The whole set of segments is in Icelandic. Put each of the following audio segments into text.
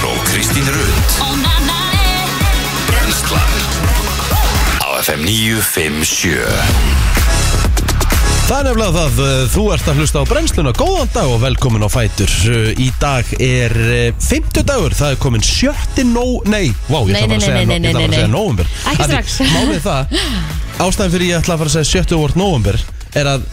Kristín Rund Brenslan Á FM 957 Það er nefnilega það, uh, þú ert að hlusta á brennsluna, góðan dag og velkomin á Fætur Uh, Í dag er eh, fimmtudagur, það er komin sjötti nó, nei, vá, ég Nei, ætla nei, bara að segja nei, nó- ég nei, ætla bara nei, að segja nei. nóvumber Ekki strax. Málið er það, ástæðan fyrir ég ætla að fara að segja sjötti og vort nóvumber er að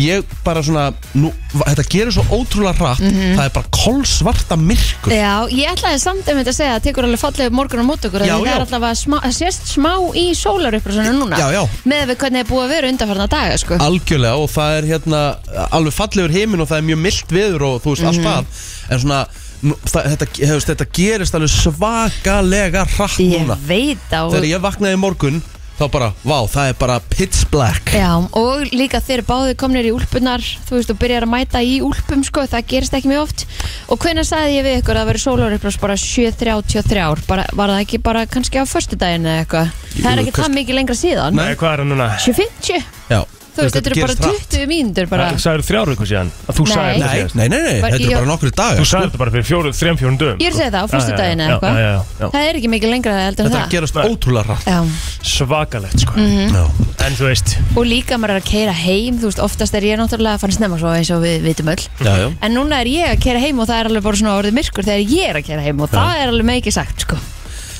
ég bara svona, nú, þetta gerir svo ótrúlega rætt, Mhm. það er bara kolsvarta myrkur Já, ég ætlaði samt um þetta að segja að tekur alveg falleg morgun á mót okkur af Já, því það já. er allavega smá, það sést smá í sólaruppræsuna núna Já, já. með við hvernig það er búið að vera undanfarna daga sko. algjörlega og það er hérna alveg fallegur heiminn og það er mjög mildt viður og þú Mhm. veist allt það en svona nú- það, þetta, hefst, þetta gerist alveg svakalega hratt Ég núna veit á þegar ég vaknaði í morgun þá bara, vá, það er bara pitch black Já, og líka þeir báði komnir í úlpunar þú veist, og byrjar að mæta í úlpum sko, það gerist ekki mjög oft og hvenær sagði ég við ykkur að það verið sólaruppræs bara 7.33 ár, bara, var það ekki bara kannski á föstudaginn eða eitthvað Jú, það er ekki kannski- það mikið lengra síðan Nei, hvað er það núna? 7.50, Já, þú veist, þetta eru bara gerist hratt. 20 mínútur bara Sæður þrjár vikur síðan að þú Nei. sagðir þetta Nei, síðast. nei, nei, nei, Var- þetta eru ég- bara nokkru dagar Þú sagði þetta bara fyrir fjóru, þrejum, fjórun dögum Ég er að segja það, á föstudaginn eða eitthvað. Já, já, já, já. það er ekki mikið lengra heldur en Þetta það gerast Nei. ótrúlega hratt Já. Mhm. Svakalegt, sko Já. En þú veist og líka maður er að keira heim þú veist, oftast er ég náttúrulega að fara snemma svo eins og við vitum öll Já, já. en núna er ég að keira heim og það er alveg bara svona orðið myrkur þegar ég er að keira heim og það er alveg mikið sagt sko.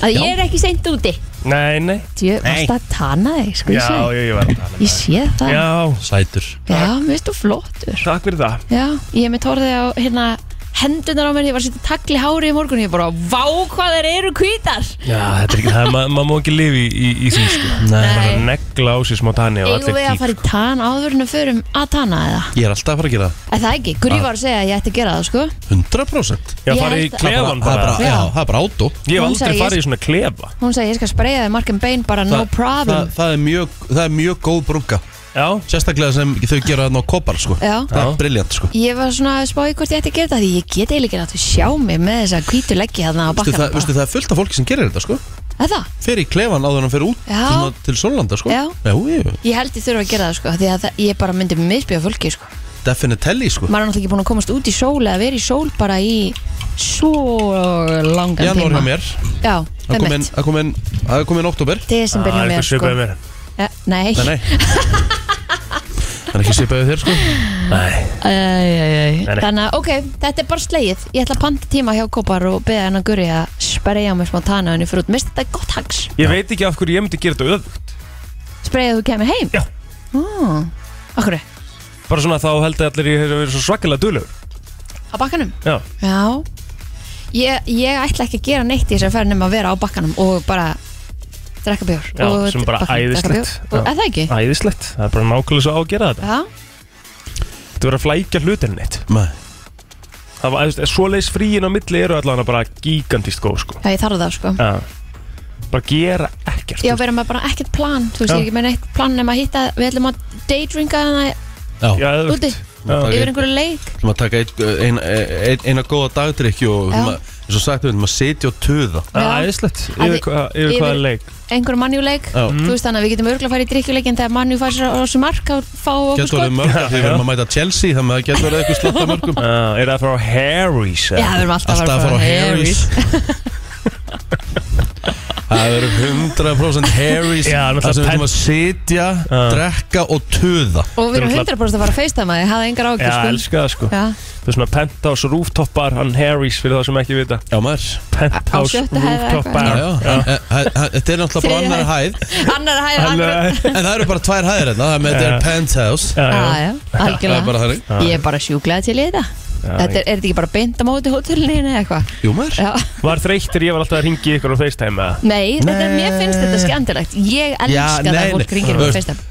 að ég er ekki seint úti Nei, nei Djö, varst að tana þig sko, ég, Já, sé, ég, ég var að tala um ég sé það það já, Já, Sætur mér finnst þú flottur takk fyrir það já, ég er með tórðið á hérna hendunar á mér, ég var að setja tagli í hári í morgun ég bara, vá hvað þeir eru hvítar Já, þetta er ekki það Maður ma má ekki lifi í, í, í því, sko Bara Nei. negla á sér smá tanni og eigum allir sko. við að fara í tan áðurinn að förum að tana eða Ég er alltaf að fara að gera það. Er það ekki? Guri var að segja að ég ætti að gera það, sko. 100% Ah. Já, Ég fara í held að- klefan Það er bara, bara já, það er bara átó Ég hef Hún sagði, aldrei ég- farið í svona klefa Hún sagði, ég skal spreyja þig margum bein, bara no Það- problem. það, það, er mjög, það er mjög góð brunga Já Sérstaklega sem þau gera þarna á kopar sko. Já. Það er briljant sko. Ég var svona að spá í hvort ég ætti að gera það, því ég get eiginlega ekki að sjá mig með þessa hvítu leggji hérna á Vistu, bakkanum. það, vistu, það er fullt af fólki sem gerir þetta sko. Er það? Fer í klefan áður en hann fer út Já. svona, til Sólanda sko. Já. Jú, jú, Ég held ég þurfa að gera það, sko, því að það, ég bara myndi misbjöða fólki, sko. Definitelli sko. Maður er náttúrulega ekki búin að komast út í sól eða vera í sól bara í svo langan Janúar hjá mér Já, með Það kom inn- mitt. það kom inn- það kom inn oktober Desember hjá Það er mér, eitthvað sko. svipað mér Ja, nei. Nei, nei Það er ekki svipaðið þér sko. Nei Æ, æ, æ. Nei, nei. Þannig að, ok, þetta er bara slegið Ég ætla að panta tíma hjá Kópar og beða hennar Guri að spreja mig smá tana henni fyrir út Mist þetta er gott hags Ég veit ekki af hverju ég myndi gera þetta öð Sprejaðu þú kemur heim? Já. Ó, Akkur, Bara svona þá held ég allir ég hef verið svo svakalega duðlegur á bakkanum? Já Já Ég, ég ætla ekki að gera neitt í þess að fara nema að vera á bakkanum og bara drekka bjór Já, og sem er bara bakkanum, drekka æðislegt. bjór. Og- Já. Er það ekki? Æðislegt, það er bara nákvæmlega svo á að gera þetta Já, Þetta verður að flækja hlutinni eitt Nei. Það var, eða, svoleiðis fríin á milli eru allavega bara gigantist góð, sko Já, ég þarf það sko Já Bara gera ekkert Já, vera með bara ekkert plan Þú veist, Já. ég er ekki með neitt plan nema að hitta Við ætlum að daydrinka hana Já, Já, eða- úti Já. Yfir einhverju leik Þú maður taka einn- ein- ein- eina góða dagdrykki Já. og þú maður- eins og sagt, þú maður setja og töða Já. Það er æðislegt Að Yfir þið- hvað- yfir yfir- hvaða leik einhverjum mannjúleik Já. þú veist þannig að við getum örgulega að fara í drikkjuleikin þegar mannjú fær sér á þessu mark að fá okkur Getur sko orðið já, mörg af því við Já. erum að mæta Chelsea þannig að það getur orðið eitthvað slatt af mörgum Já, Er það að fara á Harry's eða? við erum alltaf, Alltaf að fara á Harry's Það eru 100% Harry's Já, náttúrulega Það sem við pen- ætlum að sitja, drekka og töða og við erum Þetta er 100% að fara að feistama þig hafa engar Já, ákjör sko elska það sko Já, Það er svona penthouse rooftopar Hann Harry's fyrir það sem ekki vita Já maður Penthouse sjöttu hæð eða eitthvað. Já, já. En- rooftopar en- en- en- Þetta er náttúrulega bara Þriðja annar hæð annar hæg, annar Alveg- En það eru bara tvær hæðir hérna Það með þetta er penthouse Já, Já, já. Ah, já, Það er algjörlega bara þannig Ég er bara sjúklaði til í þetta Þetta er, er þetta ekki bara beint á móti hótelinu hérna eða eitthvað? Jú maður Já, Var þreyttir ég var alltaf að ringi ykkur á FaceTime eða? nei, þetta, Nei. mér finnst þetta skemmtilegt Ég Já, elska það nei, að fólk nei. ringir um Þú og veist, feistam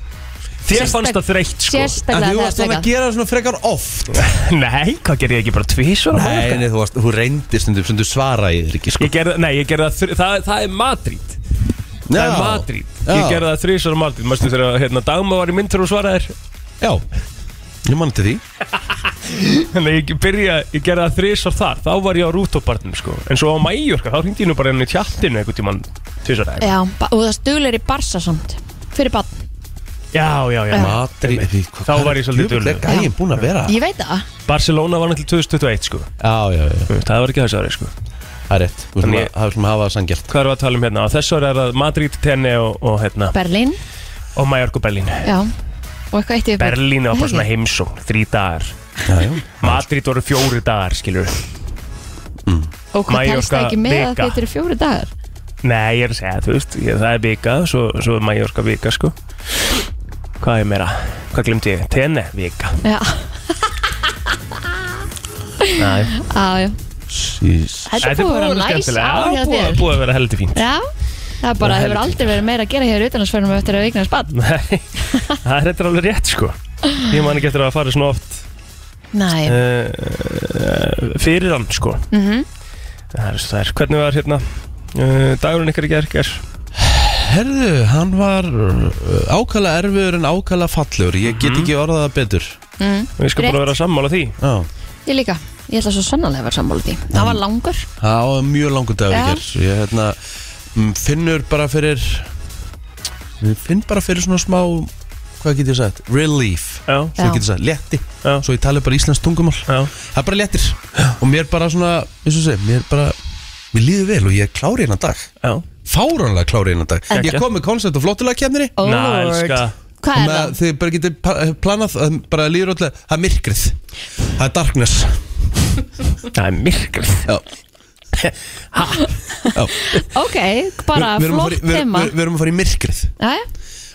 Þér fannst það þreytt En sko Sérstaklega þú þegar frekar varst svona að gera það svona frekar oft Nei, hvað gerði ég ekki bara tvísvara Nei, nei, þú varst, þú reyndir stundum stundum svara í þér ekki sko Ég gerði, nei, ég gerði það, þr- það, það er Madrid Það er Madrid Ég Já. gerði það þrísvara Madrid Mastu þegar hérna, Dagma var í mynd þegar hún svaraði Já, ég mann til því Þannig að ég byrja, ég gerði það þrísvara þar Þá var ég á rútopartnum sko En svo á Mæjorka, þá hringdi ég nú bara inn í tjattinu einhvern tímann tvísvara Já, ba- og það stulir í barsa samt Fyrir barn Já, já, já Madrid Þá var ég svolítið dölur duglegur. Gæinn búin að vera Ég veit það Barcelona var náttúrulega 2021 sko Já, já, já Það var ekki þessi ári sko Það er rétt, þú Þannig- veist að hafa það sangjart Hvað erum við að tala um hérna? Þess ára er það Madrid, Tenne og, og hérna Berlín, Og Mallorca og Berlín já Og eitthvað eitt yfir Berlín var bara Ekki? svona heimsókn, þrý dagar Já, Madrid voru fjóri dagar, skilur Mm. Og hvað Mallorca telst það ekki með að vika. þetta eru fjóri dagar Nei, ég er að segja, þú veist, ég, það er vika Svo, svo er Mallorca vika, sko Hvað er meira? Hvað glemdi ég? Tenne vika Já, Nei, á, já já Þetta er búið að vera næs ár hjá Já, búið, þér búið að vera heldur fínt Já, það bara Og hefur helgi. aldrei verið meira að gera hér utanhansferðum eftir að eigna spann Nei, það er þetta alveg rétt, sko Ég man ekki eftir að hafa farið svona oft Nei, uh, fyrir hann, sko mhm Það er, það er, hvernig var hérna uh, dagurinn ykkar í gerkar? Herðu, hann var ákala erfiður en ákala fallur Ég get ekki orðað það betur mm. Mhm. Við skulum bara Rétt. vera að sammála því Já, Ég líka, ég ætla svo sannanlega að vera sammála því Það var langur það var mjög langur dagur Já. í ger Ég hérna, mm, finnur bara fyrir Ég finn bara fyrir svona smá Hvað get ég sagt? Relief Já, Svo Já. get ég sagt, létti Já. Svo ég tali bara íslensk tungumál já, Það er bara léttir Og mér bara svona, eins og segi, mér bara Mér líður vel og ég er klári hennan dag já Fáranlega klári hennan dag En- Ég kom með koncept og flottulega kemninni Ó, Næ, elska Hvað er Þannig að það? þið bara getið pa- planað að bara líður alltaf, það er myrkrið það er darkness Það er myrkur Já. Ok, bara Við- við erum að flott fara í- við- tema við, við erum að fara í myrkrið Jæja,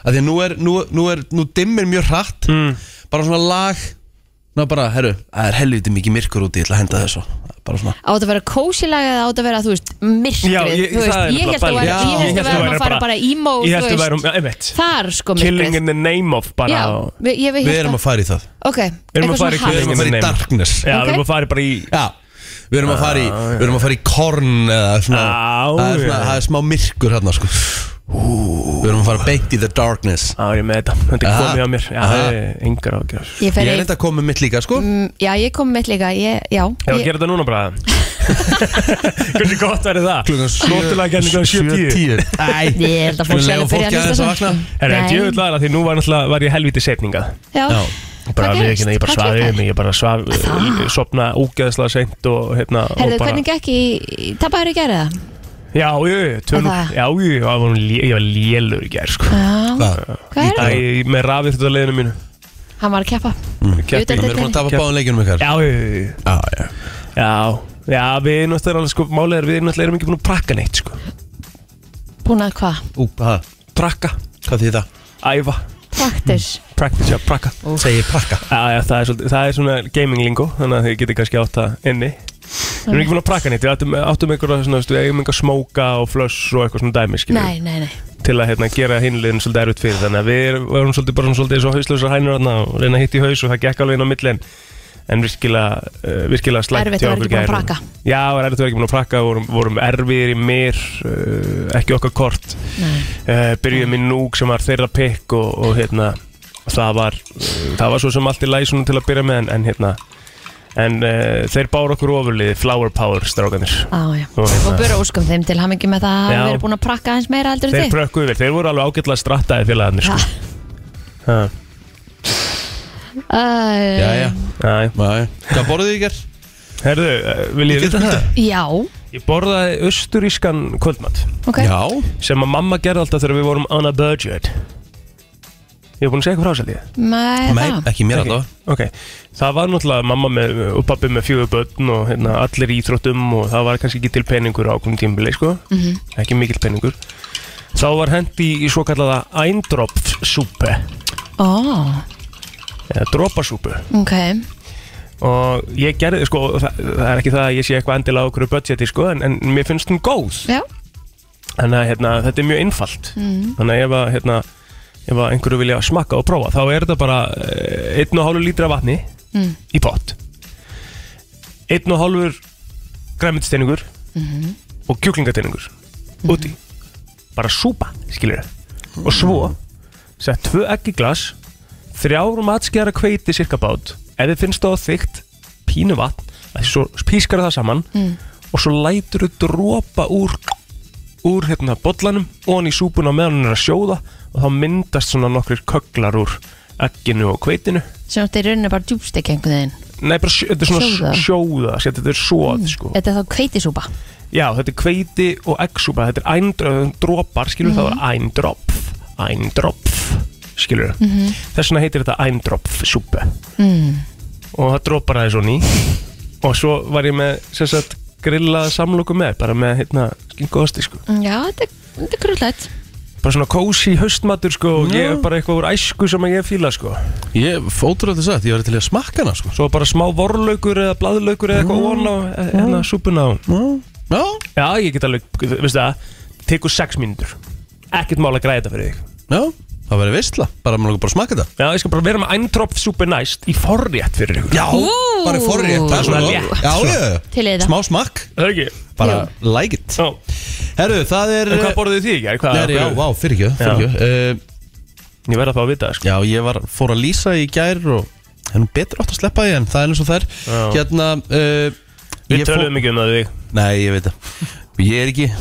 að því að nú er, nú, nú er, nú dimmir mjög hratt mm. bara svona lag ná bara, herru, það er helviti mikið myrkur úti ég ætla að henda þessu, bara svona Á þetta að vera kósilega eða á þetta að vera, þú veist, myrkrið Já, ég- þú veist, það er Ég held nefnilega að vera- pæling. Já. ég hélt Ég að hélt að vera að væri fara bara- bara emo, Ég þú held að um- veist værum, einmitt Þar sko Killing myrkrið in the name of bara Já, og- við- ég veit við erum að fara í það, Ok, erum að eitthvað fara í svona við killing erum að in the fara í name of darkness Já, Ok. við erum að fara bara í Ah, já, við erum að fara í við erum að fara í korn eða svona, Já, það, er svona já. það er smá myrkur hérna sko við erum að fara beint í the darkness Já, ég er með þetta, þetta er Aha. komið á mér Já, Aha. það er yngar ágjör Ég ég fer er í þetta að koma með mitt líka sko Mm, Já, ég kom mitt líka, ég, já Já, ég- gera þetta núna bara Hvernig gott verið það? hérna klukkan Flottulega gerning á 7.10 Æ, Ég held að fólk Skulum sé leyfa alveg byrja að fólki aðeins að hlusta vakna. svona. Er þetta Nei. jöfull aðra því nú var náttúrulega var ég helviti setningað Já, bara Hvað við gerðist? ekki, ég bara Hvað svaði klukkan? um mig, ég bara svaði, sopna ógeðslega seint og hérna herðu, og bara, hvernig gekk í, í- tapaður í gerði það? Já, jú, jú, tölum, Er það? já, jú, jú, það var hún lé- ég var lélur í gær, sko Já, hvað? hvað er Æ, það? ég- með rafið þetta leiðinu mínu Hann var að keppa Keppi- Utan- Við erum búin að tapa báðan leikjunum ykkar Já, jú, jú, jú. Já, já já, já, við náttúrulega er alveg, sko, málið er við náttúrulega erum ekki búin að prakka neitt, sko Búin að hvað? Ú, hvað? Prakka, Hvað þýðir það? æfa, Mm. Praktis practice, já, prakka Segir prakka Já, já, það er, svolítið, það er svona gaming lingo Þannig að þið getið kannski átt það inni Við erum ekki búin að prakka neitt Við áttum, áttum einhverja svona, þú veist, við eigum einhverja smóka og flöss og eitthvað svona dæmi, skiljum Nei, nei, nei til að hérna, gera hinliðin svolítið erfitt fyrir þannig að við varum svolítið bara svona svolítið eins og hauslausar hænur hérna og reyna að hitta í haus og það gekk alveg inn á milli en, en virkilega, uh, virkilega slæmt Erfitt hjá að vera ekki okkur búin að gær. prakka. Já, það var erfitt að vera ekki búin að prakka vorum, vorum erfiðir í mér uh, ekki okkar kort Nei. uh, byrjuðum í núk sem var þeirra pikk og, og hérna það var, uh, það var svo sem allt í læsunum til að byrja með en, en hérna en uh, þeir báru okkur ofurliði flower power strákanir Á, já Og hérna- Og byrja óskum þeim til hamingi með það að Já. hafa verið búin að prakka aðeins meira heldur en þeir þig prökkuðu vel, þeir voru alveg ágætlega strattaði félagarnir sko. ha. Æ, Já, já ha. Nei. Hvað borðið þið ykkar? Herðu, eh, vil ég Getur það? Já, Ég borðaði austurískan kvöldmat ok Já sem að mamma gerði alltaf þegar við vorum on a budget Ég hef búin að segja eitthvað frásælið Nei, Nei, það ekki mér allavega Ok, það var náttúrulega mamma með, uh, og pappi með fjögur börn og hérna, allir í íþróttum og það var kannski ekki til peningur á okkur tímbili, sko, Mhm. ekki mikill peningur Þá var hendi í svo kallaða eindropfsúpe Ó, eða dropasúpu ok og ég gerði, sko, það, það er ekki það að ég sé eitthvað endilega á okkur budgeti, sko, en, en mér finnst hún góð Já, Mhm. Þannig að hérna, þetta er mjög einfalt Þannig að ef, að, hérna, ef að einhverju vilja smakka og prófa Þá er þetta bara eh, einn og hálfur lítra af vatni Mm. Í pott Einn og hálfur græmitsteiningur Og kjúklingateiningur Úti Bara súpa, skilur Og svo Sett tvö egg í glas Þrjár matskjara kveiti cirka bát Ef þið finnst það þygt Pínu vatn af því Svo pískar það saman Og svo lætur þau dropa úr úr hérna bollanum ofan í súpuna á meðan hún er að sjóða og þá myndast svona nokkrir köglar úr egginu og kveitinu sem þetta er rauninni bara djúbstekki einhvern veginn Nei, bara sjó, þetta er svona Sjóða. Mm, sjóða, sjóða sér, þetta er svoð sko. Þetta er þá kveitisúpa Já, þetta er kveiti og eggsúpa Þetta er eindropf, dropar, skilur mm Mhm. -hmm. það var eindropf Eindropf, skilur mm Þess vegna heitir þetta eindropf súpa Mhm. Mm. Og það dropar aðeins svona í Og svo var ég með, sem sagt, grillað samloku með Bara með, hérna, skingu og osti, sko Já, þetta er, þetta er krullætt Bara svona kósi haustmatur, sko Og ég er bara eitthvað úr æsku sem að ég fíla, sko Ég fótur að þess að, ég var til í að smakka hana sko. Svo bara smá vorlaukur eða bladlaukur eða eitthvað von á, eh, hérna, súpuna og Mm. Já, Já, ég get alveg, veistu það, tekur sex mínútur Ekkert mál að græða þetta fyrir þig já, það verið veistla Bara maður langar bara að smakka þetta Já, ég skal bara vera með eindropp super næst í forrétt fyrir ykkur Já, Ú. bara forrið Bara svona Já, létt, já, já, Til í það smá smakk Það er ekki Bara like it Já, Herru, það er en hvað borðið þið ekki? Hvað, Nei, já, hvað- vá, fyrir ekki, fyrir ekki Eh, Ég verða þá að vita það, sko Já, ég var, fór að lýsa í gær og það er nú betur átt að sleppa því en það er eins og það er Já. Hérna uh, Við ég fór- töluðum ekki um það þig Nei, ég veit það Ég er ekki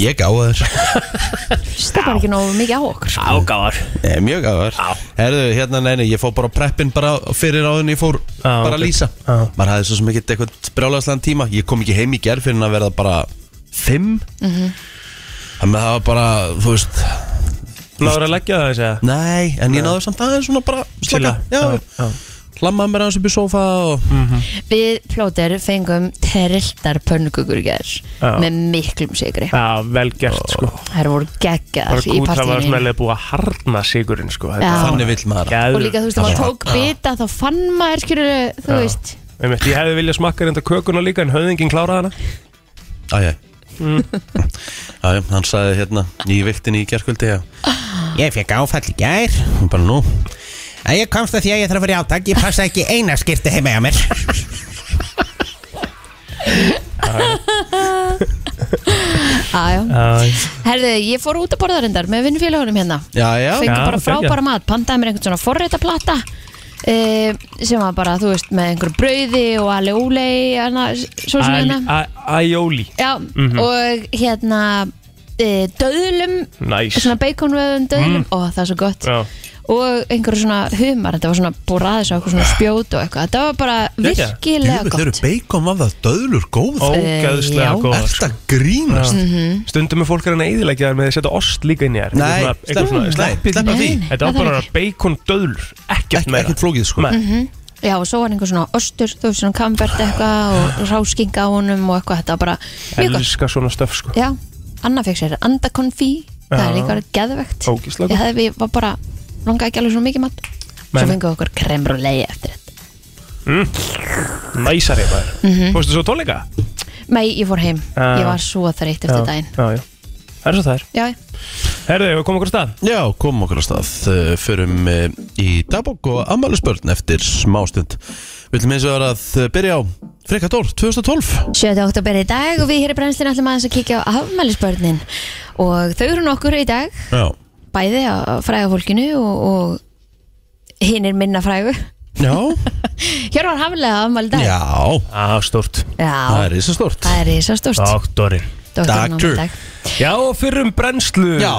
Ég gáða þér Þetta er bara ekki nógu mikið á okkur sko. Ágáðar Nei, mjög gáða Já. þér Herðu, hérna, nei, nei, ég fór bara á preppin bara fyrir áðun ég fór Já, bara að ok. lýsa Já. Maður hafði svo sem ekkert eitthvað brjálagslegan tíma Ég kom ekki heim í gær fyrir en að verða bara Fimm Mhm. Þannig að það var bara, þú veist Láður að leggja það þess að Nei, en ég náðu samt aðeins svona bara slaka Já, já já Mhm. Hlammaði mér aðeins upp í sófa og Við plóter fengum terildar pönnugugur gerð Já. með miklum sigri Já, vel gert, sko Þær voru Bara geggar í gút, það var partíinu hérna. smelega búið að harna sigurinn, sko Þetta Já. var þannig vill maður það. geðveikt. og líka þú veist, ef maður tók bita þá fann maður skilur, þú Já. veist Einmitt, Ég hefði viljað smakka reynda kökuna líka en höfðingin kláraði hana Æjæ Æjæ, hann sagði hérna í viktinni í gerkvöldi já. Ég fekk áfall í gær Hún bara nú að Ég komst að því að ég þarf að fara í átak Ég passa ekki eina skipti heima hjá mér Aðjá. Já, Herðu, ég fór út að borða reyndar með vinnufélagunum hérna Jæja, fengið Já, bara geggjað. frábæra mat, pantaði mér einhvern svona forréttaplata e, sem var bara, þú veist, með einhverju brauði og alveg úlei svo sem hérna Æjóli Já, Mhm. og hérna e, döðlum, Næs svona baconvöðum döðlum, Mm. ó það er svo gott Já. og einhverju svona humar, þetta var svona búið aðeins á eitthvað svona spjót og eitthvað, þetta var bara Geggjað. virkilega Jú, gott þeir eru bacon af það döðlur góð oh. Eh, Ógæðslega já. Mhm. góð sko. Erta grínast Stundum er fólk að reyna að eyðilegja þær með því að setja ost líka inn í þær Nei, Eitthvað svona- eitthvað svona- slepp- sleppið sleppa því. því. Þetta var það þarf Mhm. bara bacon döðlur Ekkert Ekki- meira ekkert flókið, sko. Nei. Já, og svo var einhver svona ostur, þú veist, svona kambert eitthvað Ah. og ráskinga á honum og eitthvað, þetta var bara mjög gott Elska svona stöf sko Já, Anna fekk sér andakonfí það er Já. líka geðvegt Ég Ógeðslega gott. hefði, ég var bara, langaði ekki alveg svona mikið mat Svo Men- fengið okkur krembrulei eftir þetta Mm. Næsari Mhm. maður Fórstu svo tónleika? Nei, ég fór heim, Já. ég var svo þreytt eftir daginn Já, já Það er svo það er Já, já. Herðu, við komum okkur af stað Já, komum okkur á stað uh, Förum uh, í dagbók og ammælisbörn eftir smástund Við ætlum eins og vera að uh, byrja á Frikka Dór, 2012 7. oktober í dag og við hér í brennslinu ætlum aðeins að kíkja á afmælisbörnin og þau eru nokkur í dag Já, bæði á fræga fólkinu og, og hinn er minna frægu já, Hér var hafnilega afmæli í dag já Á, stórt Það Já, er risa stort það er risa stórt Doktorinn Doctor. Já, og fyrrum brennslu Já,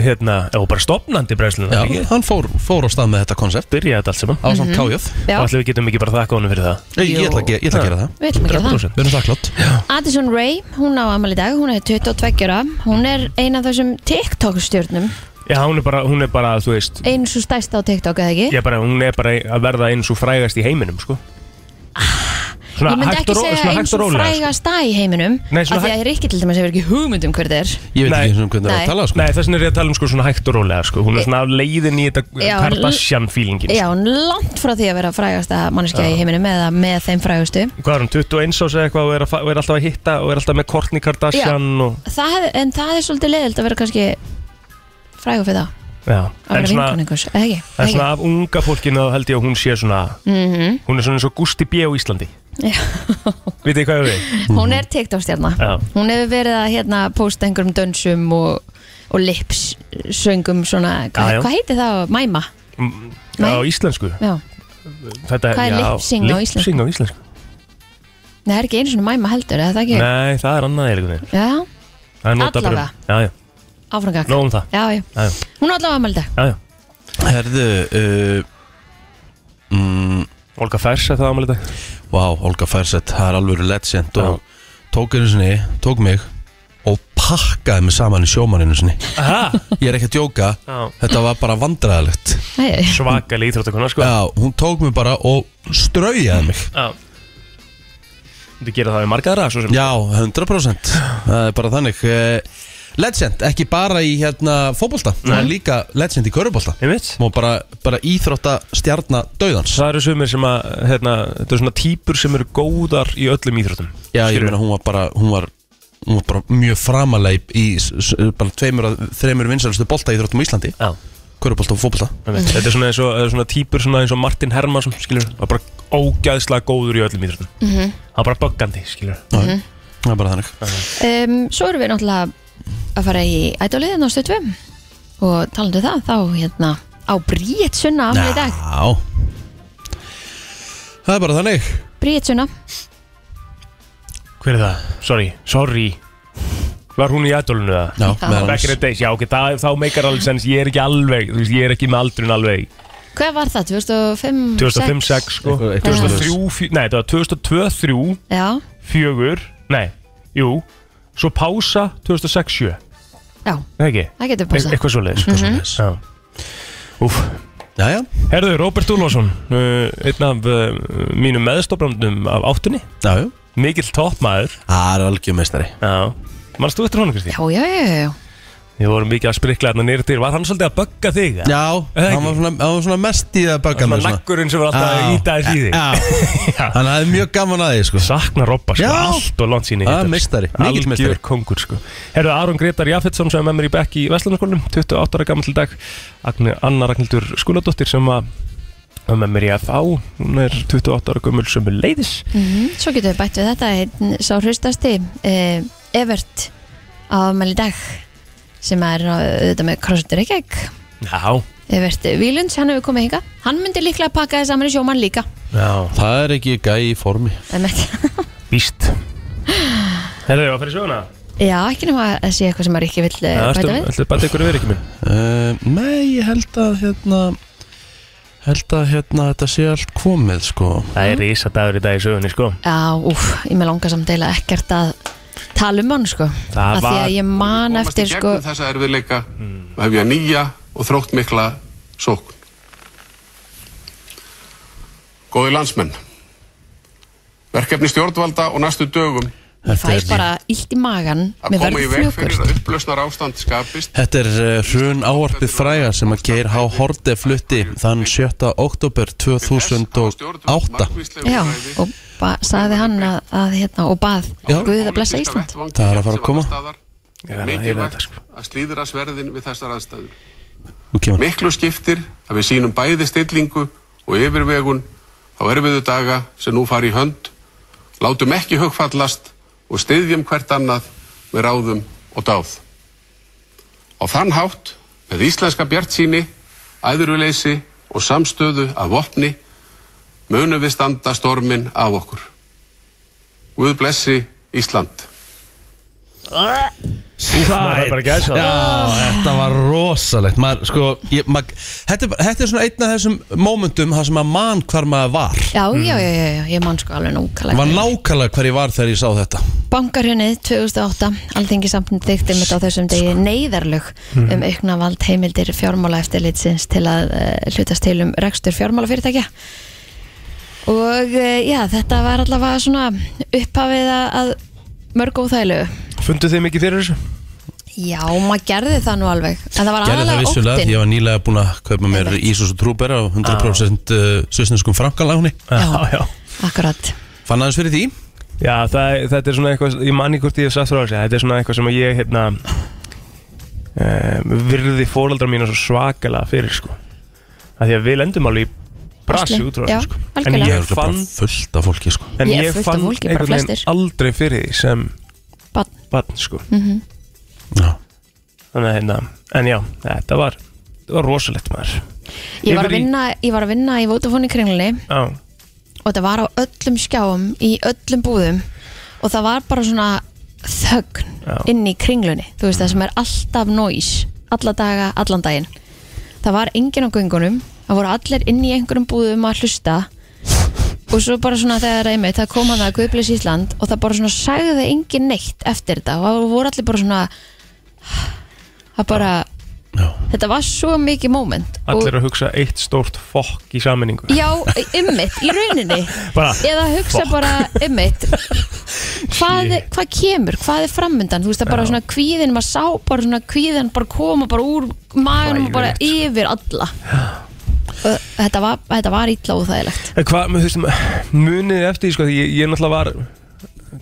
Hérna, og bara stopnandi brennslu já, hann fór, fór á stað með þetta koncept Byrjaði þetta allt saman Á samt kájöð Og Mhm. Já, allir við getum ekki bara þakka honum fyrir það Ég, ég, ætla, að ge- ég ætla að gera það við ætlum ekki að það 100%. Við erum þakklátt Addison Rae, hún á amal í dag, hún er 22 ára, hún er eina af þessum TikTok stjórnum, Já, hún er bara, hún er bara, þú veist eins og stærsta á TikTok eða ekki? Ég bara, hún er bara að verða eins og frægast í heiminum, sko Svona Ég myndi hægt ekki og ró- segja svona hægt eins og og rólega, sko. frægasta í heiminum, Nei, af svona því að Rikki til dæmis hefur ekki hugmynd um hver það er. Ég veit Nei. ekki eins og um hvernig það er Nei. að tala sko. Nei, þess vegna er ég að tala um sko svona hægt og rólega sko. Hún er svona á leiðin í þetta eh, Já, Kardashian feelingin sko. Já, hún er langt frá því að vera frægasta manneskja í heiminum eða með þeim frægustu. sko. Hvað er hún, 21 ás eða eitthvað og er, að, fa- og er alltaf að hitta og er alltaf með Kourtney Kardashian já. og Það, hef- en það er svolítið leiðilt að vera kannski frægu fyrir það, Já, að en vera svona, vinkun einhvers, eða ekki? en Eða svona af unga fólkinu þá held ég að hún sé svona Mhm. Hún er svona eins og Gusti B. á Íslandi Já. Vitið þið hvað ég við? Hún er TikTok-stjarna Mhm. Já. Hún hefur verið að hérna posta einhverjum dönsum og, og lips söngum svona, hva, Já, já. hvað heitir það? Mæma? Mm, Nei. Á íslensku Já, Þetta, Hvað er já, lip-sync á íslensku? lip-sync á íslensku? Nei, það er ekki einu svona mæma heldur, eða það ekki? Nei, það er annað einhvern veginn Já, Það er nota bara- Allavega. Já, já, áframgak nóg um það Já, já, Já, já, hún er allavega ammælda já, já Herðu uh, mm, Olga Fers er það ámæli dag Vá, Olga Færseth, það er alveg legend og tók einu sinni, tók mig og pakkaði mig saman í sjómaninu sinni Aha, ég er ekki að djóka, Já. þetta var bara vandræðalegt Nei, svakalega íþróttakona sko já, hún tók mig bara og straujaði mig Já Þú gerir það við margaðra svo sem já, 100% það er bara þannig Eh, legend, ekki bara í hérna fótbolta, það er líka legend í körubólta Einmitt og bara, bara íþrótta stjarnar döðans Það eru sumir sem að, hérna, þetta eru svona típur sem eru góðar í öllum íþróttum já, ég Skilurðu? meina hún var bara hún var, hún var bara mjög framaleg í s- s- bara tveimur, að- þremur vinsælustu bolta íþróttum á Íslandi Já, körubólta og fótbolta einmitt. þetta er svona, eins og, eða svona típur svona eins og Martin Hermansson, skilur Það er bara ógæðslega góður í öllum íþróttum mm -hmm. Það er bara böggandi, skilur Mhm. það er bara þannig um, svo erum við náttúrulega að fara í ædoliðin á stöðum og talandi um það, þá hérna á Bríett Sunna afmæli í dag Já Það er bara þannig Bríett Sunna, Hver er það? Sorry, sorry Var hún í ædolunu það? Já, Já. meðal Back in the annars. days, já, ok, það, þá meikar alveg sens Ég er ekki alveg, þú veist, ég er ekki með aldrin alveg hvað var það? 2005? 2005, 2006? 6, sko Eitthvað- eitthvað 2003, fjö- nei, þetta var 2002, 3 Já, fjögur, nei, jú svo pása 2006-7 já, eða ekki, það getur Mhm. e passað eitthvað svo leiðis eitthvað svo leiðis Úf. Jæja, Herðu, Robert Úlfarsson uh, einn af uh, mínum meðstofbrandum af áttunni, já, já mikill toppmaður Það er algjör meistari já Manst þú eftir honum, Kristi? Já, já, já, já, já. Við vorum mikið að sprikla hérna nýri til Var hann svolítið að bögga þig? eða? Já, Eða hann var, ekki? svona, hann var svona mest í það að bögga Svona mig svona. naggurinn sem var alltaf að Já. íta þess í þig Já, Já. hann hafði mjög gaman að því sko. Sakna Robba sko, Já. allt og langt síni Ah, meistari, mikill meistari. Algjör kongur sko Herðu Aron Gretar Jafetsson sem er með mér í bekk í Vestlunarskólum 28 ára gammal til dag Agni, Anna Ragnhildur Skúladóttir sem að er með mér í FH Hún er 28 ára gömul sem er leiðis Mhm. Svo getum við bætt við þetta einn sá hristasti eh, Evert á afmæli í dag sem er eh, auðvitað með CrossFit Reykjavík Já, Evert Vílunds, hann hefur komið hinga hann myndi líklega pakka þess saman í sjómann líka já, Það er ekki gæi í formi Einmitt. víst Herðu, að fyrir söguna Já, ekki nema að sé eitthvað sem að Ríkki vill eh, bæta við Þetta er bara ykkur verið ekki minn uh, Nei, ég held að hérna Held að hérna þetta sé allt komið sko Það er risa dagur í dag í sögunni sko Já, úf, ég með langar samt deila ekkert að tala um hann sko Það af því var- að ég man komast eftir í sko gegnum þessa erfiðleika og hefja nýja og þrótt mikla sókn Góði landsmenn Verkefni stjórnvalda og næstu dögum ég fæ bara illt í magan að með sko. koma í verður veg fyrir fljókust að upplausnar ástand skapist Þetta er uh, hrun ávarpið fræga sem að Geir H. Horde flutti þann 7. oktober Til þess hafa stjórnvöld 2008 margvísleg Já, úrræði og ba- sagði hann að, að hérna, og bað Já. Guðið að blessa Pólitíska Ísland vettvangi Það er að fara að sem koma. staðar. Ég verð að heyra þetta, Mikilvægt sko. að slíðra sverðin við þessar aðstæður Nú kemur Miklu skiptir að við sínum bæði stillingu og yfirvegun á erfiðu daga sem nú fara í hönd, látum ekki hugfallast og styðjum hvert annað með ráðum og dáð. Á þann hátt, með íslenska bjartsýni, æðuruleysi og samstöðu af vopni, munum við standa stormin af okkur. Guð blessi Ísland. Það er bara gæsa Já, þetta var rosalegt maður, sko, ég, mað, þetta, er bara- þetta er svona einn af þessum mómentum þar sem að mann hvar maður var Mhm. Já, já, já, já, já, ég man sko alveg Ég var nókalega nákvæmlega hver ég var þegar ég sá þetta Bankarhunnið 2008, alþingi samtinn þykti mitt á þessum degi Sko. neyðarlög Mhm. um aukna vald heimildir fjármála eftirlitsins til að uh, hlutast til um rekstur fjármálafyrirtækja og uh, já, þetta var allavega svona upphafið að- að mörg óþægilegu Funduð þið mikið fyrir þessu? Já, maður gerði það nú alveg en það var Gerði það aðalega vissulega, óttin ég var nýlega búin að kaupa mér Ísus og Trúber á 100% ah. svisneskum frankaláni Já. já Akkurat Fann aðeins fyrir því Já, það, þetta er svona eitthvað, ég manni hvort ég hef sagt frá þessu, þetta er svona eitthvað sem að ég, hérna, um, virði fóraldra mína svo svakalega fyrir, sko. Það því að við lendum alveg í brasi Basli, út frá já, þessu, sko. En algjörlega. Ég ég er bara fann, fullt af fólki sko. en Ég er ég fullt af fann fólki, bara einhvern veginn flestir. aldrei fyrir því sem Barn. Mm. barn, sko. Já. Þannig að, hérna, en já, þetta var, þetta var rosalegt maður. Ég var, að Yfir í- vinna, ég var að vinna í Vodafone í kringlunni Já, og þetta var á öllum skjáum í öllum búðum og það var bara svona þögn Já. inn í kringlunni þú veist það sem er alltaf noise alla daga, allan daginn það var enginn á göngunum það voru allir inn í einhverjum búðum að hlusta og og svo bara svona þegar einmitt það kom hann að Guðblis Ísland og það bara svona sagði engin neitt eftir þetta og það voru allir bara svona það bara þetta var svo mikið moment og, Allir að hugsa eitt stórt fokk í sammenningu já, ymmit, í rauninni Bara, eða hugsa fuck. bara ymmit hvað, Shit. hvað kemur, hvað er framundan þú veist það bara svona kvíðin, maður sá bara svona kvíðin bara koma bara úr maðurum og bara yfir alla og þetta var, þetta var illa og þægilegt En Hvað, með, þú veist, munið þið eftir því, sko, því ég, ég náttúrulega var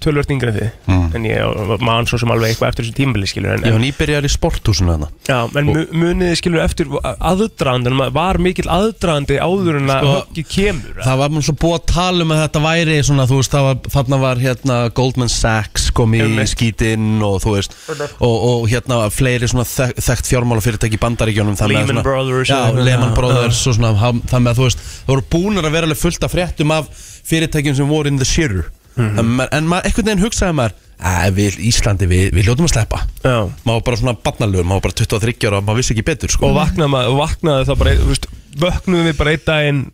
tölvört yngri en þið en ég man svo sem alveg eitthvað eftir þessu tímbili skilur en, Mm. Ég var nýbyrjar í sporthúsinu þarna já, en mu- munið þið skilur eftir aðdraðandi, var mikill aðdraðandi áður en að Sko, höggið kemur Það var mjög svo búið að tala um að þetta væri svona, þú veist, það var, þarna var hérna Goldman Sachs kom í Einmitt. skítinn og þú veist, og, og hérna fleiri svona þek, þekkt fjármálafyrirtæki í bandaríkjónum Lehman Brothers Já, eða- Lehman Já, Brothers og svona, ha- þannig að þú veist, það voru búnir að vera alveg fullt af fréttum af fyrirtækjum sem voru in the shitter Mhm. en, maður- en maður, einhvern veginn hugsaði maður að við Íslandi, við, við ljótum að sleppa Já. maður var bara svona barnalögur, maður var bara 23 ára maður vissi ekki betur, sko og vaknaði, maður- vaknaði það bara þú veist, vöknuðum við bara einn daginn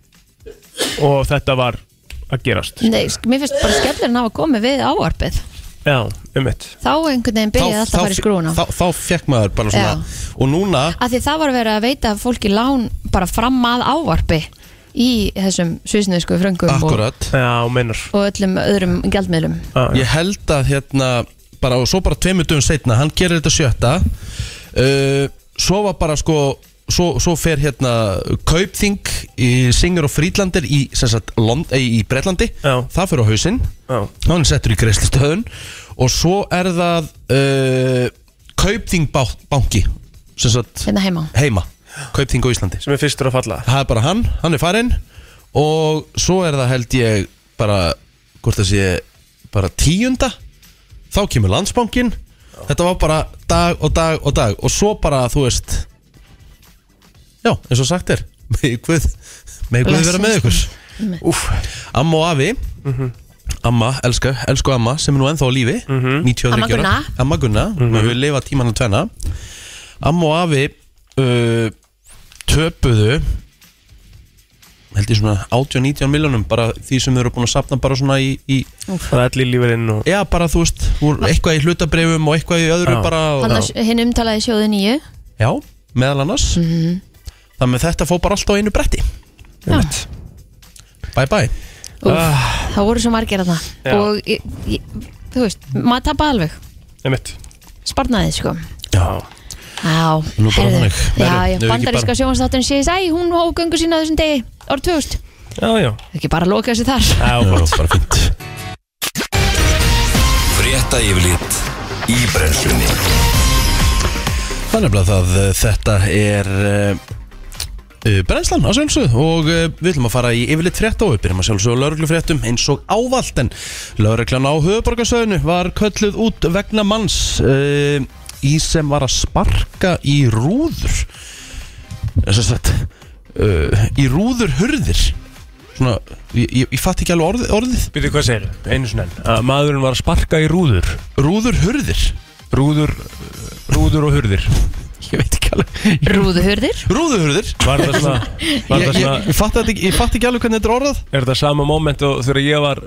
og þetta var að gerast Nei, sk- mér finnst bara skellurinn að hafa komið við áarpið já, um mitt þá einhvern veginn byrjaði alltaf að fara í skrúna þá, þá fekk maður bara svona og núna, af því það var verið að veita fólki lán bara fram að áarpi í þessum svisnesku fröngum og, akkurat já, meinar og öllum öðrum gjaldmiðlum Ah, Já, já. ég held að hérna bara, og svo bara tveimur dögum setna, hann gerir þetta sjötta uh, svo var bara sko svo, svo fer hérna Kaupþing í Singer og Frýdlandir í, sem sagt, Lond, eh, í Bretlandi Já. það fyrir á hausinn Já. hann er settur í greiðslustöðun og svo er það uh, Kaupþing bá- banki sem sagt hérna heima heima Kaupþing á Íslandi sem er fyrstur að falla það er bara hann, hann er farinn og svo er það held ég bara, hvort það sé bara tíunda, þá kemur landsbankin, þetta var bara dag og dag og dag og svo bara þú veist já, eins og sagt er megi guð, megi guð vera með ykkur Úf, amma og afi Mhm. amma, elska, elsku amma sem er nú ennþá á lífi, Mhm. 93 Amma ára. Gunna. amma Gunna, mm -hmm. við lifa tíman að tvenna amma og afi uh, töpuðu held ég svona 80-90 miljónum bara því sem þau eru búin að safna bara svona í, í það er allir lífurinn og já bara þú veist, voru eitthvað í hlutabrefum og eitthvað í öðru Já. bara og, Þarna- hinn umtalaði sjóðu nýju já, meðal annars mm -hmm. Mhm. þannig að þetta fór bara allt á einu bretti Úff, bye bye Ah. það voru svo margir að Já. það og ég, ég, þú veist, maður tappa alveg um mitt sparnaði sko já, Já, Nú bara þannig. já, já, Herru, þau eru ekki bandaríska bara- sjónastáttin CSI, hún hóf göngu sína á þessum degi árið 2000, já, já, ekki bara loka þessu þar já. það var bara fint Frétta yfirlit í brennslunni Þannig að það, uh, þetta er uh, uh, brennslan að sjálfsögðu og uh, við ætlum að fara í yfirleitt frétta og við byrjum að sjálfsögðu lauruglufréttum eins og ávallt en lauruglan á höfuborgarsöðinu var kölluð út vegna manns uh, í sem var að sparka í rúður þess að sagt uh, í rúður hurðir svona, ég, ég, ég fatt ekki alveg orðið, orðið. byrju hvað segir einu svona enn. að maðurinn var að sparka í rúður rúður hurðir rúður, rúður og hurðir ég veit ekki alveg Rúðuhurðir rúður hurðir var það svona, var ég, það svona ég, ég fatt ekki, ég fatt ekki alveg hvernig þetta er orðað er það sama moment og þegar ég var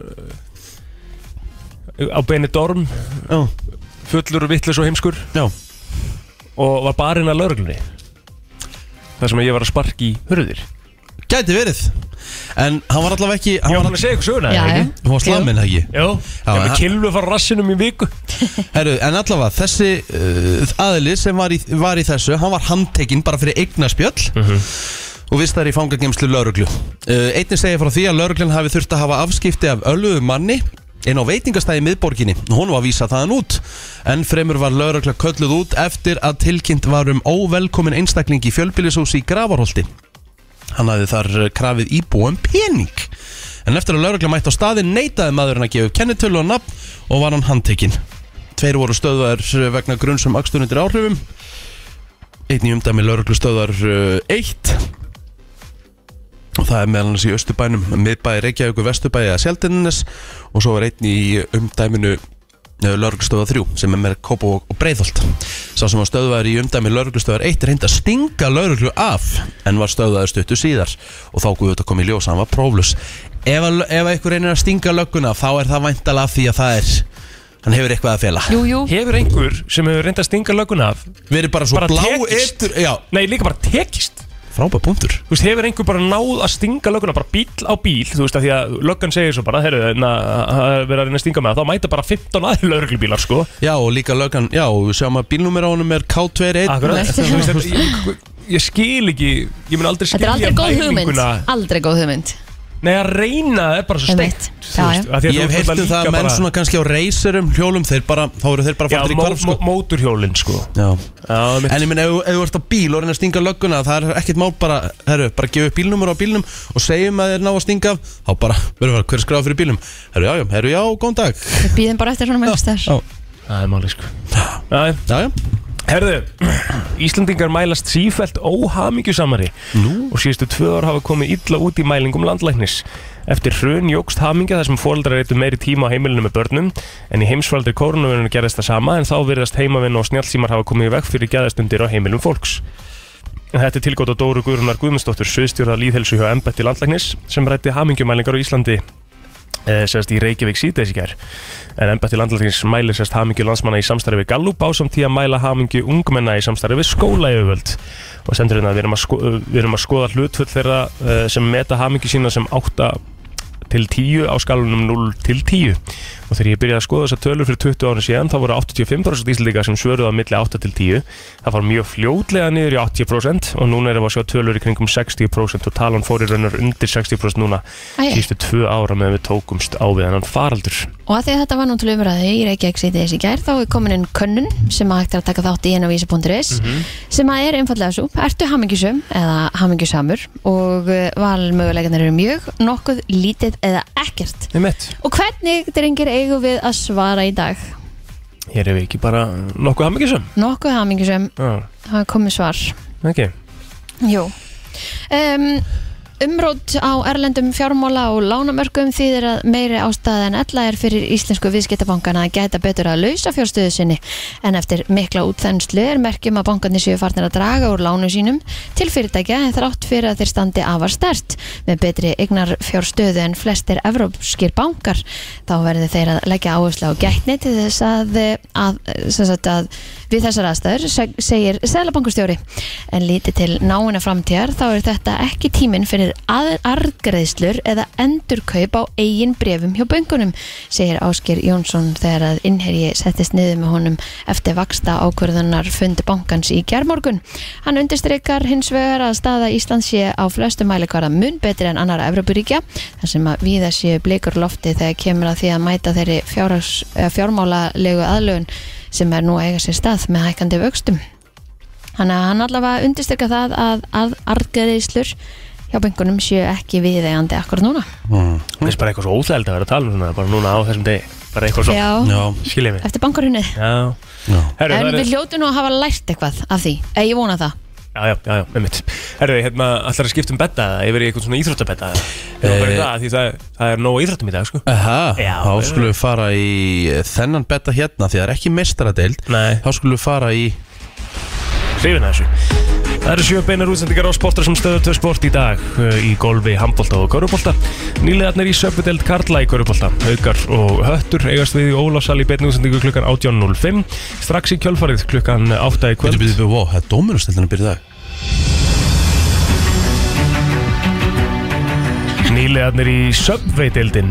uh, á Benidorm Já. fullur og vittlis og heimskur Já. og var barinn að lauruglunni þar sem ég var að sparki í hurðir Gæti verið En hann var allavega ekki ég Hann var var, hann að segja ykkur söguna Já, já. eða ekki? hann var slaminn það ekki já, Já, ég en- með kilvu fara rassinum í viku Heru, En allavega þessi uh, aðili sem var í, var í þessu Hann var handtekinn bara fyrir eignaspjöll Mhm. Og vist það er í fangagemslu lauruglu uh, Einnig segja frá því að lauruglan hafi þurft að hafa afskipti af ölluðu manni inn á veitingastæði í miðborginni. Hún var að vísa þaðan út. En fremur var laurugla kölluð út eftir að tilkynnt var um óvelkomin einstakling í fjölbýlisúsi í Gravarholti. Hann hafði þar eh, krafið íbúum pening En eftir að laurugla mætt á staðin neitaði maðurinn að gefa upp kennitölu og nafn og var hann handtekinn Tveir voru stöðar vegna grunns um akstur undir áhrifum Einn í umdæmi eh, lauruglu stöðar 1 og það er meðal hans í Östubænum miðbæði Reykjavíku, Vesturbæði eða Sjeldinnes og svo er einn í umdæminu lauruglustöða 3 sem er með Kópó og Breiðholt sá sem var stöðvaður í umdæmi lauruglustöðar 1 reyndi að stinga lauruglu af en var stöðvaður stuttu síðar og þá guðið þetta kom í ljós að hann var próflus ef, að- ef einhver reynir að stinga lögguna þá er það væntalega af því að það er hann hefur eitthvað að fela Jú, jú, Hefur einhver sem hefur reyndað að stinga löguna af verið bara svo Bara blá tekist. eitur já, Nei, líka bara tekist frábæð punktur Þú veist, hefur einhver bara náð að stinga lögguna bara bíl á bíl, þú veist, að því að löggan segir svo bara, heyrðu, hérna, það er verið að reyna að stinga með það, þá mæta bara 15 aðri lögreglubílar, sko já, og líka löggan, já, við sjáum að bílnúmer á honum er Akkurat, K21 þú veist, þetta- ég, ég skil ekki, ég mun aldrei þetta er skilja aldrei góð hugmynd pælinguna. Aldrei góð hugmynd Nei, að reyna er bara svo Einmitt. steikt Já, já. ég hef heyrt um það að menn svona kannski á reyserum hjólum, þeir bara, þá eru þeir bara Já, fattir í mó, kvarf mó, sko. móturhjólin, sko Já. Já, mitt, En ég minn, ef, ef þú ert á bíl og reynir að stinga lögguna það er ekkert mál bara, herru, bara gefa upp bílnúmer á bílnum og segjum að þeir ná að stinga af, þá bara, verður bara, hver er skráð fyrir bílnum herru, já, já, herru, já, góðan dag Við býðum bara eftir svona mögstar já, það er máli, sko Já, já. já, já, Herðu, Íslandingar mælast sífælt óhamingjusamari Nú? og síðustu tvö ár hafa komið illa út í mælingum landlæknis. Eftir hrun jógst hamingja þar sem fóreldrar eittu meiri tíma á heimilinu með börnum en í heimsfaldri koronavirinu gerðist það sama en þá virðast heimavinn og snjálfsímar hafa komið í veg fyrir gæðastundir á heimilum fólks. En Þetta er tilgótt á Dóru Guðrunar Guðmundsdóttur, sviðstjórða líðhelsu hjá Embætti landlæknis sem rætti hamingjumælingar á Íslandi eh, sérst í Reykjavík síðdeis í gær en embætti landlæknis mælir sérst hamingju landsmanna í samstarfi við Gallup á samt því að mæla hamingju ungmenna í samstarfi við skólajöföld og sendur hérna að við erum að, sko, við erum að skoða hlutfull þeirra eh, sem meta hamingju sína sem 8 til 10 á skalunum 0 til 10 og þegar ég byrjaði að skoða þessar tölur fyrir 20 ára síðan þá voru 85% íslendinga sem svöruðu á milli 8 til 10 það fór mjög fljótlega niður í 80% og núna erum við að sjá tölur í kringum 60% og talan fór í raunar undir 60% núna Æ. síðustu tvö ára meðan við tókumst á við hennan faraldur Og að því að þetta var nú til umræði í Reykjavík síðdeis í gær þá er komin inn könnun sem að hægt er að taka þátt í inn á vísi.is Mhm. sem að er einfallega svo, ertu hamingjusum eða hamingjusamur og eh, valmöguleikarnir eru mjög, nokkuð, lítið eða ekkert. Nei mitt, Og hvernig drengir eigum við að svara í dag? hér er við ekki bara nokkuð hamingisum Nokkuð hamingjusum, ah, það er komið svar. okay. Jú. Um, umrót á erlendum fjármála og lánamörkum þýðir að meiri ástæða en ella er fyrir íslensku viðskiptabankana að gæta betur að lausa fjárstöðu sinni en eftir mikla útþenslu er merkjum að bankarnir séu farnir að draga úr lánu sínum til fyrirtækja en þrátt fyrir að þeir standi afar stert með betri eignar fjárstöðu en flestir evrópskir bankar þá verður þeir að leggja áherslu á gætni til þess að, eh, að, sem sagt að við þessar aðstæður seg- segir Sælabankustjóri en lítið til náina framtíðar þá er þetta ekki tíminn fyrir aðargreðslur eða endurkaup á eigin brefum hjá böngunum segir Áskir Jónsson þegar að innherji settist niður með honum eftir vaksta ákvörðunar fund bankans í gerðmorgun. Hann undirstrykar hins vegar að staða Íslands sé á flestu mælikvarða mun betri en annara Evrópuríkja þar sem að víða séu blikur á lofti þegar kemur að því að mæta þeirri fjárhags- eða fjármálalegu aðlögun sem er nú að eiga sér stað með hækandi vöxtum. Þannig að hann allavega undirstyrka það að, að argreðislur hjá bengunum séu ekki viðeigandi akkur núna. Mm. Það er bara eitthvað svo óþægild að vera að tala um svona bara núna á þessum degi, bara eitthvað svo Já, já, skilja mig eftir bankarunnið. Já, já. Herru, En það er- við hljótu nú að hafa lært eitthvað af því. Eh, Ég vona það. Já, já, já, já, með mitt Herðu, hérna, allar að skipta um betta eða yfir í eitthvað svona íþróttabetta eða Eh. bara í það, því það, það er nóg af íþróttum í dag, sko Aha, Já. þá skulum við fara í eh, þennan betta hérna því það er ekki mestaradeild Nei. þá skulum við fara í Hrifin að þessu Það eru sjö beinar útsendingar á sportar sem stöðu tvö sport í dag eh, í golfi, handbolta og körubólta. Nýlegarnir í söpudeld Karla í körubólta. Haukar og höttur eigast við í Ólásal í beinni útsendingu klukkan 18.05 strax í kjölfarið klukkan 8 í Bíddu, kvöld. bíddu, bíddu, wow, það er dómurumstildin að byrja í dag Nýlegarnir í söpveitildin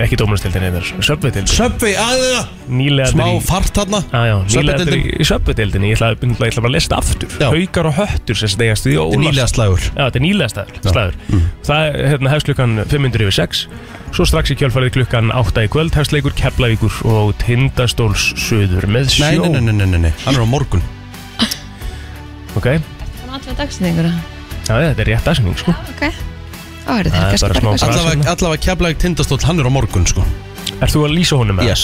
ekki dómarastildin heitar, söpveitildin Söpvi, aðeina, smá Nýlegarnir í fart hérna Ah, já, nýlegarnir Söpvideildin, í söpveitildin ég ætla, ég ætla bara að lesta aftur Já. Haukar og höttur sem stegast við í Ólásal nýlega slagur Mm. Já, þetta er nýlega staður, staður. Það er, hérna, hefst klukkan 500 yfir 6 Svo strax í kjálfarið klukkan 8 í kvöld Hefst leikur Keflavíkur og Tindastóls Suður með sjó Nei, nei, nei, nei, nei, nei, nei, hann er á morgun Ok, já, Þannig að allavega dagsendingur. já, þetta er rétt aðsending sko. Ok. Þá eru þeir Það er kannski bara bara smá eitthvað. brasi. Allavega, allavega keflaðið tindastóll, hann er á morgun sko Er þú að lýsa honum með? Yes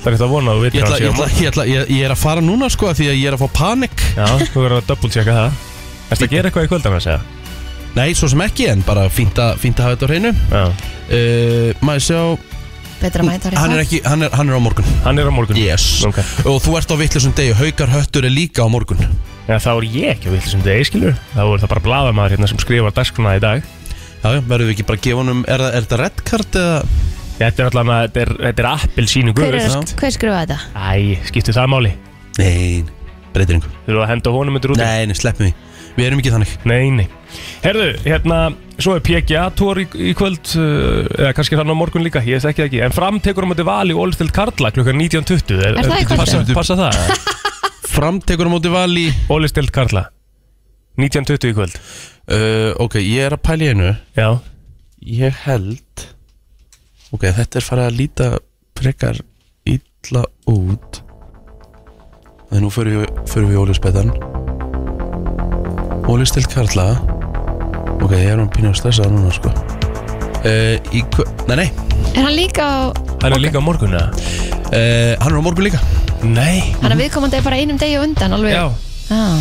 Það er þetta að vona að Ég, þú vitir ætla, hann ég, síðan ætla, ég, ætla, ég, ég er að fara núna sko af Því að ég er að fá panik Já, þú verður að double checka það Ertu að gera eitthvað í kvöld annars eða? Nei, svo sem ekki En bara fínt að, fínt að hafa þetta á hreinu Já, uh, Maður sjá Betra að mæta á rétt hann er, stað. ekki, hann, er, hann er á morgun hann er á morgun Yes Ok. Og þú ert á vittlisum degi Haukar höttur er líka á morgun Já, þá er ég ekki að vilja sem þetta eiskilur Þá er það bara bladamaður hérna sem skrifar dagskona í dag Já, já, verðum við ekki bara að gefa honum Er, það- er þetta red card eða Þetta er allan að þetta er, þetta er appil sínu Hver, guður er, veist. hver skrifaði þetta? Æ, skiptir það máli Nei, breytir einhver Þú eru að henda honum undir út Nei, nei, sleppum því Við erum ekki þannig Nei, nei Herðu, hérna, svo er PGA-tór í, í kvöld uh, Eða kannski hann á morgun líka, ég þekki það ekki En fram tekur hann um val í Ólistild Karla klukkan 19.20 Er það í kvöld? Passa, passa það, Framtekur á móti val í Ólistild Karla 19.20 í kvöld uh, Ok, ég er að pæla í einu Já, Ég held Ok, þetta er farið að líta frekar illa út En nú förum við, förum við í óljusbetan Óljustil Karla Ok, ég er hann pínu að stressa núna sko uh, í, hva- Nei, nei Er hann líka á hann er líka á morgun eða? uh, Hann er á morgun líka Nei Hann er Mhm. viðkomandi bara einum degi á undan alveg Já, ah,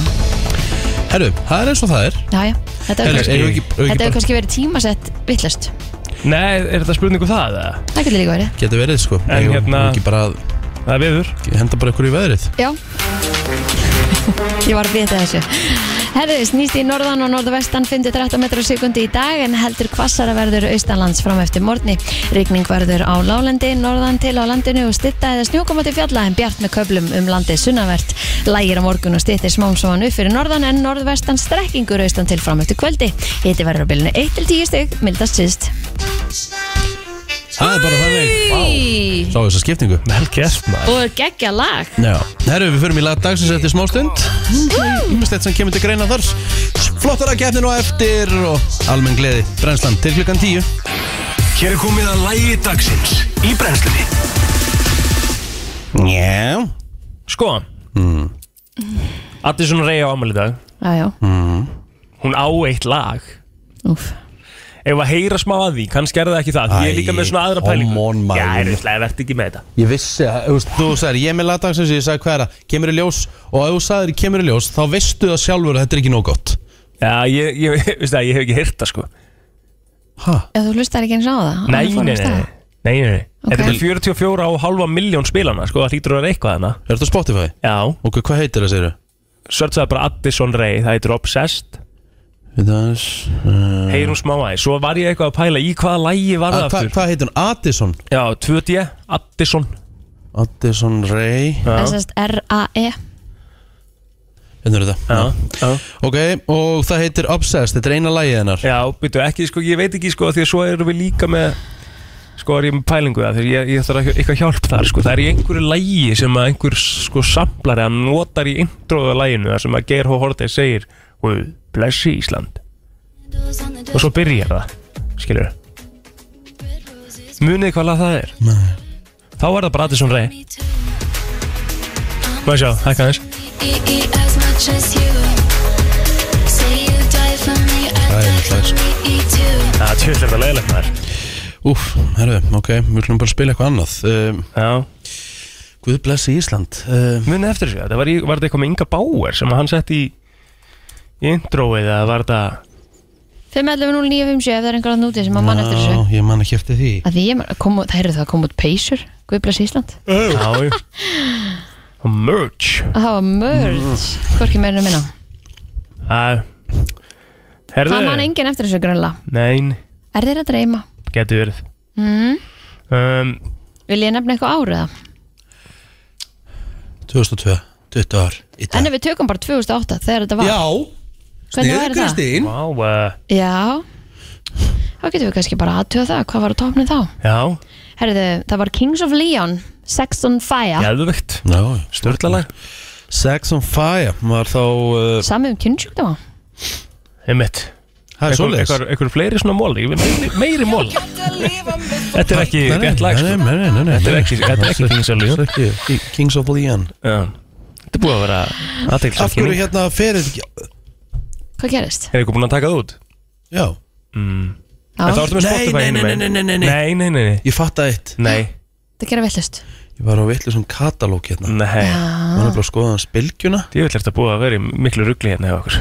Herru, það er eins og það er já, já. Þetta hefur Herru, eigum kannski, við ekki, eigum við þetta ekki hefur bara, kannski verið tímasett vittlust nei, er þetta spurningu það? eða? Það getur líka verið Geti verið sko En Eigum við hérna- Ekki bara að Það er viður henda bara ykkur í veðrið Já Ég var að vita þessu Herðu, snýst í norðan og norðvestan 5-13 metrar á sekundi í dag en heldur hvassara verður austanlands fram eftir morgni. Rigning verður á lálendi, norðan til á landinu og stitta eða snjókomandi fjalla en bjart með köflum um landið sunnavert. Lægir á morgun og stittir smám saman upp fyrir norðan en norðvestan strekkingur austan til fram eftir kvöldi. Hiti verður á bylunu 1-10 stygg, mildast síðst. Það er bara þannig Í, Sá þessa skiptingu Vel gert maður Og geggja lag. Já, herru, við förum í lag dagsins eftir smá stund Ímestett sem kemur til greina þar Flottara keppnin og eftir og almenn gleði, brennslan til klukkan 10 Hér er komið að lægi dagsins í brennslunni Já Sko mm. Addison Ray á ámæli dag Já, já. Mm. Hún á eitt lag Úf. Ef að heyra smá að því, kannski er það ekki það Því Ég er líka með svona aðra Æ, pælingu come on, maður. Já, ég er veistlega, verð ekki með þetta Ég vissi að, þú veist, þú sagðir, ég er með lag dagsins ég sagði hverja, kemur í ljós og ef þú sagðir kemur í ljós, þá veistu það sjálfur að þetta er ekki nóg gott Já, ég, ég, veist það, ég hef ekki heyrt það sko Ha? Ef þú hlustar ekki eins á það? Nei, annars nei, fór hann nei, af nei, stað. nei, nei. Ok. Þetta er 44 og halva miljón spilana Sko, það hlýtur að vera eitthvað hana Er þetta á Spotify? Já, Ok, hvað heitir það, segirðu? search það bara Addison Ray Það heitir Obsessed Við það er uh, Heyrum smá aðeins Svo var ég eitthvað að pæla í hvaða lægi var það að- Hvað aftur hva heitir hún? Addison? Já, 2D, Addison Addison Ray Já. Þessast R-A-E Hvernig Hérna er þetta? Já, já Ok, og það heitir Obsessed, þetta er eina lagið hennar Já, byrju, ekki, sko, ég veit ekki, sko, því að svo erum við líka með sko, er ég með pælingu það, því ég, ég þarf ekki- eitthvað hjálp þar, sko, það er í einhverju lægi sem að einhver, sko, samplari að notar í introðu læginu, þar sem að Geir H. Hortey segir, Guð, blessi Ísland og svo byrjar það skilur munið hvað lag það er Nei. þá er það bara Addison Rae Má ég sjá, hækka aðeins Það er tjóðlega leiðilegt maður Úf, herru, ok, við ætlum bara að spila eitthvað annað um, Já, Guð blessi Ísland um, munið eftir þessu, þetta var, í, var þetta eitthvað með Inga Bauer sem hann sett í, í introið eða var þetta 5.11.09.57 ef það er einhver að núti sem að mann eftir þessu Ég man ekki eftir því að því ég man- kom, það eru það að koma út peysur Guðblas Ísland Já, jú. Um, Og merch að hafa mörd hvorki meirinu minna Mm. Það Herðu það man enginn eftir þessu grönla Nein, er þeir að dreyma getur verið mm. um, vil ég nefna eitthvað árið það 2002, 20 ár í dag en ef við tökum bara 2008 þegar þetta var Já, hvernig var það? Kristín Vá, uh, já þá getum við kannski bara aðtöða það hvað var á topnum þá já, herðu það var Kings of Leon Sex on Fire geðvögt Já, Störlalag Sex on Fire var þá uh, sami um kynnsjúkdóma Einmitt Það er svoleiðis Ekkur, ekkur fleiri svona mól Ég vil meiri, meiri mól Þetta er ekki Nei, nei, rétt lag nei, sko. nei, nei, nei, nei, Þetta er nei. ekki- þetta er ekki Kings of Leon. Þetta er ekki Ki- Kings of Leon Já. Þetta er búið að vera aðteglisar Af hverju hérna ferið ekki hvað gerist? Er eitthvað búin að taka það út? Mm. Já, Já, En þá ertu með Nei, Spotify nei, hinum nei, megin. nei, nei, nei, nei. Nei, nei, nei, nei ég fatta eitt Nei, það gera villust Ég var á vitlu sem katalóg hérna nei Ég var bara að skoða hans bylgjuna Ég vil eftir að búið að vera í miklu rugli hérna hjá okkur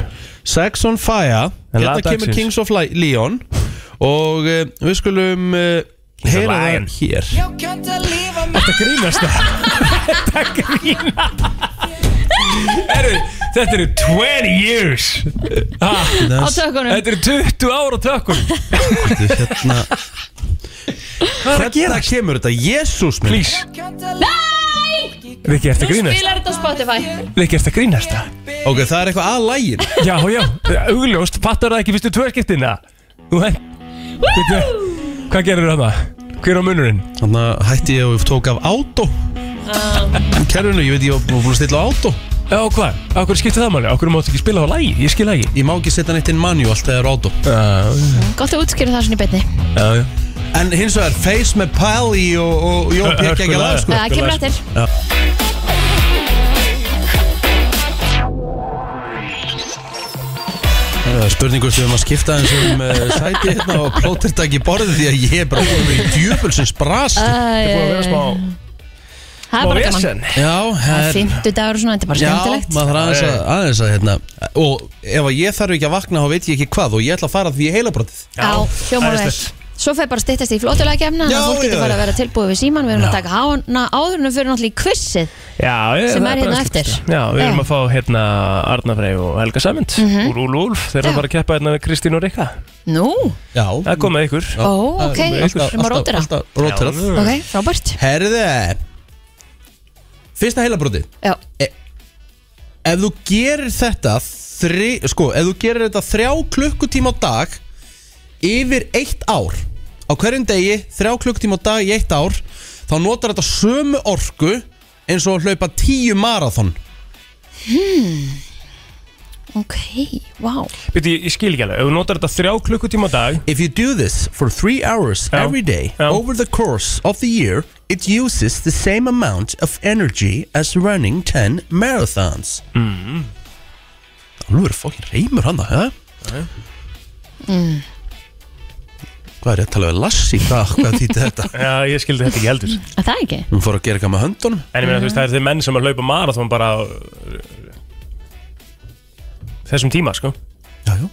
Sex on Fire En Hérna lag kemur dagsins. Kings of Li- Leon Og uh, við skulum uh, of Heyra Lion. það hér Þetta grínast það Þetta grínast Herru, Þetta eru 20 years ha, á tökunum Þetta eru 20 ára tökum Hérna Hvað er að gera? Hvernig kemur þetta? Jésús minn Please Rikki, ertu að grínast? spilar þetta á Spotify Rikki, ertu að grínast það? Ok, það er eitthvað að lægin Já, já, augljóst, fattar það ekki fyrstu tvörskiptina Þú henn Veitu, Hvað gerir það það? Hver er á munurinn? Þannig að Hérna hætti ég og tók af átó Kerfinu, ég veit ég var búin að stilla á átó Já, hvað? Akkur skiptir það máli? Akkur máttu ekki spila á lægi? Ég skil það ekki Ég má ekki setja neitt inn manual þegar á átó Já, gott að útskýra það svona í betni já, já En hins vegar, Face með Pally og, og Jón Ö- Pék ekki að hörkulag. laga sko það kemur eftir Það er Spurningu sem við erum að skipta eins um uh, sæti hérna og plótir þetta ekki í borðið því að ég er bara búin í djöfulsins brast Það er búin að Æ, vera smá það er bara gaman vesen. Já, Það er her, fymtu dagur og svona, þetta er bara já skemmtilegt maður þarf aðeins að, aðeins að hérna Og ef að ég þarf ekki að vakna þá veit ég ekki hvað og ég ætla að fara því í heilabrótið Já, hljómar vel æðislegt. Svo fer bara að styttast í flottulegkefna Þannig Já, að fólk já, getur bara já. að vera tilbúið við síman Við erum að taka hána áðurinnum fyrir náttúrulega í quizið Já, ég, Sem það er hérna bara eftir. skemmtilegt. Já, Já. við Mhm. erum að fá hérna Arna Frey og Helga Samund Úr Úl Úlf, þeir eru Já. að fara að keppa hérna við Kristín og Rikka Nú, Já, Það er komið ykkur ó, ok, við erum að rótira alltaf rótirað Já. Ok, frábært Herðu Fyrsta heilabrótið Já, ef þú gerir þetta þri, sko, ef þú gerir þetta þrjá klukkutíma á dag yfir eitt ár á hverjum degi, þrjá klukkutíma á dag í eitt ár, þá notar þetta sömu orku eins og að hlaupa tíu marathon Hmm. ok, wow Býtti, ég skil ekki alveg, ef þú notar þetta þrjá klukkutíma á dag If you do this for three hours Já. every day Já. over the course of the year it uses the same amount of energy as running 10 marathons mm. Mm-hmm. Nú er fokkin reymur hann það, hef? Hvað er ég að tala við Lassi? Hvað, hvað þýtti þetta? Já, ég skildi þetta ekki heldur Er Það ekki Hún fór að gera eitthvað með höndunum En ég meina, þú veist, það eru þeir menn sem að hlaupa marathon bara á þessum tíma, sko Já, já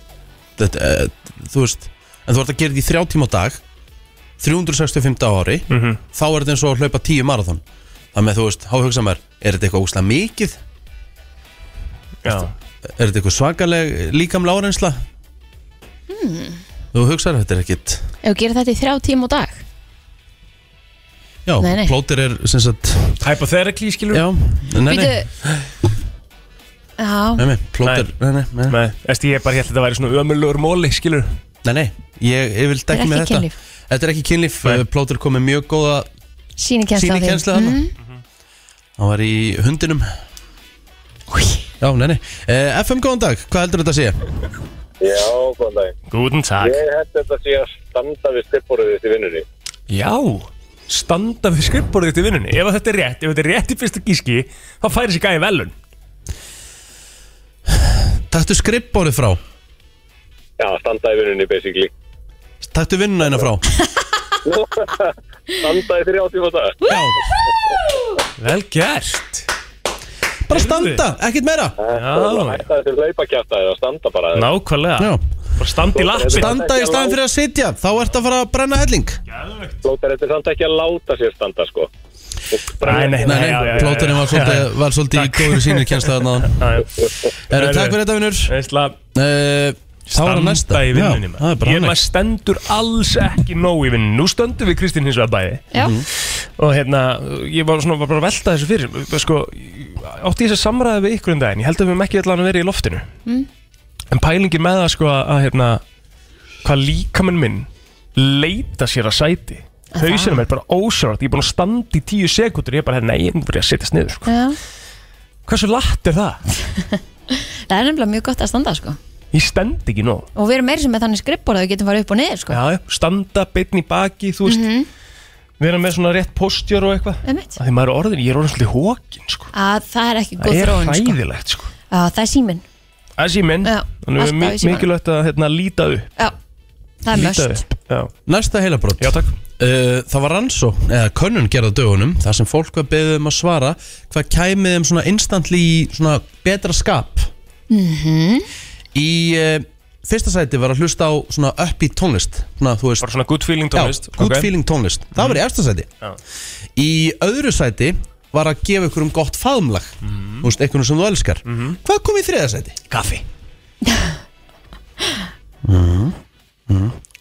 þetta, uh, Þú veist, en þú ert að gera þetta í þrjá tíma á dag 365 á ári Mhm. þá er þetta eins og að hlaupa 10 marathon Þannig að þú veist, háhugsa mér, er þetta eitthvað óslega mikið? Já, Er þetta eitthvað svakaleg líkamlega áreynsla? Þú hugsaður þetta er ekkit Mm. Ef þú gerir þetta í þrjá tíma á dag Já, Nei, nei. plótir er sem sagt hypotherically, skilur Já, nei, nei, Býtu Já, nei, nei plótir, nei, nei, nei, Nei, eftir ég bara held að þetta væri svona ömulur móli, skilur nei, nei Ég, ég vil er dekki með ekki þetta kynlíf Þetta er ekki kynlíf, Nei. nei. plótir kom með mjög góða Sýni kjensla síni kjensla þarna Hann var í hundinum Já, nei, nei uh, FM, góðan dag, hvað heldur þetta að segja? Já, góðan dag. Gúten takk Ég held þetta sé að standa við stippborðið þitt í vinnunni. Já, standa við skrippborðið til vinnunni Ef að þetta er rétt, ef þetta er rétt í fyrsta gíski þá færi sér gæði velun Takktu skrippbórið frá Já, standa í vinnunni, basically. Takktu vinnuna hérna frá Standa í þrjá tíma á dag. Já, Vel gert bara standa, ekkert meira Já, Hætta þessu hlaupakjæfta eða standa bara. nákvæmlega Já. Bara standa í lappin Standa í staðin fyrir að sitja, þá ertu að fara að brenna helling Plóter, þetta er samt ekki að láta sér standa, sko. Nei, nei, Nei, já, já, nei, já, plóturinn var já, já, svolítið, var svolítið í Takk. góður sínir kjænslaðan á hann já, já. Eru, Heyrðu, takk fyrir þetta vinnur Veistla, Þá er það næsta Standa í vinnunni Já, maður. það er bara Ég maður annars stendur alls ekki nóg í vinnunni Nú stöndum við Kristín hins vegar bæði Já, Mhm. Og hérna, ég var svona var bara að velta þessu fyrir Sko, átti ég þess að samræða við ykkur um daginn Ég held að við höfum ekki allan að vera í loftinu Mm, En pælingin með það sko að, að hérna Hvað líkaminn minn Leita sér að sæti Hauðsynum er bara ósvart Ég er búin að standa í tíu sekundur Ég er bara, nei, ég er bara að setjast niður sko. já Hversu latt er það? Það er nefnilega mjög gott að standa sko Ég stend ekki nóg Og við erum meiri sem með þannig skrippbóla Við getum farið upp og niður sko Já, já, standa beinn í baki, þú veist Vera með svona rétt postjör og eitthvað Mhm. Einmitt. Af Því maður er orðin, ég er orðin svolítið hókin sko. að Það er ekki Það góð er þróun sko hræðilegt sko. Já, það er síminn Það er síminn, Já, þannig alltaf er mi- í símanum. mikilvægt að hérna, líta upp Já, það er Líta möst upp, já, Næsta heilabrótt já takk Uh, það var rannsó, eða könnun gerða dögunum þar sem fólk var beðið um að svara hvað kæmið um svona instantly í svona betra skap Mhm. í uh, fyrsta sæti var að hlusta á svona upp í tónlist svona þú veist Bara svona good feeling tónlist Mhm. já, good feeling tónlist, það var í efsta sæti Já. í öðru sæti var að gefa ykkur um gott faðmlag Þú veist, einhvern sem þú elskar Hvað kom í þriðasæti? Mhm. Kaffi Mhm,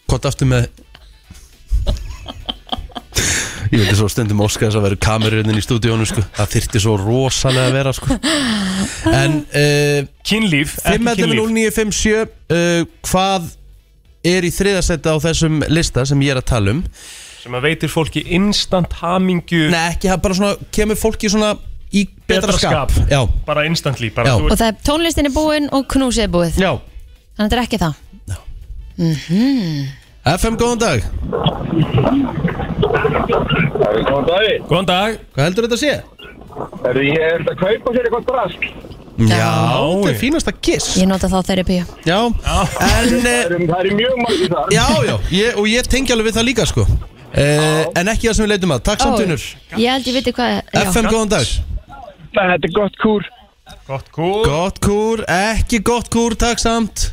Hvort aftur með Ég veit svo stundum óska þess að vera kamerunin í stúdíónu sko. Það þyrfti svo rosalega að vera sko. En uh, Kynlíf, ekki kynlíf 5.0957 uh, Hvað er í þriðasæti á þessum lista sem ég er að tala um? Sem að veitir fólki instant hamingju Nei, ekki, það bara svona kemur fólki svona í betra, skap. Já, Bara instantly bara, Já. þú Og veist, það er tónlistin er búin og knúsið er búið já Þannig að þetta er ekki það FM, Mhm. góðan dag Góðan daginn. Góðan dag Hvað heldur þetta að sé? Herðu, ég er að kaupa sér eitthvað drask. Já, þetta þetta er er fínasta kiss Ég nota þá þeirri píu Já, en eh, Það eru- Það eru mjög margir þar. Já, já, ég, og ég tengi alveg við það líka sko eh, En ekki það sem við leitum að Takk samt unnur Ég held ég viti hvað já. FM, góðan dag Þetta er gott kúr. Gott kúl Gott kúr, ekki gott kúr, takk samt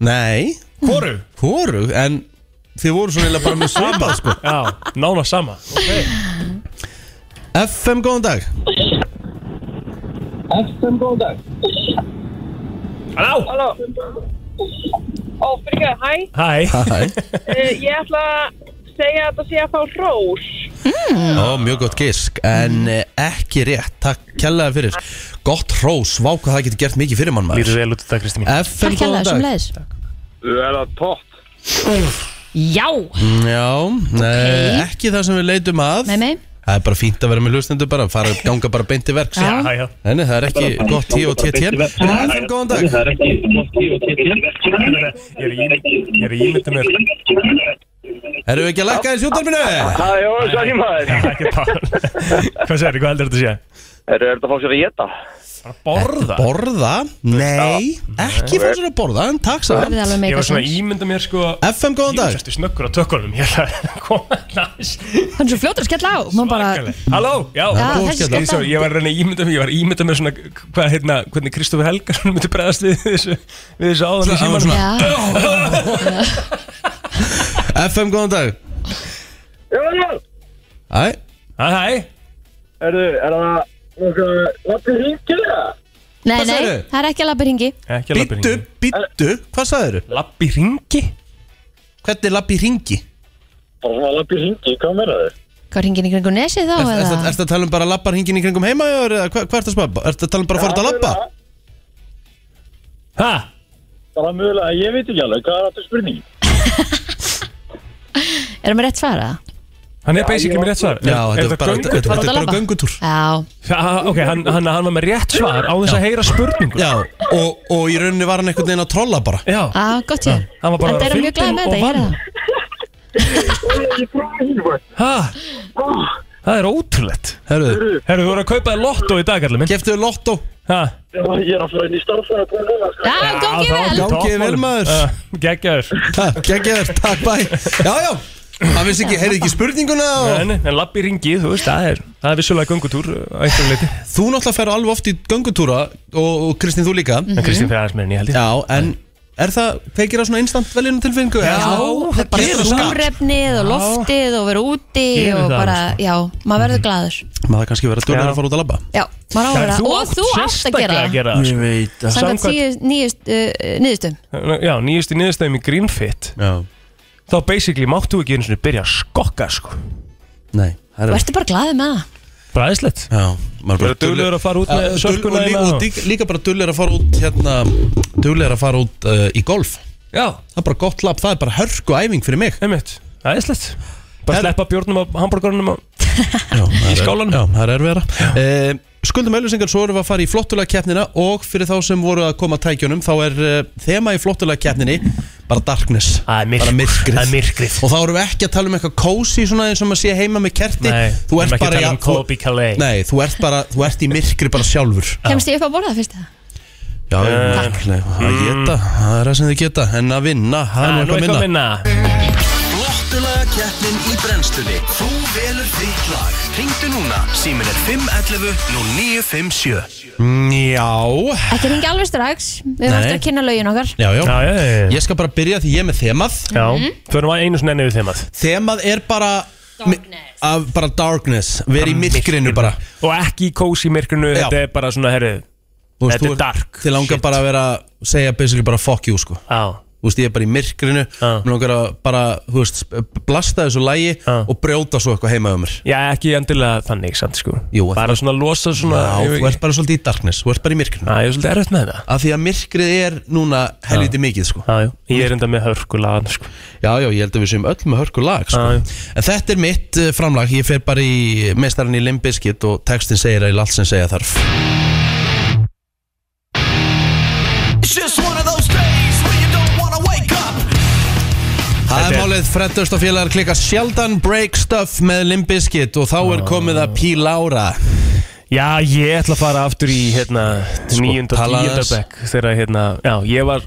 Nei, Hvoru? hvoru, en þið voru svona eiginlega bara með svipað sko Já, nána sama FM, góðan dag Eftir góðan dag. Halló Halló Ó, fyrir hæ Hæ Hæ, uh, Ég ætla að segja að það sé að fá rós ó, mjög gott gisk Mm. En eh, ekki rétt, takk kjallaði fyrir Gott hrós, vá hvað það getur gert mikið fyrir mann Lítið maður vel út þetta, Kristi mín FM, Takk hérna, góðan sem dag leiðis Þú er það tótt. Já, Já, okay. ekki það sem við leitum að nei, nei Það er bara fínt að vera með hlustendur bara, fara, ganga bara beint til verks Já. Hæ, já Nei, nei, það er ekki gott tíu og tíu tíu FM, góðan dag Ég er í ímynd- ég er í ímyndum mér Erum við ekki að lækka í sjúndarminu? Það er jóðan sækir maður. Ekki tala Hvað segir þið, hvað heldur þetta að sé? Herru, er þetta að fá sér að geta? Bara borða Borða? Nei, ekki fá sér að borða, en takk Það samt er alveg Ég meika var svona sens ímynda mér sko FM, góðan Ég var dag sérstu snöggur á tökkunum Ég ætla að koma næs Hann er svo fljótur að skella á Man bara, Halló, já já, góð þessi skella. Ég, svo, skella ég var að reyna að ímynda mér, ég var að ímynda mér svona hvað, hérna, hvernig Kristofur Helgarsson myndi bregðast við þessu, við þessu áðan í hann var símanum. Já, FM, góðan dag Jóðan jóðan. Æ, Hæ, hæ, Herru, er það nokkuð lappið hringilega? nei, Hvað nei, sagðirðu? það er ekki að labba hringi ekki að labbi býttu, hringi. býttu, hvað sagðið þau? Labbi hringi? Hvernig lapp í ringi? Bara svona lappið hringi, hvað meina þau? Hvað hringin í kringu nesið þá? Er eða? þetta að tala um bara lappar hringin í kringum heima eða eða hvað hvað ertu að spara? Er þetta að tala um bara að fara út að lappa? Hæ? Bara mögulega, ég veit ekki alveg, hvað er aftur spurningin? Erum við rétt svara? Hann er basically með rétt svar. Já, þetta er bara, þetta- göngutúr? þetta Fara út er að bara labba? göngutúr Já, Já, Ok, hann, hann, hann var með rétt svar á þess að heyra spurningu. Já, og, og í rauninni var hann einhvern veginn að trolla bara Já, á, Ah, gott ég hann var bara Þetta er hann mjög glæð með þetta, ég er það Hæ? Það er ótrúlegt. Herruðu, Herru, þú voru að kaupa þér lottó í dag, allir minn. geftuðu lottó Hæ? Ég er að fara inn í starfsfæra og koma núna, sko. Já, gangið vel Gangi þér vel, maður. Gekkjaður. Gengir, takk bæ Já, já, hann vissi ekki, heyrði ekki spurninguna og... En, en labbi hringi, þú veist, það er, það er vissulega göngutúr uh, að einhverju leiti. Þú náttúrulega fer alveg oft í göngutúra og, og Kristín þú líka En Kristín fyrir aðeins með henni, ég held ég. Já, en er það, kveikir það svona instant veljunum tilfengu? Já, Það er bara súrefnið og loftið og vera úti Gerir og það, bara, já, maður verður glaður Maður það kannski verið að dörna Já. að fara út að labba Já, maður á að vera og þú átt að gera það það sko. veit að Samkvæmt tíu nýjust, uh, nýjustum Já, nýjustu niðurstæðum í Greenfit Já, Þá basically máttu ekki einu sinni byrja að skokka sko nei, það Þú er ertu bara glaðið með það Bræðislegt Já, maður Verður duglegur að fara út með Uh, dul- og sörkuna lí- hérna og og- dí- Líka bara dullir að fara út hérna, dullir að fara út uh, í golf Já, Það er bara gott labb, það er bara hörku æfing fyrir mig einmitt, bræðislegt Bara Herra- sleppa bjórnum og hamburgurunum og... Já, í skálanum. Já, það er erfiðara uh, Skuldum auðlýsingar, svo erum við að fara í flottulega keppnina og fyrir þá sem voru að koma að tækjunum þá er uh, þema í flottulega keppninni bara darkness, Það er myrk- bara myrkrið það er myrkrið. og þá erum við ekki að tala um eitthvað kósi svona eins og maður sé heima með kerti Nei, þú við ert erum ekki að bara, í tala um að- þú- Kobe Calais. nei, þú ert bara þú ert í myrkri bara sjálfur Kemst ég upp að borða fyrst það? Já, Eh. uh, nei, að Mm. geta, það er það sem þið geta en að vinna, það er Nú nú eitthvað eitthvað minna minna Flottulega keppnin í brennstunni Þú velur þitt lag Ringdu núna, símin er 511 nú 957 Já, Ekki ringi alveg strax Við erum Nei. eftir að kynna lögin okkar já, já Já, já, já, já. Ég skal bara byrja því ég er með þemað já Förum að einu sinni enni við þeim að Þemað er bara Darkness. af bara darkness verið í myrkrinu bara Og ekki í kósi myrkrinu, Já. þetta er bara svona, herru Þú Þetta þú er dark Þið langar shit. bara að vera segja basically bara fuck you sko Á, Þú veist, ég er bara í myrkrinu Já. Mér langar að bara, þú veist, blasta þessu lægi Já. Og brjóta svo eitthvað heima um mér já ekki endilega þannig, sant sko Jú, Bara svona losa svona Já, ég, þú ert bara svolítið í darkness, þú ert bara í myrkrinu Á, ég er svolítið erfitt með það Af því að myrkrið er núna helviti mikið sko Á, jú, ég er enda með hörkulaðan sko Já, já, ég held að við séum öll með hörku lag sko. Já, já. En þetta er mitt eh, framlag Ég fer bara í mestarinn í Limbiskit Og textin segir að ég allt sem segja þarf Það er Þetta er- málið Freddust og félagar klika sjaldan break stuff með Limbiskit Og þá er komið að Pí Lára Ah. Já, ég ætla að fara aftur í hérna, nýjunda, talaðu tíunda aðeins. bekk þegar hérna, já, ég var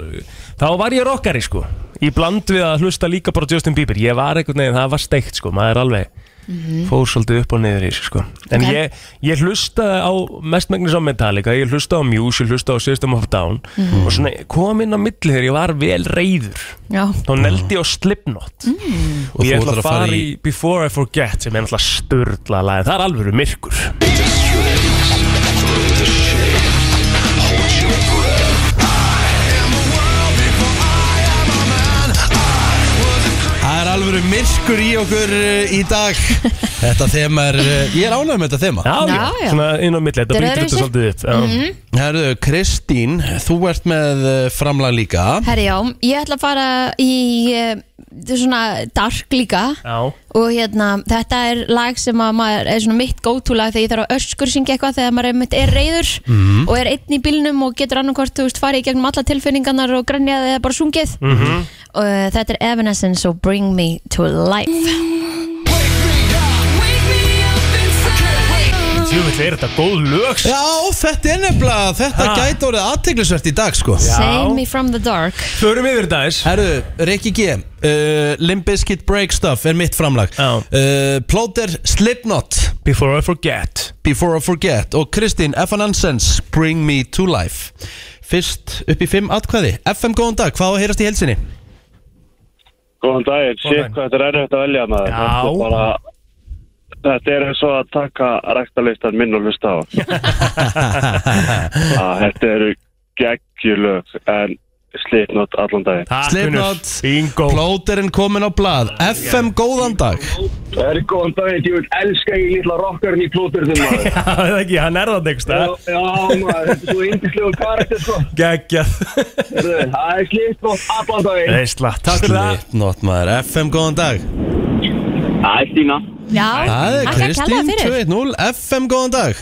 þá var ég rockari, sko í bland við að hlusta líka bara Justin Bieber ég var einhvern veginn, það var steikt, sko maður alveg Mm. Mhm. fór svolítið upp og niður í sig, sko en Ok. ég, ég hlustaði á mestmægnis á Metallica, ég hlustaði á Muse ég hlustaði á System of a Down og svona kom inn á milli þegar ég var vel reyður Já, þá neldi ég á Slipknot og ég þú ætla ætlar að fara í Before I Forget sem er náttúrulega störla lagi það er alvöru myrkur Það er alveg myrkur í okkur eh, í dag Þetta þema er, eh, ég er ánægð með þetta þema já, Já, já. svona inn á milli, Þetta þetta er brýtur þetta öðruvísi. svolítið upp já. Herðu, Kristín, þú ert með eh, framlag líka herri já, ég ætla að fara í eh, þetta er svona dark líka já, og hérna, þetta er lag sem að maður er svona mitt góttúlag þegar ég þarf að öskur syngja eitthvað þegar maður einmitt er reyður Mhm. og er einn í bílnum og getur annarkvort, þú veist, farið í gegnum alla tilfinningarnar og grænjaði eða bara sungið Mhm. og eh, þetta er Evanescence og Bring Me To Life djúvill er þetta góð lög Já, þetta er nefnilega, þetta Ha. gæti orðið aðteglisvert í dag sko Save Me From The Dark förum yfir þetta aðeins Herru, Rikki G uh, Limp Bizkit Break Stuff er mitt framlag Já. uh, Plóter Slipknot Before I Forget Before I Forget og Kristín F. Nonsense Bring Me To Life Fyrst upp í fimm atkvæði FM góðan dag, hvað á að heyrast í helsini? Góðan daginn, Góðan sér daginn. hvað þetta er erfitt að velja maður Já. Þetta er bara Þetta er eins og að taka ræktalistan minn og hlusta á hann. Þetta eru geggjulög en slitnót allan daginn Takk, Slipknot. vinur. bingo Plóterinn komin á blað FM góðan dag Það eru góðan daginn, ég vil elska ég litla rockarinn í plóturðum maður Já, það er ekki, hann er það next Já, já maður, þetta er svo yndislegu karakter sko geggjað Heyrðu, Það er slitnót allan daginn reisla, takk fyrir það Slipknot maður, FM góðan dag Það er Stína Já, Það er þakka kærlega Kristín fyrir 210 FM góðan dag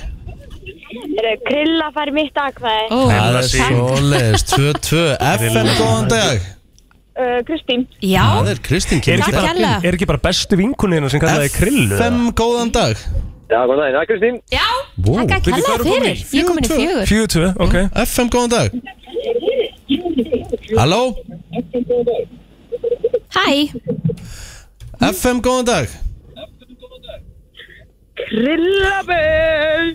Krilla fær mitt aðkvæði. Ó, Það er Takk. svoleiðis 22 FM góðan dag Uh, Kristín. Já, Það er Kristín er kemur ekki, Takk til. bara, hérlega. er ekki bara bestu vinkunina sem kallaði krillu FM góðan dag Já, góðan daginn, það er Kristín já, Wow. þakka Bíddu, hvað kærlega erum við komin í? fyrir Ég er komin í Fjögur, tvö. fjögur 42, ok FM góðan dag Halló Hæ, FM góðan dag Krillaböll.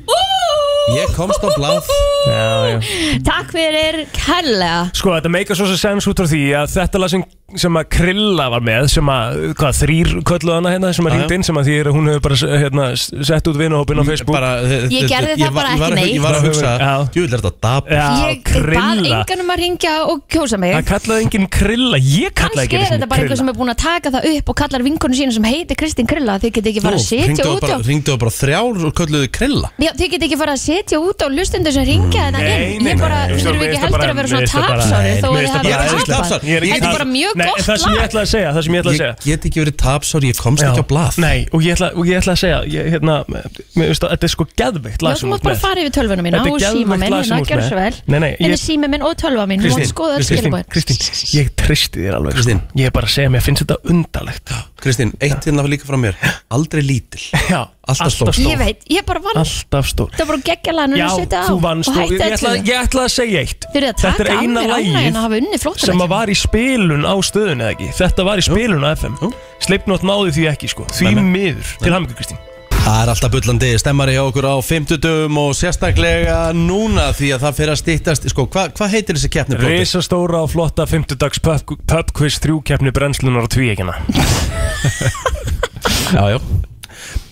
Ég komst á blað já, já takk fyrir kærlega Sko, þetta meikar svo sem sens út frá því að þetta lag sem, sem að Krilla var með sem að, hvað, þrýr kölluð hana hérna sem að Já, já. hringdi inn sem að því er að hún hefur bara hérna, s- sett út vinahópin á Facebook bara, Ég gerði það var- bara ég var ekki að- Ég neitt. var að hugsa Já. Jú, er þetta dab Já, Ég bað Krilla enganum að ringja og kjósa mig Það kallaði enginn Krilla, ég kallaði Kannski ekki er þetta bara einhver sem Krilla er búin að taka það upp og kallar vinkonu sína sem heitir Kristín Krilla þið geti ekki fara að setja út á Ringdu bara þrjár og kölluðu krilla Já, þið geti ekki fara að setja út á lustundu sem ringja þetta Nei, inn nei, Ég bara, nei, nei. þurfum Mér ekki finnst það heldur bara- að vera mér svona finnst það bara- tapsári Nei, þó að mér þið finnst það hafi bara- Ég er ekki tapað. tapsár. Ég er ekki Þetta er bara mjög Nei, gott Það sem ég lag. ætlaði að segja, það sem ég Ég ætlaði að segja get ekki verið tapsár, ég komst Já. ekki á blað Nei, og ég ætla, og ég ætla að segja ég, hérna, mér veist að þetta er sko geðveikt Já, lag þú sem mátt þú ert bara með. fara yfir tölvuna mína Þetta er og geðveikt síma minn lag hérna, sem þú ert gjör með. svo vel Nei, nei, Hérna ég- er síma minn og tölva mín, hún skoða öll Kristín, skilabæðin Kristín, ég tristi þér alveg Kristín. sko. Ég er bara að segja, mér finnst þetta undalegt Kristín, eitt hérna var líka frá mér Aldrei lítil Já, Alltaf stór. Ég veit, ég bara vann Alltaf stór Það voru geggjalega hann Já, að setja á þú vannst og og ég, hætta ég, ætla, öllu ég ætla að segja eitt Þeir eru að Þetta er taka af eina mér ánægjuna að hafa unnið lagið flóttaleikinn. sem að var í spilun á stöðun eða ekki Þetta var í spilun á FM Jú. Sleipnót náði því ekki sko Því Nei, nei. miður Til hamingu Kristín Það er alltaf bullandi stemmari hjá okkur á 50 dögum og sérstaklega núna því að það fyrir að stýttast sko, Hvað hva heitir þessi keppni? Plóter? Risastóra og flotta 50 dags pub pub quiz þrjúkeppni brennslunar og tvíekina Já, já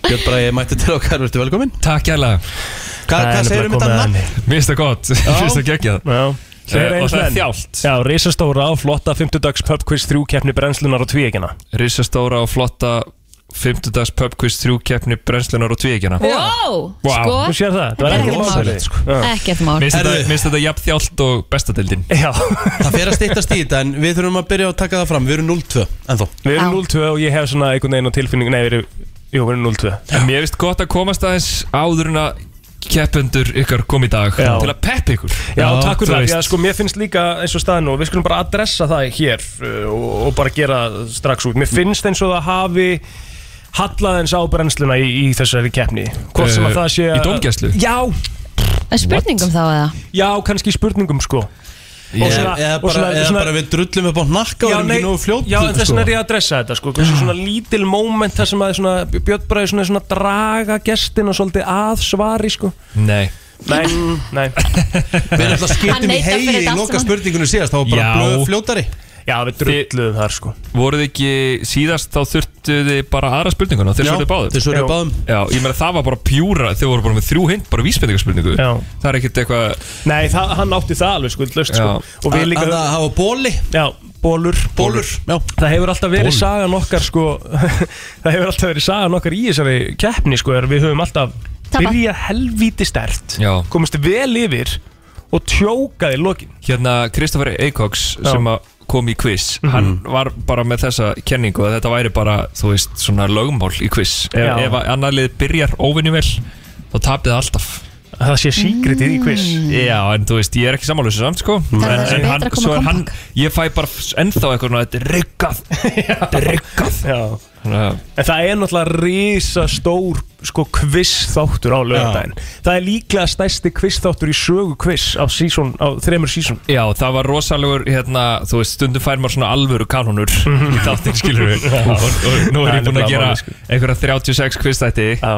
Björn Bræði mætti til okkar, verður velkomin Takk jæglega Hva, Það er Hvað nefnilega segir um komið þetta að nafn? henni. Mér finnst það gott, mér finnst það geggjað Já, Eh, Fleira og eins það er menn. þjált. Já, risastóra á flotta 50 dags pub quiz 3 keppni brennslunar og tvíegina Rísastóra og flotta 50 dags pubquiz 3 keppni brennslunar og tvíegina Wow, Vá, sko Þú sér það, það Þetta er er ekki ekkert mál. rosalegt sko. Já. Ekkert mál Mér finnst Herðu. þetta- mér finnst þetta jafn þjált og bestadildin Já, Það fer að stýttast í þetta en við þurfum að byrja að taka það fram Við erum 0-2 ennþá við erum Já. 0-2 og ég hef svona einhvern veginn á tilfinningu Nei, við erum, jú, við erum 0-2 Mér finnst gott að komast aðeins áður en að keppendur ykkar kom í dag Já. til að peppa ykkur Já, takk þú fyrir það, veist. já, sko, mér finnst líka eins og staðan og við skulum bara adressa það hér uh, og, og bara gera það strax út Mér finnst eins og það hafi hallað eins á brennsluna í, í þessari keppni Hvort sem Eh, að það sé í dómgæslu? Já, En spurningum þá eða já, kannski í spurningum, sko Eða Og svona- eða og bara, svona- eða svona- bara við drullum upp á hnakka og erum ekki nógu fljótt já, en þess vegna er ég að adressa þetta sko, hversu svona lítil moment þar sem að svona, Björn Bræði svona, svona draga gestin og svolítið að svari sko. Nei Nei, nei Við erum alltaf Hann skiptum í neitar fyrir hegi í þetta allt loka saman. spurningunni síðast Það var bara Já. blöð fljótari Já, við drulluðum þar sko Voruð þið ekki síðast þá þurftu þið bara aðra spurninguna þeir svo þið báðum Þessu Já. eru báðum Já, ég meina það var bara pjúra þau voru bara með þrjú hint, bara vísbendingarspurningu Já. Það er ekkert eitthvað Nei, það, hann átti það alveg sko, Já. löst, sko. Og við líka Að það hafa bóli Já, bólur Bólur Já Það hefur alltaf verið Bólur. sagan okkar sko Það hefur alltaf verið sagan okkar í þessari keppni sko er Við höfum alltaf Tapað. byrjað helvíti stert Já. Komist vel yfir og tjókaði lokin Hérna Kristoffer Eikóks Já. Mhm. sem að kom í quiz hann var bara með þessa kenningu að þetta væri bara, þú veist, svona lögmál í quiz ef, Já. ef að annað lið byrjar óvinni vel þá tapið það alltaf Mm. Það sé síkritið í quiz Já, en þú veist, ég er ekki sammála þessu samt sko Það er en, þessi en betra hann, að koma svo er hann, kompakt. ég fæ bara ennþá eitthvað svona, þetta er ryggað þetta er ryggað Já Þannig að- En það er náttúrulega risastór sko quiz þáttur á lögdæn Það er líklega stærsti quiz þáttur í sögu quiz á, season, á þremur sísón Já, það var rosalegur, hérna, þú veist, stundum fær maður svona alvöru kanonur í þáttinn, skilur við og, og nú er ég Það er búinn nefnilega að gera málið, sko. einhverja 36 kvistætti Já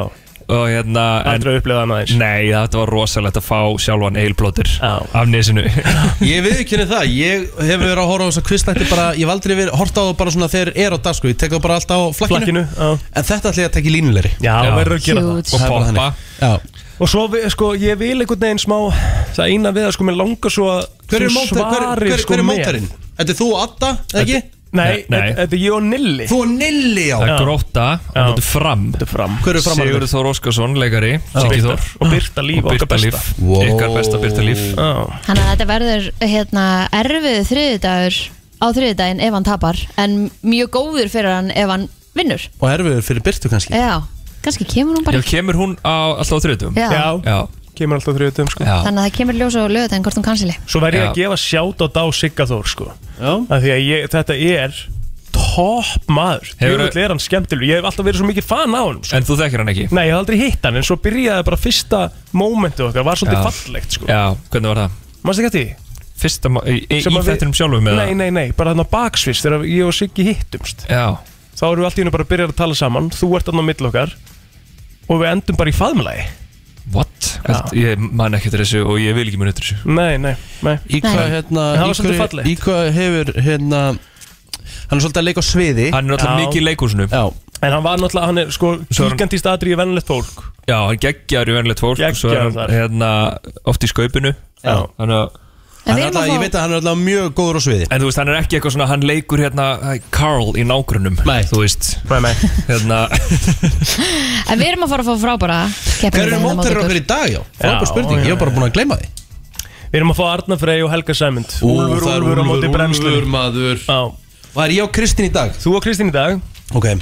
og hérna, en Aldrei upplega hann aðeins nei, þetta var rosalegt að fá sjálfan eilblóttir Já. af nesinu Ég viðkynni það, ég hef verið að horfa á þess að kvistætti bara, ég hef aldrei verið, hort á það bara svona þegar er á dag sko, ég tek það bara alltaf á flakkinu, Flakkinu Já, En þetta ætla ég að tekja línulegri já, Já. verður að gera það Huge og Það er bara poppa þannig. Já, Og svo, vi- sko, ég vil einhvern veginn smá Það eina við að, sko, mér langar svo að hver þú er mótar, hver, svarir, hver, sko, hver er með. mótarinn? Þetta er þú og Adda, eða ekki? Nei, Nei, nei. þetta þetta er ég og Nilli Þú og Nilli já Það Já. er gróta, Já. hann mútið fram Þetta er fram Hver er framarður? Sigurður Þór Óskarsson, leikari, Siggi Þór Og Byrta Líf, og okkar Byrta besta Líf, ykkar besta Byrta Líf Já, Þannig að þetta verður hérna erfið þriðdagur á þriðdaginn ef hann tapar en mjög góður fyrir hann ef hann vinnur Og erfiður fyrir Byrtu kannski Já, kannski kemur hún Já, Eh, bara kemur hún á alltaf á þriðutum? Já. já, Já, kemur alltaf þriðutum, sko já Þannig að það kemur ljós á lögðin hvort hún kansli Svo verð ég að Já. gefa sjátt á dag Sigga Þór, sko Já. Af Því að ég, þetta er topp maður Hefur- Hefur er hann skemmtileg Ég hef alltaf verið svo mikið fan á hann, sko En þú þekkir hann ekki? Nei, ég hef aldrei hitt hann En svo byrjaði bara fyrsta mómentu okkar Var svolítið Já. fallegt, sko Já, hvernig var það? Manstu ekki að því? Fyrsta, ma- í, í, í Sem að við- þettinum sjálfum eða? Nei, nei, nei, bara þannig á baksvist þegar ég og Siggi hittumst Já, þá erum við allt í hennu bara að byrja að tala saman þú ert þannig á milli okkar og við endum bara í faðmulagi what? Held, ég man ekki til þessu og ég vil ekki mun eftir þessu Nei, nei, nei Í hvað Nei. hérna, En það var í svolítið hvað, fallegt. í hvað hefur hérna Hann er svolítið að leika á sviði Hann er náttúrulega Já. mikið í leikúsinu Já, En hann var náttúrulega, hann er sko Svo er hann- kíkandist aðri í vennilegt fólk Já, hann geggjar í venilegt fólk og Svo er Geggjaður hann þar. hérna oft í skaupinu Já. Þannig að En hann við er erum alltaf, ég að veit fá að hann er alltaf mjög góður á sviði En þú veist, hann er ekki eitthvað svona, hann leikur hérna æ, Carl í nágrunum Nei. Þú veist, Nei, nei hérna En við erum að fara að fá frábara Hver eru mótarinn okkur í dag já? Frábær Já, spurning, já, ég hef bara búin að gleyma því Við erum að fá Arna Frey og Helga Sæmund Ú, Úlfur, það er Úlfur á móti brennslu Úlfur, maður Já, Það er ég og Kristín í dag þú og Kristín í dag Ok,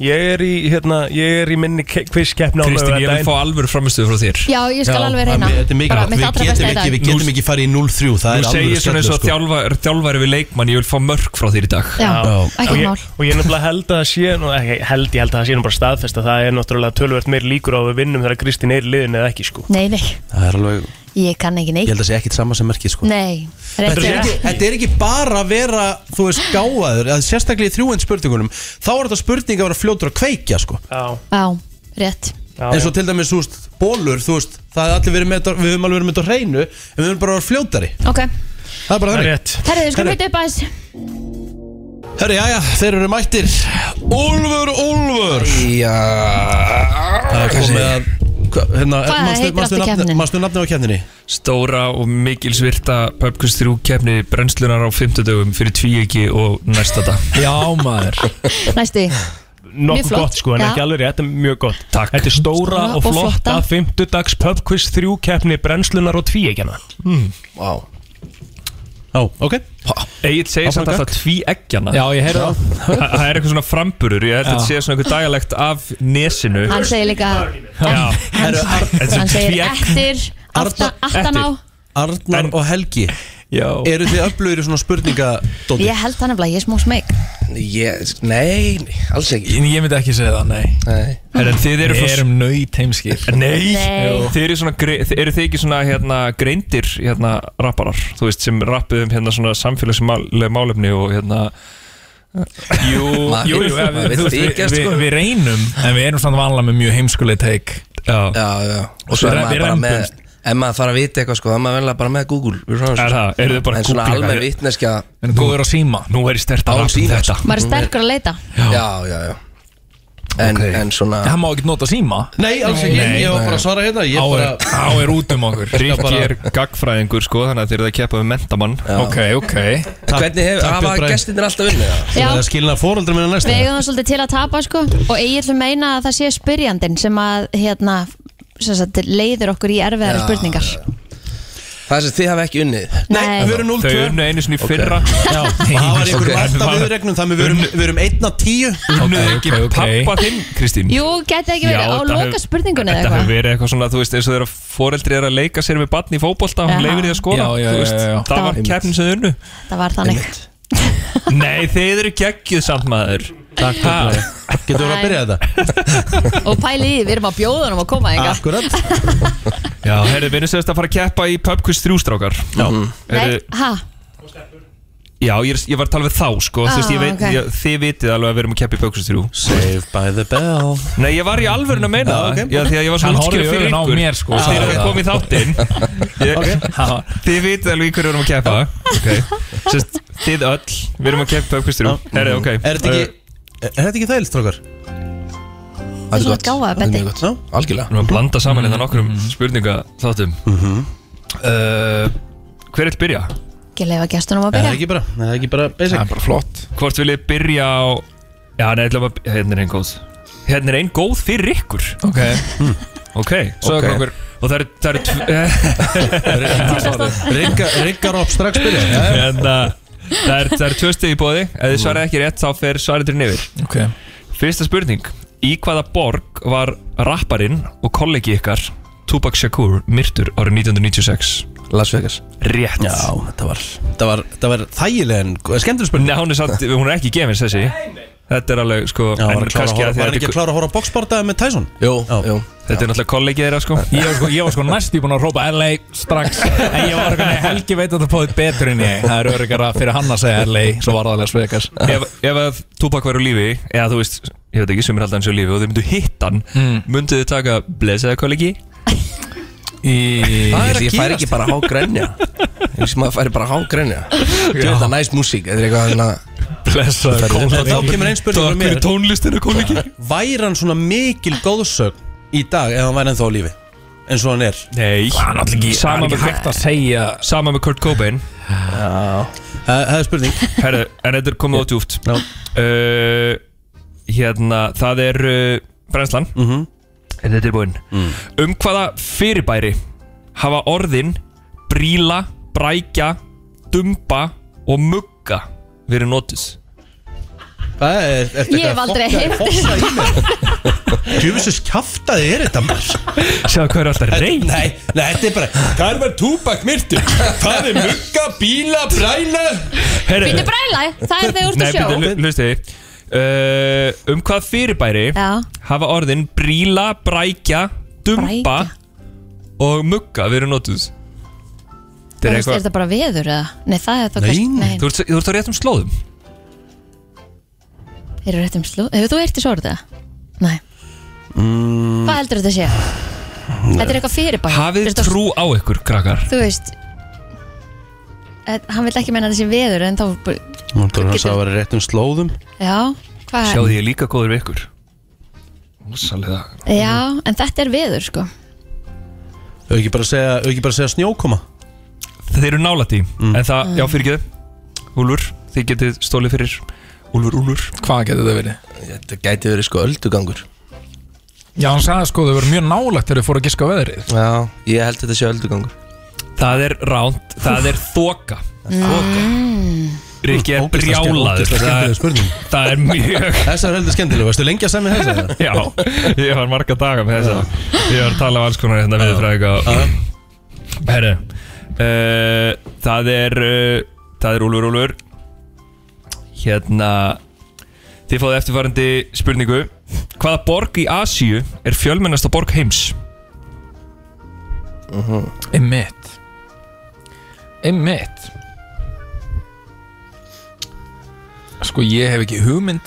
Ég er í, hérna, ég er í minni quizkeppna Kristín, ég vil fá alvöru framistuð frá þér Já, ég skal Já, alveg það reyna er- þetta er Bara mikilvægt mitt Við allra getum besta í ekki, dag við getum ekki farið í 0-3 Þú Það er sko. alveg segir svona eins og skellu þjálfari, þjálfari við leikmann, ég vil fá mörg frá þér í dag Já, Já. Og ekki ég, mál og ég nefnilega held að það sé nú, ekki, held, Ég held að það sé nú bara staðfest að það er náttúrulega tölvert meir líkur á að við vinnum þegar Kristín er í liðin eða ekki sko Nei, nei, Það er alveg, ég kann ekki ég neitt held að sé ekkit sama sem merkið sko Nei, Þetta er, reyndar ekki, þetta er ekki bara að vera, þú veist, gáðaður að Sérstaklega í þrjúend spurningunum Þá er þetta spurning að vera fljótur að kveikja, sko Já, Já, rétt já, En já. svo til dæmis, þú veist, bólur, þú veist Það er allir verið með þetta, við höfum alveg verið með þetta á hreinu En við höfum bara að vera fljótari Ok, Það er bara Það er þannig rétt herriðu, við skulum hitta upp aðeins Herri, já, þeir eru mættir Úlfur, Úlfur Já Það er komið að hva- hérna, Hvað manstu- heitir manstu aftur nafni- keppnin? Manstu nafnið á keppninni? Stóra og mikilsvirta Pöpkvist 3 keppni brennslunar á 50 dögum fyrir tvíegi og næsta dag Já maður Næstu Mjög Nokkuð flott. gott sko, Já. en ekki alveg rétt, en mjög gott Takk. Þetta er stóra Stóra og og flotta flotta. Fymtudags pubquiz 3 keppni brennslunar og tvíegjana Vá Já, ok Egil segir samt alltaf tvíeggjana Já ég heyrði það Þa- Það er eitthvað svona framburur Ég held að þetta sé svona eitthvað dagalegt af nesinu Hann segir líka Já, Hann, Þetta er hann segir tvíegg. eftir Arna- Aftan á Arnar og Helgi já Eru þið öflugir í svona spurningadóti? Ég held hann að ég er smá smeg Ég, nei, nei, alls ekki Ég myndi ekki segja það, nei Nei En þið eru Við frá erum nöyt heimskir Nei, Nei. Jú. Þið eru, svona, grei- þið- eru þið ekki svona hérna, greindir hérna, rapparar Þú veist sem rappuð um hérna, svona samfélagsmálega málefni og hérna Jú, Maður jú, vill- jú ef- maður vill þú veist, því við- ekki, við- sko. við- Við reynum En við erum samt vanlega með mjög heimskuleg teik Já, Já, já Og svo Við er rem- við maður bara með rembumst. Ef maður fara að vita eitthvað sko Það er maður venlega bara með Google Við erum svona- Er það? Eru þið bara En svona Google-ar? alveg vitneskja En góður á síma Nú er ég stert Á að rappa um síma, þetta sko. Maður er sterkur að leita Já, já, já En, en svona Það má ekki nota síma Nei, alls ekki, Nei, ég var bara að svara hérna Ég Á er, bara, á er út um okkur Rikki er gagfræðingur sko Þannig að þið eru að keppa við mentamann Ok, ok Hvernig hefur, takk, Björn hafa Bragi. gestinir alltaf unnið það? Já, það skilna fóröldri minna næst við eigum það svolítið til að tapa sko Og ég ætlum meina að það sé spyrjandinn sem að hérna sem sagt, leiðir okkur í erfiðari Já, spurningar Það sem þið hafa ekki unnið Nei, við erum Þau 0-2 unnu einu sinni í fyrra Já, það var einhverjum Ok. alltaf viðregnum Þannig við erum- við erum 1 af 10 Unnuðu Ok, ekki ok, ok. pappa þinn, Kristín Jú, geti ekki Já, verið á þetta hefur- loka spurningunni Þetta eða hefur eitthvað verið eitthvað svona, þú veist, eins og þeirra foreldri er að leika sér með batni í fótbolta og Jaha. hún leifir því að skora, Já, já, þú já, veist, já, já. það var keppnin sem þau unnu Það var þannig Nei, þeir eru geggjuð samt maður Takk, Björn Bragi. getur við að byrja þetta? Og pæli í, því, við erum að bjóða honum að koma enga Akkurat Já, herðu, við erum sérst að fara að keppa í PubQuiz 3 strákar Já, Nei, ha, já ég, er- ég var að tala við þá, sko, þú veist, ég Ah, veit, ok. ég, þið vitið alveg að við erum að keppa í PubQuiz 3 Saved by the bell Nei, ég var í alvörun að meina Já, það ok. Já, því að ég var Hann svona útskýra horfði í fyrir augun á ykkur mér, sko, að sagði Þeir eru það. komið í þáttinn Ég- Þið vitið alveg í hverju við erum að keppa okay. Sest, Þið öll Við erum að keppa upp hverju Herri, ok Uh, Er þetta ekki, er þetta ekki þægilt, strókar? Það er svona gáfaða, Það er Beddi. mjög gott. Algjörlega Við erum að blanda saman hérna nokkrum spurninga þáttum Mhm. uh, Hver er byrja? ekki leifa gestunum að Er það byrja ekki bara, er það ekki bara basic? Það er bara flott Hvort vil ég byrja á Já, nei, ætlum að Hérna er einn góð Hérna er einn góð fyrir ykkur Hmm. Ok Ok, Svo ok. er okkur Og það eru Það eru tv- Rigga- Riggar upp strax byrja Já, já. Hérna Það er, það er tvö stegi í bóði Ef þið svarið ekki rétt þá fer svarið til nefir Ok Fyrsta spurning Í hvaða borg var rapparinn og kollegi ykkar Tupac Shakur myrtur árið 1996? Las Vegas Rétt Já, þetta var, þetta var, þetta var þægileg en skemmtileg spurning Nei, hún er, satt, hún er ekki gefins þessi Þetta er alveg sko Já, en var hann klára að kannski horfa- var að hann því ekki að að klára að horfa boxbardaði með Tyson? Jú, Já. jú Þetta er náttúrulega kollegi þeirra sko Ég var sko, ég var sko næst í búin að rópa LA strax En ég var eitthvað Helgi veit að það fóðið betur en ég Það er öryggara fyrir hann að segja LA Svo var það Las Vegas Ef, ef að Tupac væri á lífi eða þú veist, ég veit ekki, sumir halda hans á lífi og þau myndu hitt hann, Mm. myndu þau taka blessaði kollegi? Í... Hvað er að Ég fær ekki gerast? bara að hágrænja Ég veist maður fær bara að hágrænja Þetta er næst músík Þetta er eitthvað svona Blessaði En þá kemur einn spurning frá mér tónlistina kollegi Væri hann svona mikil góðsögn í dag ef hann væri ennþá á lífi? En svo hann er Nei, Það er náttúrulega ekki, það er Sama ekki með- hægt að segja sama með Kurt Cobain Það- Það er spurning Herðu, en þetta er komið út júft Já. uh, Hérna, það er uh, brennslan mm Mhm. -hmm. Er þetta tilbúin? Mm. Um hvaða fyrirbæri hafa orðin bríla, brækja, dumba og mugga verið notuð? Það er, er, Ég hef aldrei heyrt Djúfisins kjaftaði er þetta maður Sjá hvað er alltaf reynd Nei, nei, þetta er bara Hvað var túbak myrtu? Hvað er mugga, bíla, bræna? Býttu bræla, það er þegar úr Nei, til sjó byrju, hlustu uh, Um hvaða fyrirbæri Já, hafa orðin bríla, brækja, dumba Brækja. og mugga verið notuð? Þetta þú veist, er þetta bara veður eða? Nei, það er þá Nei. Þú ert, þú ert á réttum slóðum Þeir eru rétt um slú Hefur þú ert í sorðu það? Nei Hvað heldur þetta sé? Þetta er eitthvað fyrirbæð Hafið trú á ykkur, krakkar Þú veist eh, Hann vil ekki meina þessi veður En þá bara- Máldur hans að vera rétt um slóðum Já, hvað er? Sjáði ég er líka góður við ykkur Úsalega Já, en þetta er veður sko Þau ekki bara segja, þau ekki bara segja snjókoma Mm. Þeir eru nálætt í En það, já fyrir ekki Úlfur, þið getið stólið fyrir Úlfur, Úlfur Hvað getur það verið? Þetta gæti verið sko öldugangur Já, hann sagði sko þau voru mjög nálægt þegar þau fóru að giska á veðrið Já, ég held þetta sé öldugangur Það er ránt, það er þoka mm. Rikki Hm, er brjálaður Það- Það er mjög Þessar er heldur skemmtilega, varstu lengi að semja þessar? Já, ég var marga daga með þessa Ég var að tala um alls konar hérna við fræðika Herru uh, Það er uh, Það er Úlfur Úlfur Hérna Þið fáðu eftirfarandi spurningu Hvaða borg í Asíu er fjölmennasta borg heims? Einmitt Einmitt Sko ég hef ekki hugmynd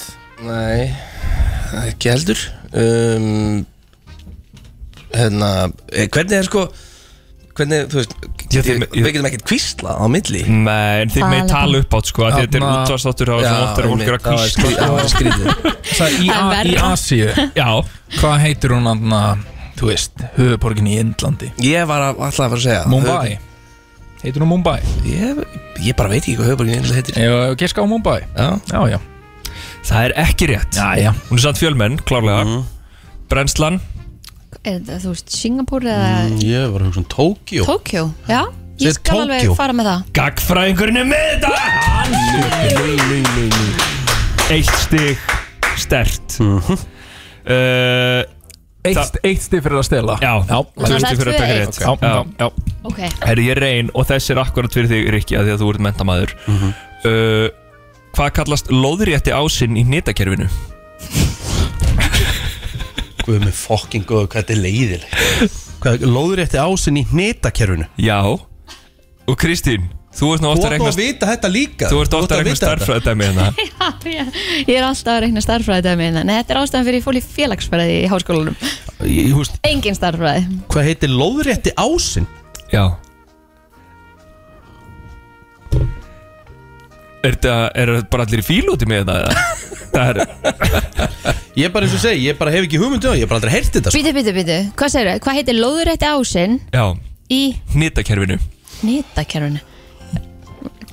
Nei, það er ekki heldur um, Hérna, eh, hvernig er sko Hvernig, þú veist Já, ég, þið- Við getum ekkert kvísla á milli Nei, en þið með tala upp átt sko af því að Þetta er Þarna- útvarsdáttur á Já, þessum óttar fólk einmitt, er að það var kvísla skrý- það var skrýtið. Það Það er í, A- í verra. Asíu Já, Hvað heitir hún aðna, þú veist, höfuborgin í Indlandi? Ég var að- alltaf að fara að segja það. Mumbai Heitir hún Mumbai? Ég, ég bara veit ekki hvað höfuborgin einhverja heitir Ég var að giska á Mumbai Já, Já, já það er ekki rétt Mhm. Já, já Hún er samt fjölmenn, klárlega Brennslan, Er þetta, þú veist, Singapur eða Mm, Ég var að hugsa um Tókjó Tókjó? Já, ég Segir skal alveg Tókjó. fara með það Gagfræðingurinn er með þetta Hann Eitt stig stert uh, Eitt, eitt stið fyrir að stela Já, já, tvö það er stig fyrir að taka 2-1. rétt já, já, Já. já. Ok, Herri, ég er reyn og þessi er akkurat fyrir þig, Rikki að Því að þú ert mentamæður uh, Hvað kallast lóðrétti ásinn í nýtakerfinu? Guð með fokking góð, hvað þetta er leiðilegt Hvað, lóðrétti ásinn í hnitakerfinu Já Og Kristín, þú ert nú Þú ofta að átt nú að reikna vita þetta líka Þú ert ofta að reikna starfræðdæmi hérna ég er alltaf að reikna starffræði dæmi hérna. Nei, þetta er ástæðan fyrir ég fór í félagsfræði í háskólanum starfræð Engin starffræði Hvað heitir lóðrétti ásinn? Já Er þetta, er þetta bara allir í fíl út í mig þetta? eða? Það er, Ég bara eins og segi, ég bara hef ekki hugmyndi á, ég hef bara aldrei heyrt þetta sko. Býtu, býtu, býtu, hvað segirðu? Hvað heitir lóðurétti ásinn já, í hnitakerfinu nýttakerfinu?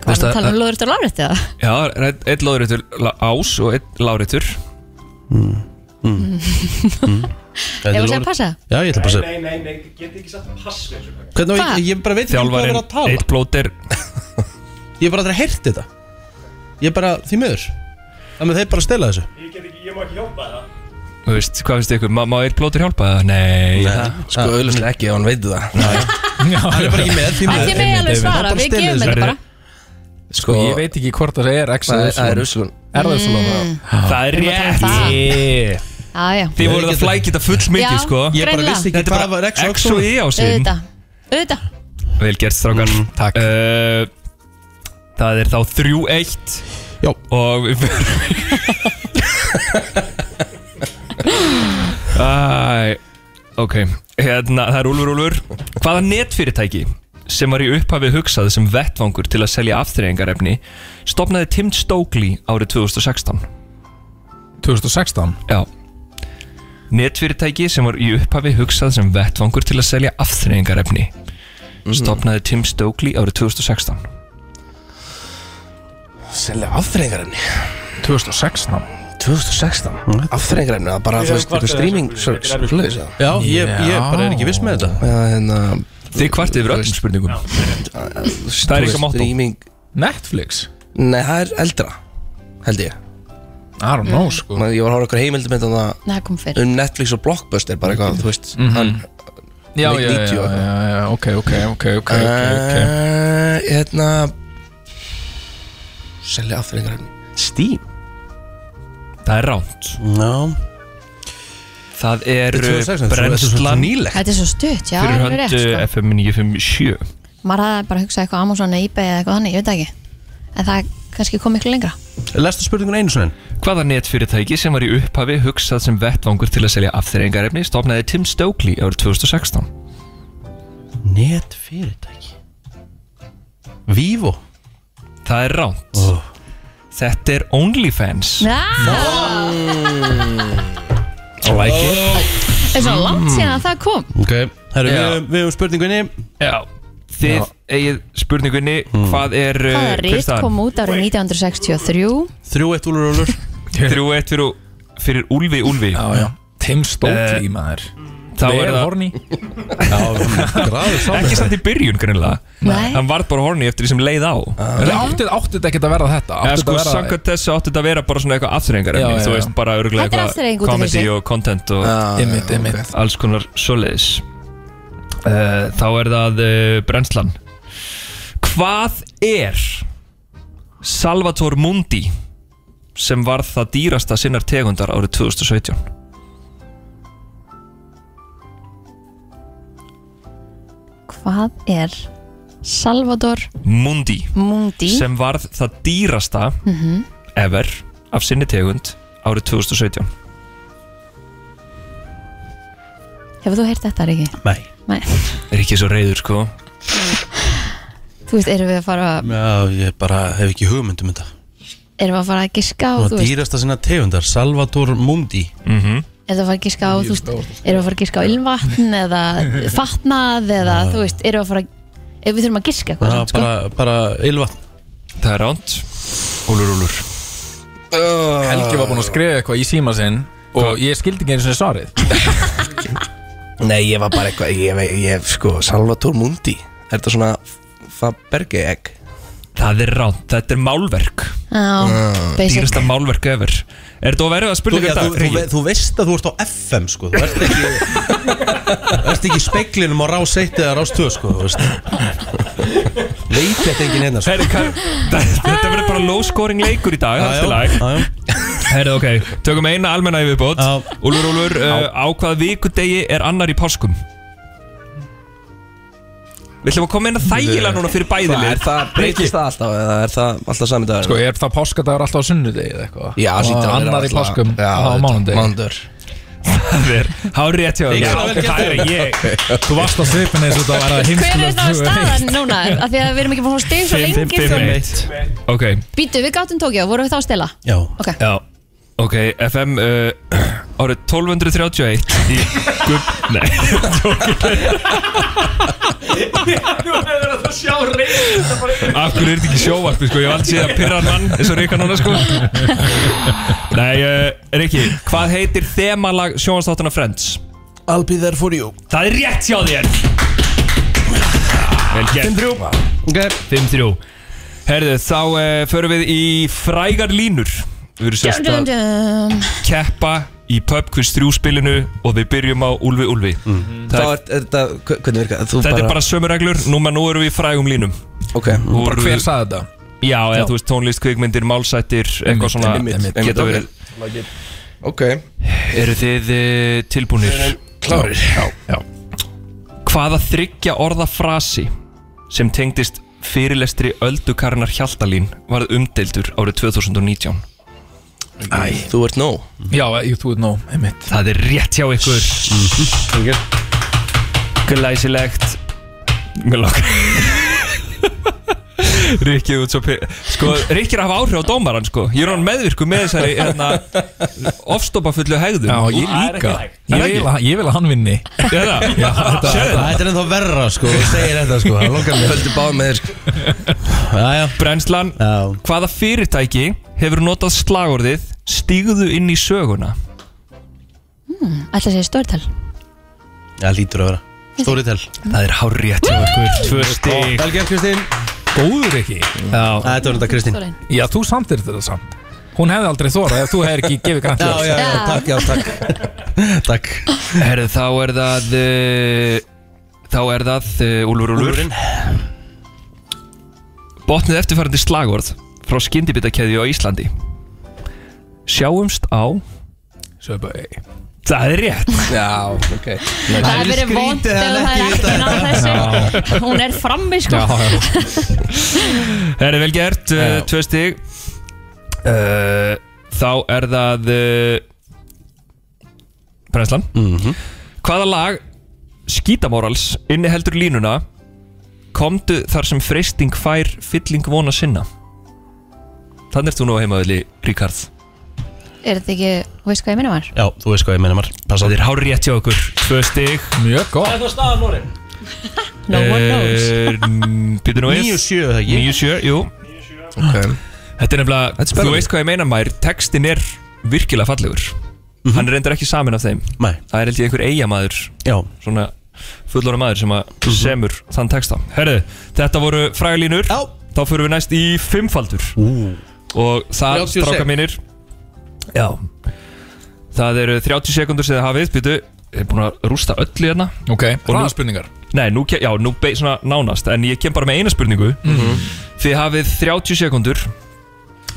Hvað er það að tala um lóðurétti og lárétti það? Já, það er einn- einn láðréttur ás og einn láðréttur Mm. Mm. Hvað Ég var að heitir segja lóðrétt- passa Mm. Já, ég ætla bara að segja nei, nei, get ekki sagt pass með þessu Hvernig, Hva? ég, ég bara veit ekki um hvað það Þjálfarinn, er að tala einn blóter Ég hef bara aldrei heyrt þetta Ég bara, því miður Þannig að þeir bara stela þessu Ég get ekki, ég má ekki hjálpa það Þú veist, hvað finnst ykkur? Má, má einn blóter hjálpa það? Nei, það- sko auðvitað ekki ef hann veitir það Hann er bara ekki með, því En miður þið með alveg svara, við stelið gefum þessu. þetta bara Sko, Ég veit ekki hvort það er X það eða er- það er Y. Úsland Er það Úsland? það er Mm. Við erum að tala um það. rétt Já, já, Þið voruð að flækja þetta full mikið, Já. sko Ég bara Greinilega. vissi ekki Þetta hvað er var bara X og X og Y E ásinn auðvitað Auðvitað, Vel gert, strákar takk. Eh, Það er þá 3-1 Já. Og við fyrir Æ, ok Hérna, það er Úlfur Úlfur Hvaða netfyrirtæki sem var í upphafi hugsað sem vettvangur til að selja afþreyingarefni stopnaði Tim Stokely árið 2016 2016 Já Netfyrirtæki sem var í upphafi hugsað sem vettvangur til að selja afþreyingarefni Mhm. stopnaði Tim Stokely árið 2016 Mm. Selja afþrengarinni 2016 2016 Mm. Afþrengarinni, það bara, þú veist, sko. eitthvað streaming Svoleiðis það Já, ég, ég Já. bara er ekki viss með þetta Já, hérna Þið kvartið yfir öllum spurningum Það er eitthvað motto Streaming Netflix? Nei, það er eldra Held ég I don't know sko Man- Ég var að horfa okkur heimildum með þetta Mm. það kom fyrir Um Netflix og Blockbuster Bara eitthvað, þú veist Hann Mm-hmm. Já, já, 90 já, og eitthvað. já, já, ok, ok, ok, ok, ok, ok. Eh, Hérna Selja afþrengarinni Steam Það er ránt Já Það er eh, Þetta er 2016, þetta er brennslan svo nýlegt. Þetta er svo stutt, já, fyrir alveg hönd rétt eh, sko. FM 957 Maður hafði bara hugsað eitthvað Amazon eða eBay eða eitthvað þannig, ég veit það ekki En það kannski kom miklu lengra Lestu spurningun einu svona Hvaða netfyrirtæki sem var í upphafi hugsað sem vettvangur til að selja afþreyingarefni stopnaði Tim Stokely árið 2016 Net fyrirtæki Vivo Það er ránt oh. Þetta er OnlyFans Ah! I like it Það er svo Mm. langt síðan að það kom Ok, herru, Já. við, við höfum spurningunni Já, þið Já. eigið spurningunni Hvað er uh, Hvaða hver rít staðan? kom út árið 1963 Þrjú eitt úlur úlur Þrjú eitt fyrir, fyrir Úlfi Úlfi Já, já Tim Stokely, maður Þá er Vel það horny. Graður sátt. Ekki samt í byrjun greinlega Nei. Hann varð bara horny eftir því sem leið á Það átti þetta ekkert að verða þetta Eða sko, átti þetta að vera samkvæmt þessu átti þetta að vera bara svona eitthvað afþreyingar Já, já, Þú já. veist, bara örgulega Þetta er afþreying eitthvað út af comedy þessu. og content og Já, Einmitt, já, einmitt. ok. alls konar svoleiðis uh, Þá er það uh, brennslan Hvað er Salvator Mundi sem var það dýrasta sinnar tegundar árið 2017? Hvað er Salvador Mundi Mundi sem varð það dýrasta Mhm. ever af sinni tegund árið 2017 Hefur þú heyrt þetta, Riki? Nei. Nei er ekki svo reyður sko Þú veist, erum við að fara Já, ég bara hef ekki hugmynd um þetta erum við að fara að giska á, Og þú veist, dýrasta sinna tegundar, Salvador Mundi mm -hmm. erum við að fara að giska á, þú veist, erum við að fara að giska á ilmvatn eða fatnað eða, þú veist, erum við að fara að, ef við þurfum að giska Ah, eitthvað, Já, samt, sko. bara, bara ylvatn Það er ránt Úlur, úlur Helgi var búinn að skrifa eitthvað í síma sinn og ég skildi ekki eins og svarið Nei, ég var bara eitthvað Ég, ég, ég sko, Salvatore Mundi Er þetta svona Faberge-egg? Það er ránt, þetta er málverk Já, basic. dýrasta málverk ever er þetta að verða að Þú, spurninga já, þú, þetta? þú, ve- þú veist að þú ert á FM sko Þú ert ekki Þú ert ekki í speklinum á rás 1 eða rás 2 sko Þú veist Veit þetta enginn hérna sko Þetta verður bara low scoring leikur í dag Já, já, Aðjó Herðu ok, tökum eina almenna yfirbót Úlur, úlur, uh, á hvaða vikudegi er annar í páskum? Við ætlum að koma inn að þægilega núna fyrir bæði Hvað, lið. Er það breytist það alltaf eða er það alltaf sami dag? Sko, er það páskadagur alltaf á sunnudegi eða eitthvað? Já, Og hlýtur að vera Annar í alltaf- páskum, Já, á þetta- mánudegi mánudagur. Það er hár rétt hjá Ég þér. gerði það vel það er gert. ég Þú varst á svipinni eins og þetta var að Hver er heimskulegt það staðan núna? Af því að við erum ekki búin að fá stig svo lengi svo- Ok, Býtu, við gátum tókja, vorum við þá að stela? Já Ok. Já Ok, FM uh, árið 1231 í gubb... Nei, Nú hefur þetta að sjá reyð af hverju er þetta ekki sjóvarpi sko, ég hef aldrei séð að pyrra mann eins og Rikka núna sko Nei, uh, Rikki, hvað heitir þemalag sjónvarstáttuna Friends? I'll be there for you Það er rétt hjá þér Vel gert 5-3 okay. 5-3 Herðu, þá uh, förum við í frægar línur Við erum Dum, sérst dum, að dum. keppa í pub quiz 3 spilinu og við byrjum á Úlfi Úlfi Mhm. Þá er, er þetta, hve- hvernig virka? Þú Þetta er bara sömu reglur, núma nú erum við í frægum línum Ok, Úr, Bara hver sagði þetta? Já, eða Já. þú veist tónlist, kvikmyndir, málsættir, eitthvað svona einmitt, einmitt, geta einmitt, verið Ok Eru þið eh, tilbúnir? Klárir Já, já Hvaða þryggja orða frasi sem tengdist fyrirlestri öldukarnar Hjaltalín varð umdeildur árið 2019? Æ, þú ert nóg Já, ég, þú ert nóg, einmitt Það er rétt hjá ykkur Mhm. Glæsilegt Mér langar Rikki út svo pyrr Sko, Rikki er að hafa áhrif á dómaran sko Ég er hann meðvirku með þessari hérna, ofstopafullu hegðum Já, ég líka Ég vil að- Ég vil að hann vinni Já, það þetta- Sérðu það? Þetta er ennþá verra sko Þú segir þetta sko Það langar mér Höldu báð með þér sko Jæja Brennslan, Já. hvaða fyrirtæki hefur notað slagorðið stígðu inn í söguna? Hmm, Ætla að segja stórtal Já, lítur að vera Storytel Það er hár rétt hjá ykkur, tvö stíg Vel gert Kristín Góður ekki Já, Þetta var þetta Kristín Stórinn Já, þú samtir þetta samt Hún hefði aldrei þórað ef þú hefði ekki gefið grænt Já, ljós. já, já, takk, já, takk Takk herðu þá er það uh, Þá er það uh, Úlfur Úlfur Úlfurinn Botnið eftirfærandi slagorð frá skyndibitakeðju á Íslandi Sjáumst á Subway Það er rétt Já, ok Það hefur verið vond ef það er ekki náð þessu Hún er frammi sko Það er vel gert, uh, tvö stig uh, Þá er það uh, Brænslan Hvaða lag Skítamorals inni heldur línuna Komdu þar sem freysting fær fylling vona sinna Þannig ert þú nú á heimaðli, Ríkard Er þetta ekki, þú veist hvað ég minna var? Já, þú veist hvað ég meina mar Passa Þetta er hár rétt hjá okkur Tvö stig Mjög góð. Hvað er það staðan orðin? No one knows. Eh, Mm, Býtu nú við 9-7 það ekki? 9-7, jú okay. Þetta er nefnilega, þú spennandi. veist hvað ég meina mær Textin er virkilega fallegur Hann er reyndar ekki samin af þeim Nei. Það er held ég einhver eigamæður Já. Svona fullora maður sem að semur þann texta Herðu, þetta voru fræglínur Já. Þá fyrir við næst í fimmfaldur Ú. Og það, 36. stráka mínir Já Það eru 30 sekundur sem þið hafið Býtu, ég er búin að rústa öllu hérna Ok, Og nú- hraða spurningar. Nei, nú, ke- já, nú be, svona nánast En ég kem bara með eina spurningu Mhm. Þið hafið 30 sekundur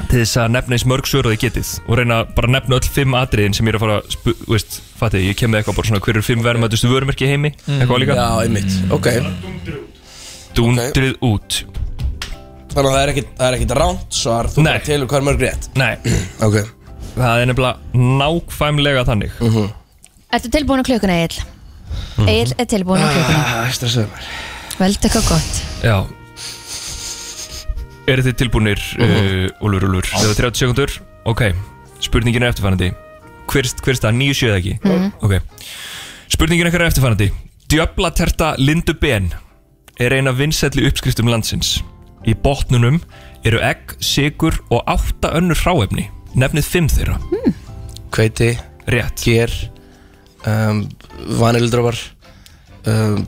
Til þess að nefna eins mörg svör og þið getið Og reyna bara að nefna öll fimm atriðin Sem ég er að fara að spu, þú veist, fattu Ég kem með eitthvað bara svona Hver eru fimm verðmættustu vörumörki í heimi Eitthvað líka Mhm. Já, einmitt, ok Dundrið út Þannig að það er ekkit, það er ekkit ránt svar Þú bara telur hvað er mörg rétt Nei Ok Það er nefnilega nákvæmlega þannig uh Mhm. -huh. Ertu tilbúin á klukkuna, Egil? Egil er tilbúin á klukkuna Æstra sögumar Ah. Veldu eitthvað gott Já Eru þið tilbúinir, uh, Úlfur, Úlfur? Það eru 30 sekundur Ok, spurningin er eftirfærandi Hverst, hverst það, 9 sjöð ekki? Mhm. Ok Spurningin ykkar er eftirfærandi Djöflaterta Lindu Ben Er eina vinsælli uppskriftum landsins Í botnunum eru egg, sigur og átta önnur hráefni Nefnið fimm þeirra Hveiti Rétt Ger um, Vanildrópar um,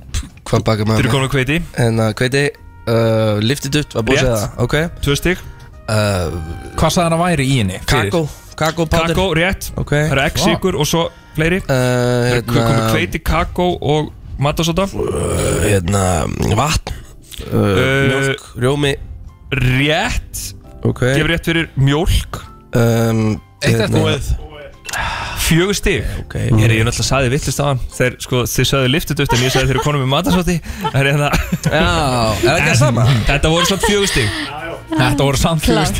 Hvað baka maður Þið eru komin á hveiti En að hveiti uh, Liftið upp, var búið að segja Rétt. það Ok Tvö stygg uh, Hvað sagði hann að væri í henni? fyrir? Kakó Kakó pátur Kakó, rétt okay. Það eru egg, sigur og svo fleiri Það eru komið hveiti, kakó og matasóta Hérna Vatn uh, Uh, Mjölk Rjómi Rétt Ok Gefur rétt fyrir mjólk um, Eitt hérna- eftir búið Fjögur stig okay. Ég er ég náttúrulega saði vittlist á hann Þeir, sko, þið sagði liftut upp En ég sagði þeir eru konum með matasóti Það er hérna Já, er það ekki En það sama? Þetta voru samt fjögur stig Þetta voru samt fjögur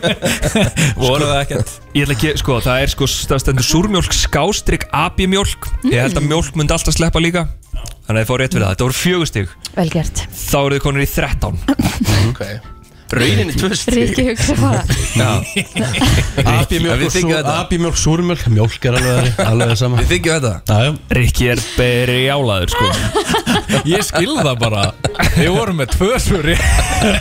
stig Voru það ekkert Ég ætla ekki, sko, það er sko Það stendur súrmjólk, skástrygg, abimjólk Ég held að mjólk myndi alltaf sleppa líka Þannig að þið fóru rétt fyrir það Þetta voru fjögur stig Vel gert Þá eru þið konur í 13 Ok Rauninni tvö stig Rikki hugsa bara En við þykjum þetta. Abimjölk, súrmjölk, mjölk er alveg alveg það sama Við þykjum þetta Jájá Rikki er berjálaður sko Ég skilði það bara Við vorum með tvö svöri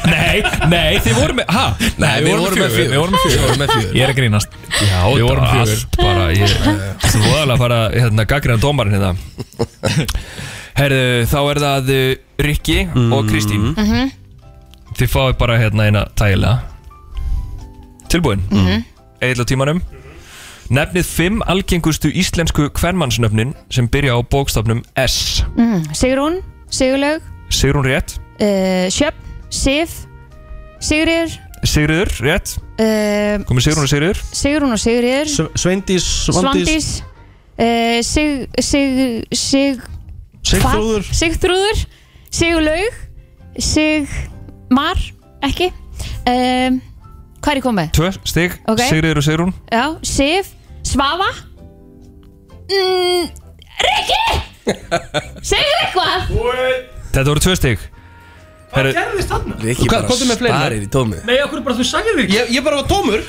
Nei, nei, þið voru með Hæ? Nei, við vorum með fjögur Við vorum með fjögur Ég er að grínast Já, Við vorum þetta var fjögur. allt bara ég- Þú voðalega að fara hérna, gaggrinna dómarinn hérna Herðu, þá er það uh, Rikki og Mm. Kristín Mhm. Þið fáið bara hérna eina tægilega Tilbúin mm Mhm. -hmm. á tímanum Nefnið fimm algengustu íslensku kvenmannsnöfnin sem byrja á bókstafnum S mm, Sigrún, Sigurlaug Sigrún rétt, uh, Sjöfn, Sif Sigriður Sigriður rétt uh, Komið Sigrún og Sigriður Sigrún og Sigriður Sveindís, Svandís uh, Sig, Sig, Sig Sigþrúður. Hvað? Sigþrúður Sigurlaug Sigmar, ekki um, Hvað er ég komið? Tvö stig, Ok. Sigriður og Sigrún Já, Sif Svafa mm, Rikki Segðu eitthvað Þetta voru tvö stig Herru, gerðist þarna? Hvað, komdu með fleiri? í tómið Nei, okkur bara þú sagði þig Ég, ég bara var tómur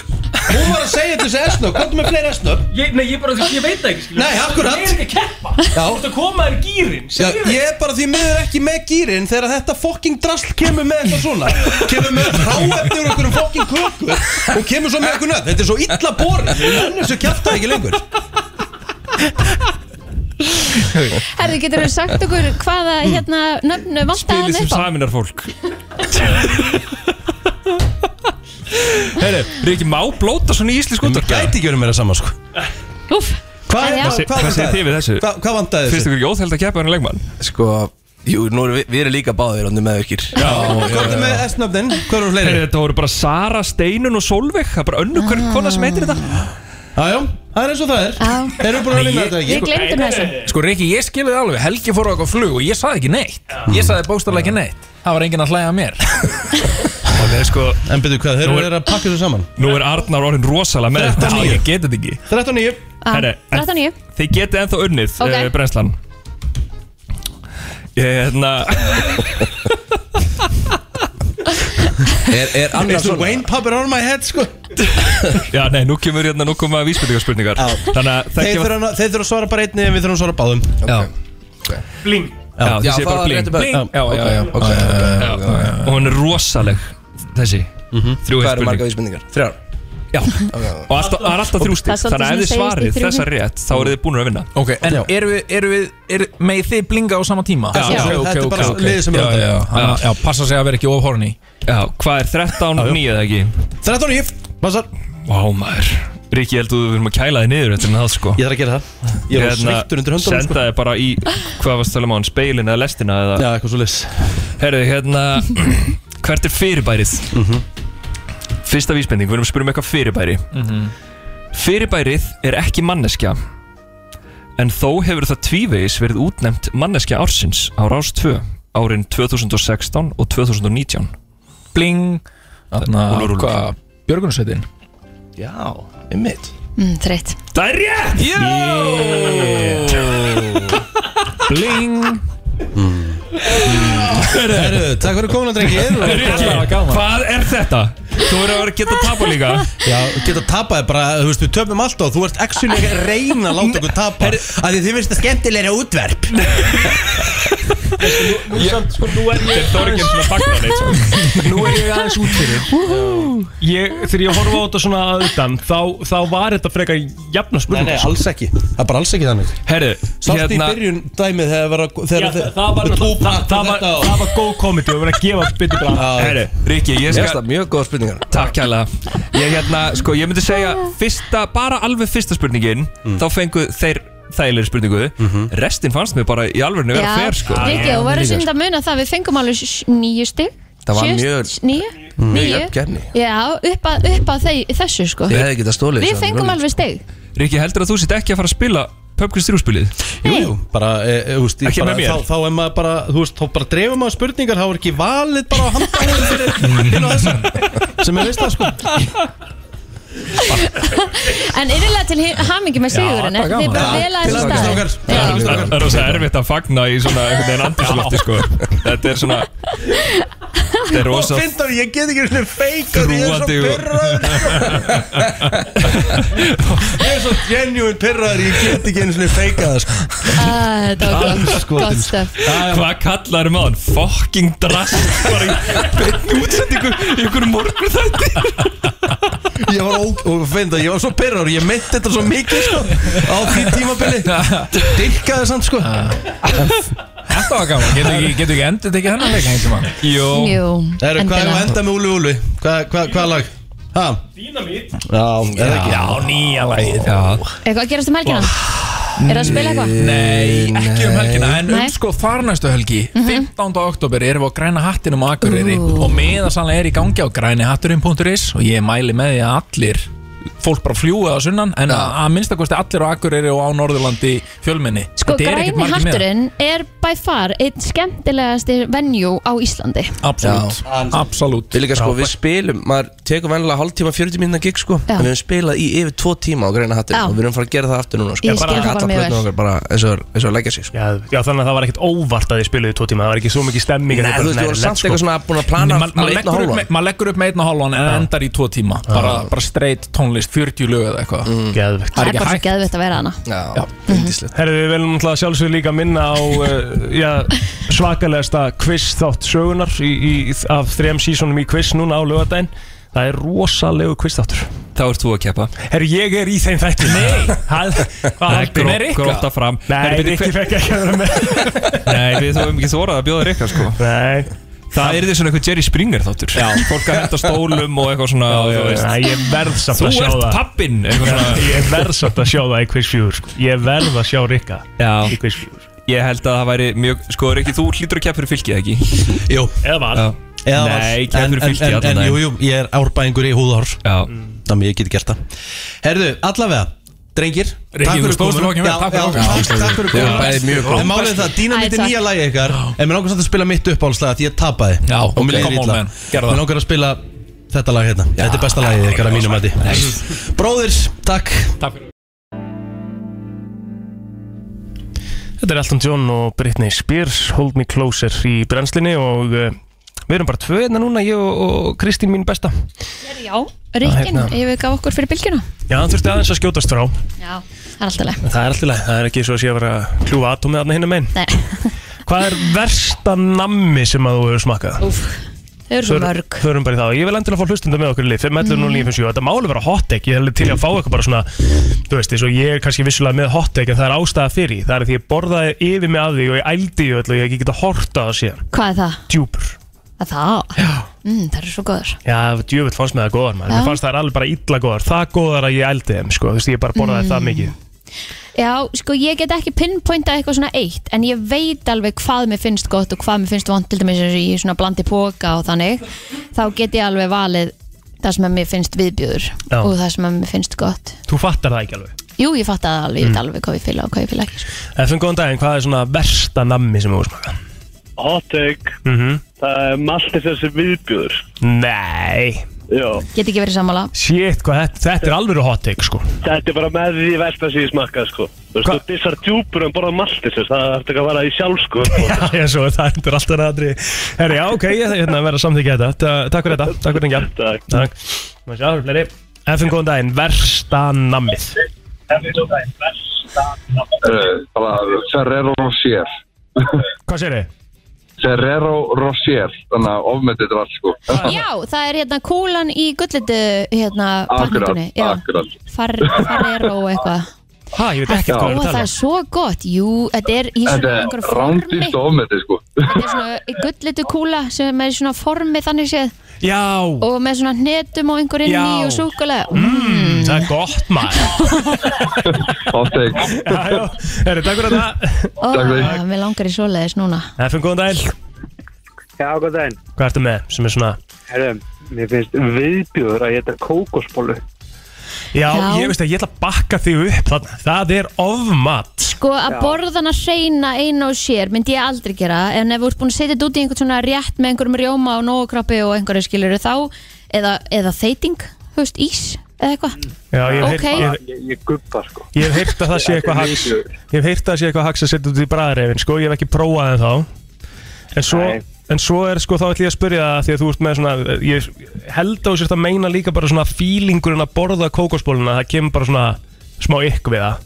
Hún var að segja þessi S-nöpp Hvað er með fleiri S-nöpp? ég, Nei, ég bara þú, ég veit það ekki skilur. Nei, akkurat. Ég er ekki að keppa Já. Þú ert að koma þér í gýrin Já, ég er bara því miður ekki með gýrin þegar þetta fokking drasl kemur með eitthvað svona kemur með hráefni úr einhverjum fokking köku og kemur svo með eitthvað nöð þetta er svo illa borin, ég nenni þessu kjæfta ekki lengur Herðu, getur þú sagt okkur hvaða hérna nöfnu vantaði hann upp á? saminar fólk Herri, Ríkki, má blóta svona í íslensku útvarpi? Gæti ekki verið meira saman sko Úf, Hvað já. er Hvað vantaði? segir þið við þessu? Hva, hvað vantaði Finnst þessu? ykkur jóðheld að keppa hennar leikmann? Sko Jú, nú erum við, við erum líka báðir hérna Þannig meðvirkir Hvað er með S-nöfnin? Hvað eru Herri, fleiri? þetta voru bara Sara, Steinun og Solveig Það er bara önnu hver kona sem heitir þetta Jájá, það er eins og það er Já. Erum við búin að vinna þetta Við ekki? glemdum þessu Sko Riki, ég skilði það alveg Helgi fór á eitthvað flug og ég saði ekki neitt Ég saði bókstaflega ekki neitt Það var enginn að hlæja að mér Og þeir sko, En byrju hvað, Nú þeir eru er- verið að pakka þessu saman nú er Arnar orðin rosalega með þetta Já, ég geti þetta ekki 13 9 Já, Herri, en- 39 Þið getið ennþá unnið Ah, Ok. okay. brennslan Ég, hérna Er, er annars Eins og Wayne Pupper on my head sko Já, nei, nú kemur hérna, nú koma vísbyrtingarspurningar Þannig að það Þeir kemur þurfa þeir þurfa að svara bara einni en við þurfum að svara báðum Bling Já, Já, þessi það er bara var bling réttu bara- Bling. Já, já, já, ok, ok, Já, Og hún er rosaleg, þessi Þrjú Hvað eru heitspurning. margar vísbendingar? Þrjár Já, og alltaf, það er alltaf þrjú Það er svolítið stík Þannig að svona ef þið segist í svarið þrjú. þessa rétt Þá eru þið búin að vinna Ok, en eru við, eru við, er, með þið blinga á sama tíma? Já, já, ok, þetta er ok, bara ok. liðið sem er Já, undan. já, hann- Já, passa sig að vera ekki of horny Já, hvað er 13 og 9 eða ekki? 13 og 9, passar Vá maður Ríkki, ég held að við verðum að kæla þig niður eftir en það sko Hérna, Ég þarf að gera það Ég var sveittur undir höndunum Senda sko þig bara í, hvað varst að tala um á hann, speilin eða lestina eða Já, eitthvað svo Herðu, hérna, hvert er fyrirbærið? Mhm. Fyrsta vísbending, við erum að spyrja um eitthvað fyrirbæri Mhm. Fyrirbærið er ekki manneskja En þó hefur það tvívegis verið útnefnt manneskja ársins á rás 2 árin 2016 og 2019 Bling Þarna, Úlfur, úlfur. hvað, Björgunarsveitin Já, um mitt Mm, Þreitt Það er rétt Bling Herru, takk fyrir komuna drengir Rikki, hvað er þetta? Þú verður að vera að geta að tapa líka Já, geta tapaði bara, þú veist, við töpum alltaf og Þú ert actually að reyna að láta okkur tapa Af því þið finnst það skemmtilegra útverp Nú samt, sko, nú er ég Þetta var ekki eins og fagnar neitt sko. Nú er ég aðeins út fyrir ég, Þegar ég horfa á þetta svona að utan Þá, þá var þetta frekar jafna Nei, nei, spurningar alls ekki Það er bara alls ekki þannig Herru, Sátt hérna- í byrjun dæmið þegar vera Já, þegar það- það var náttúrulega- það- það var- það var góð komedi og verið að gefa byttu bara Herru, Rikki, ég Mér finnst skal það mjög góða spurningar Takk hérlega Ég hérna, sko, ég myndi segja fyrsta, bara alveg fyrsta spurningin Mm. Þá fengu þeir þægilegri spurningu Mhm. Restin fannst mér bara í alveg vera fer sko Rikki, þú verður svolítið að muna það Við fengum alveg s- nýju stig Það var Sjö- mjög- s- Níu? Mm. mjög Níu? jöfn keppni. Já, upp að, upp að þeg, þessu sko Þið hefði getað stólið Við fengum alveg stig Rikki, heldur að þú sitt ekki að fara að spila Pöpkvist 3 spilið? Jú, jú, bara, e, e, þú veist, ég Ekki bara, með mér. þá, þá er maður bara, þú veist, þá bara dreifum maður spurningar, þá er ekki valið bara á handbæðinu fyrir inn á þessu sem er veist það sko En yfirlega til hamingi með sigurinn eh? það var Þið er bara gaman. vel að Til þessu stað hamingju, strákar. Það er- það er rosa erfitt að fagna í svona einhvern veginn andurslofti sko Þetta er svona Þetta er rosa Og fyndar, ég get ekki svona feika því ég er svo Þrúgandi og- pyrraður Ég er svo genuine pyrraður, ég get ekki einu svona feika það sko Ah, Þetta var gott, Andskotin. gott stöf Hvað kallar um aðan? Fucking drast Bara í beinni útsendingu Í einhverju morgun þætti Ég var óg, og fyndar, ég var svo pyrraður, ég meitt þetta svo mikið sko á því tímabili Dilkaði samt sko Þetta var gaman, getur ekki, getur ekki endur tekið hennar leik einhvern tímann? Jó Jú, Herru, hvað er að endilega. enda með Úlu Úlu? Hvað, hvað, hvað lag? Ha? Dynamít Já, er það ekki? Já, nýja lagið Já. Eitthvað að gerast um helgina? Er það að spila eitthvað? Nei, ekki um helgina En um Nei. Mhm. sko þarnæstu helgi 15. oktober erum við á græna hattinum á Akureyri Og meðasalega er í gangi á grænihatturinn.is Og ég mæli með því að allir Fólk bara fljúið á sunnan En að, að minnstakosti allir á Akureyri og á Norðurlandi Fjölminni Sko, Þetta er ekkert græni margir með. hatturinn er by far einn skemmtilegasti venue á Íslandi Absolutt, absolutt Við líka sko, við spilum, maður tekur vennilega hálftíma, 40 minna gig sko Já. En við höfum spilað í yfir tvo tíma á greina hattin Já. Og við höfum farið að gera það aftur núna sko Ég skil það bara Alla mjög plötuna vel. okkar bara eins og, eins og að leggja sig sko Já, já, þannig að það var ekkert óvart að þið spiluðu í tvo tíma Það var ekki svo mikið stemming Nei, þú veist, við vorum samt eitthvað svona búin að plana um Nei, ma- maður alveg einn og hálfan leggur upp með- maður leggur upp með einn og hálfan en endar í tvo tíma bara, bara straight tónlist, 40 lög eða eitthvað Geðvegt Það Það er er ekki bara svo hægt. geðvitt að vera hana Já, vindislegt Herðu, við viljum náttúrulega sjálfsögur líka minna á uh, já, svakalegasta quiz þátt sögunar í, í, af þrejum sísonum í quiz núna á lögadaginn Það er rosalegu quiz þáttur Þá ert þú að keppa Herru, ég er í þeim þætti Nei, hann, hann, Gró- Gróta fram Nei, Herri, Rikki bíddu, fekk ekki að vera með hver- Nei, við þú hefum ekki þórað að bjóða Rikka sko Nei, Það er því svona eitthvað Jerry Springer þáttur Já Fólk að henda stólum og eitthvað svona þú veist. Nei, ég verð samt Þú að sjá ert það pappinn eitthvað svona. Ég verð samt að sjá það í quiz 4 sko. Ég verð að sjá Rikka Já, í quiz 4 ég held að það væri mjög Sko, Rikki, þú hlýtur að keppa fyrir fylgið, ekki? Jú, Eða var Já eða var- Nei, ekki að en, fyrir en, fylki en, allan en daginn. jú, jú, ég er árbæðingur í húðahár Já Þannig ég geti gert það Herðu, allavega, drengir Rikki, þú stóðst þig fucking vel, Já, takk fyrir já, komuna. takk- Takk fyrir Já, komuna bæði mjög góð En málið er það, dýna mitt Æ, er takk. nýja lagi ykkar En mér langar samt að spila mitt uppáhalslag Því ég tapaði Já, Og mér ok, leiðir come on, illa man, gerðu það. Mér langar að spila þetta lag hérna Þetta er besta lagið ykkar að mínum mati Bróðirs, takk Þetta er Elton John og Britney Spears Hold Me Closer í brennslinni og uh, Við erum bara tvö hérna núna, ég og, og Kristín mín besta Já, Rikkin, hérna. ég við gaf okkur fyrir bylgjuna Já, hann þurfti aðeins að skjótast frá Já, það er alltaf leið En Það er alltaf leið, það er ekki svo að sé að vera að kljúfa atomið þarna hinn að meinn Nei, Hvað er versta nammi sem að þú hefur smakkað? Úf, þau eru svo mörg Förum bara í það og ég vil endilega fá hlustenda með okkur í lið 5, 11, 0, 9, 5, 7 Þetta má alveg vera hot take, ég er alveg til að fá eitthvað bara svona Þú veist, eins og ég er kannski vissulega með hot take en það er ástæða fyrir því. Það er því ég borðaði yfir mig að því og ég ældi í öllu og ég hef ekki geta horta það síðan Hvað er það? Djúpur Að það? Já mm, Það eru svo góður Já, djöfull fannst með það góðar maður Já. Mér fannst það alveg bara illa góðar Það góðar að ég ældi þeim, sko Þú veist, ég bara borðaði Mm. það mikið Já, sko, ég get ekki pinpointa eitthvað svona eitt En ég veit alveg hvað mér finnst gott og hvað mér finnst vond Til dæmis eins og ég svona blandi póka og þannig Þá get ég alveg valið það sem að mér finnst viðbjöður Já. Og það sem að mér finnst gott Þú fattar það ekki alveg Jú, ég fatt að alveg, ég veit Mm. alveg hvað ég fylg og hvað ég fylg ekki sko. Efum góðan daginn, hvað er svona versta nammi sem þú hefur smakað? Hot take Það er Maltesers viðbjöður Nei Já Get ekki verið sammála Shit, hvað, þetta, þetta er alveg hot take sko Þetta er bara með því versta sem ég smakka sko Þú veist, þú dissar djúpur um en borða Maltesers Það er ekki að vera í sjálf sko Já, já, svo er það er alltaf aðri Herri, já, ok, ég ég hérna, verð að samþykja þetta Ta- Takk fyrir þetta, takk fyrir þetta Takk, takk. Má sjá, það eru fleiri. Efum góðan daginn, versta nammið Eh, bara Ferrero Rocher Hvað sér þið? Ferrero Rocher þannig að ofmetið þetta var sko Já, það er hérna kúlan í gullitu hérna akkurat, pakningunni Já, akkurat far, farero eitthvað Hæ, ég veit ekkert hvað við erum að Það tala um. er svo gott, jú, þetta er í þetta svona er einhverju formi rándýrt ofmetið sko Þetta er svona gullitu kúla sem er með svona formi þannig séð Já Og með svona hnetum og einhverjum Já. ný og súkulega mm, Það er gott maður Hot take Herri, takk fyrir þetta Ó, mér langar í svoleiðis núna Efum góðan daginn, Já, góð daginn. hvað ertu með sem er svona Herru, mér finnst viðbjöður að geta kókosbólu. Já, Já. ég veist að ég ætla að bakka þig upp þarna Það er ofmat Sko að borðana hreina einu og sér myndi ég aldrei gera en ef þú ert búin að setja þetta út í einhvern svona rétt með einhverjum rjóma og nógkrabbi og einhverju skilur þá eða, eða þeiting, þú veist, ís eða eitthvað Já, ég hef Ok. heyrt- Ég, ég gubba, sko. ég- ég hef heyrt að það sé eitthvað hax Ég hef heyrt að það sé eitthvað hax að setja út í bræðreifin sko, ég hef ekki prófað en þá En svo, en svo er sko, þá ætlum ég að spyrja það því að þú ert með svona ég held að þú sért að meina líka bara svona fílingurinn að borða kókosbóluna, það kemur bara svona smá ykk við það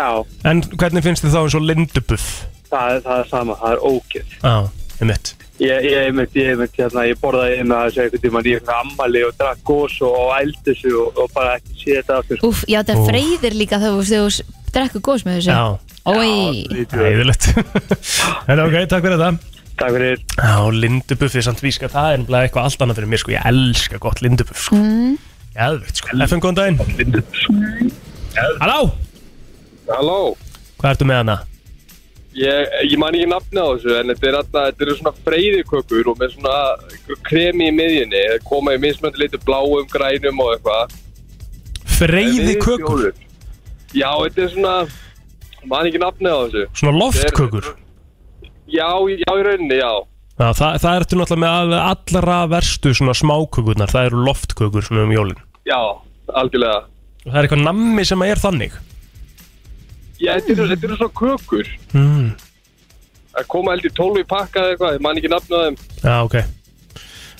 Já, En hvernig finnst þið þá eins og lindubuff? það er, það er sama, það er ógeð. Já, um mitt Ég, ég mynd, ég mynd, hérna, ég borðaði inn að þessu einhvern tímann í einhverju ammali og drakk gós og, og ældi þessu og, og bara ekki sé þetta aftur. Úf, já þetta Úff. freyðir líka þegar þú- þegar þú drekku góðs með þessu Já. Ói, Æðilegt En ok, takk fyrir þetta Takk fyrir Já, lindubuffi samt víska Það er nefnilega eitthvað allt annað fyrir mér sko Ég elska gott lindubuff sko mm. Jæðvegt sko FM, góðan daginn Lindubuff Halló Halló Hvað ertu með hana? Ég, ég man ekki nafni á þessu en þetta er alltaf, þetta eru svona freyðikökur og með svona einhver kremi í miðjunni Það koma í mismöndi litur bláum, grænum og eitthvað Freyði kökur? Já, þetta er svona, ég man ekki nafni á þessu Svona loftkökur Já, já, í rauninni, já Já, það, það ertu náttúrulega með alveg allra verstu svona smákökurnar Það eru loftkökur svona um jólin Já, algjörlega Og það er eitthvað nammi sem er þannig Já, þetta eru, þetta eru svona kökur mm. að koma held í 12 í pakka eða eitthvað, ég man ekki nafni á þeim Já, ok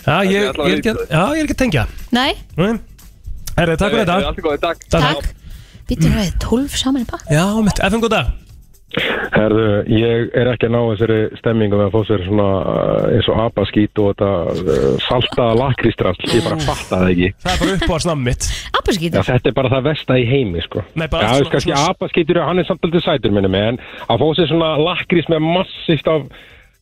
Já, ég, allavega ég, er ekki, að- já, ég er ekki að tengja Nei, Nei. Herri, takk Þetta Eh, fyrir er þetta allt í góði, takk Takk býtur það 12 saman í bak Já, mitt, FM, góðan dag Herðu, ég er ekki að ná þessari stemmingu með að fá sér svona uh, eins og apaskít og þetta uh, salta lakrístrall, ég bara fatta það ekki. Það er bara upp á snamm mitt Já, Apaskýtur þetta er bara það versta í heimi, sko. Nei, bara Já, allt svona, kannski apaskítur, hann er samt aldrei sætur minni með, en að fá sér svona lakrís með massíft af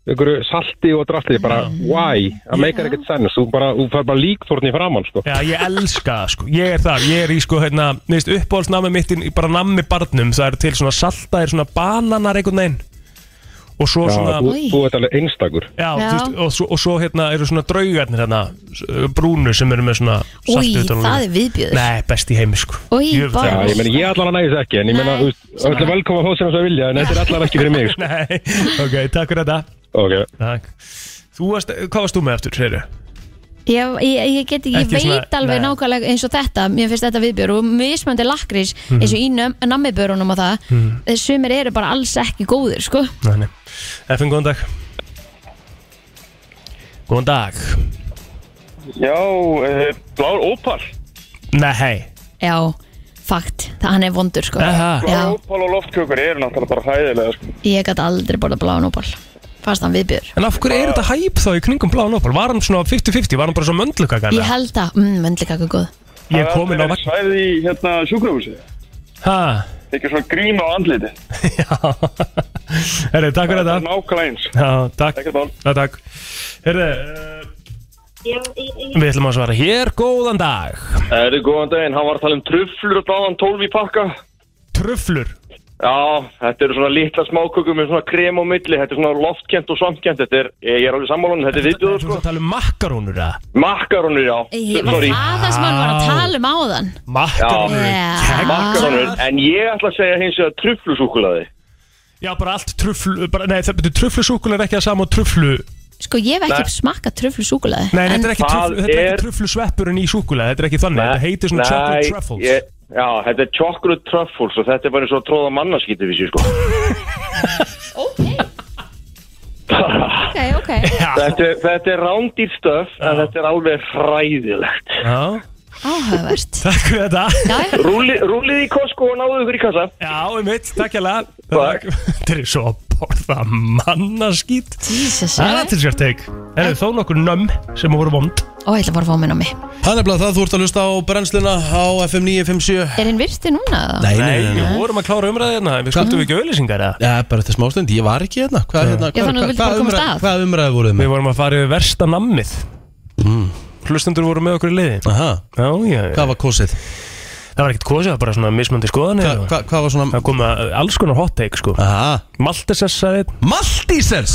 einhverju salti og drastli, bara why? Það meikar ekkert senn, þú bara, þú fær bara líkþórn í framann, sko. Já, ég elska það, sko. Ég er þar, ég er í, sko, hérna, neðist, uppáhaldsnami mitt, í- bara nammi barnum, það er til svona saltaðir, svona bananar einhvern veginn. Og svo Já, svona... þú, þú ert alveg einstakur. Já, Já. þú veist, og svo, og svo hérna eru svona draugarnir hérna, s- brúnu sem eru með svona Új, saltu utan á það er lífið. viðbjöður Nei, best í heimi, sko. Új, Jöfull, bara- það er- Já, ég meina, ég allan að næði þess ekki, en ég meina, Nei. þú veist, öll velkoma að fá sér hans að vilja, en þetta er allan ekki fyrir mig, sko. Nei, ok, takk fyrir þetta. Ok. Takk. Þú varst, hvað varst þú með eftir, segir Ég, ég, ég get ekki, ég Ekki veit svona- alveg nei. nákvæmlega eins og þetta, mér finnst þetta viðbjör og mismöndi lakrís eins og í nömm- nammibörunum og það, Mhm. mm. sumir eru bara alls ekki góðir, sko. Nei, nei. FN, góðan dag. Góðan dag Já, uh, blár ópal Nei Já, fakt, það hann er vondur sko Blár Já, ópal og loftkökur eru náttúrulega bara hræðilega sko. ég gæti aldrei borða bláan óbál Fast hann viðbjör En af hverju er þetta hæp þá í kringum bláan opal? Var hann svona 50-50? Var hann bara svo möndlukakar? Ég held að, mm, möndlikakku er góð Ég er komin á vagn Svæði í hérna sjúkrahúsi Hæ? Ekki svona grín á andliti Herri, takk fyrir þetta Nákvæmlega eins Já, takk Já, takk Herri, eh, við ætlum að svara hér Góðan dag Það eru góðan daginn, hann var að tala um trufflur og bláðan 12 í pakka Trufflur? Já, þetta eru svona litla smákökum með svona krem á milli, þetta er svona loftkent og svampkent, þetta er, ég er alveg sammálan, þetta er viðbjóður Þú sko ert að tala um makkarónur eða? Makkarónur, já, Ég Eh, var sorry það það sem hann var að tala um áðan Makkarónur Já. Makkarónur, en ég ætla að segja hins vegar trufflusúkulaði Já, bara allt trufflu bara, Nei, það betur trufflusúkul er ekki að sama og truflu Sko ég hef Nei. ekki smakað tröflu súkulega Nei, þetta er ekki, það truflu, þetta er er- ekki truflusveppurinn í súkulega Þetta er ekki þannig, þetta heitir svona chocolate truffles ég, Já, þetta er chocolate truffles og þetta er bara eins og að tróða mannaskýti við sér sko Ok, ok þetta, er- þetta er rándýr stöf, en þetta er alveg hræðilegt Já Áhugavert Takk fyrir þetta Rúli- Rúlið í Costco og náðu ykkur í kassa Já, um mitt, takk hérlega Takk Þetta er svo að borða mannaskýt Jesus, eh? Það er til sér teik Það eru þó nokkur nömm sem voru vond Ó, ég ætla bara að fá mér á mig Það er nefnilega það, þú ert að hlusta á brennsluna á FM 957 Er hinn virti núna? eða? Nei, nei, nei, Við vorum að klára umræðina, við skuldum ekki auðlýsingar eða? Já, bara eftir smástund, ég var ekki hérna Hvað, hérna, Já, þannig að þú vildir bara komast að. hvað umræði voruð þið með? Við vorum að fara yfir versta nammið mm. Hlustendur voru með okkur í liði Aha. Já, já Hvað var kosið? Það var ekkert kosið, það var bara svona mismöndi skoðanir og- Hva, hvað var svona Það kom að eh, alls konar hot take sko Maltisers sagði Mhm. Maltisers?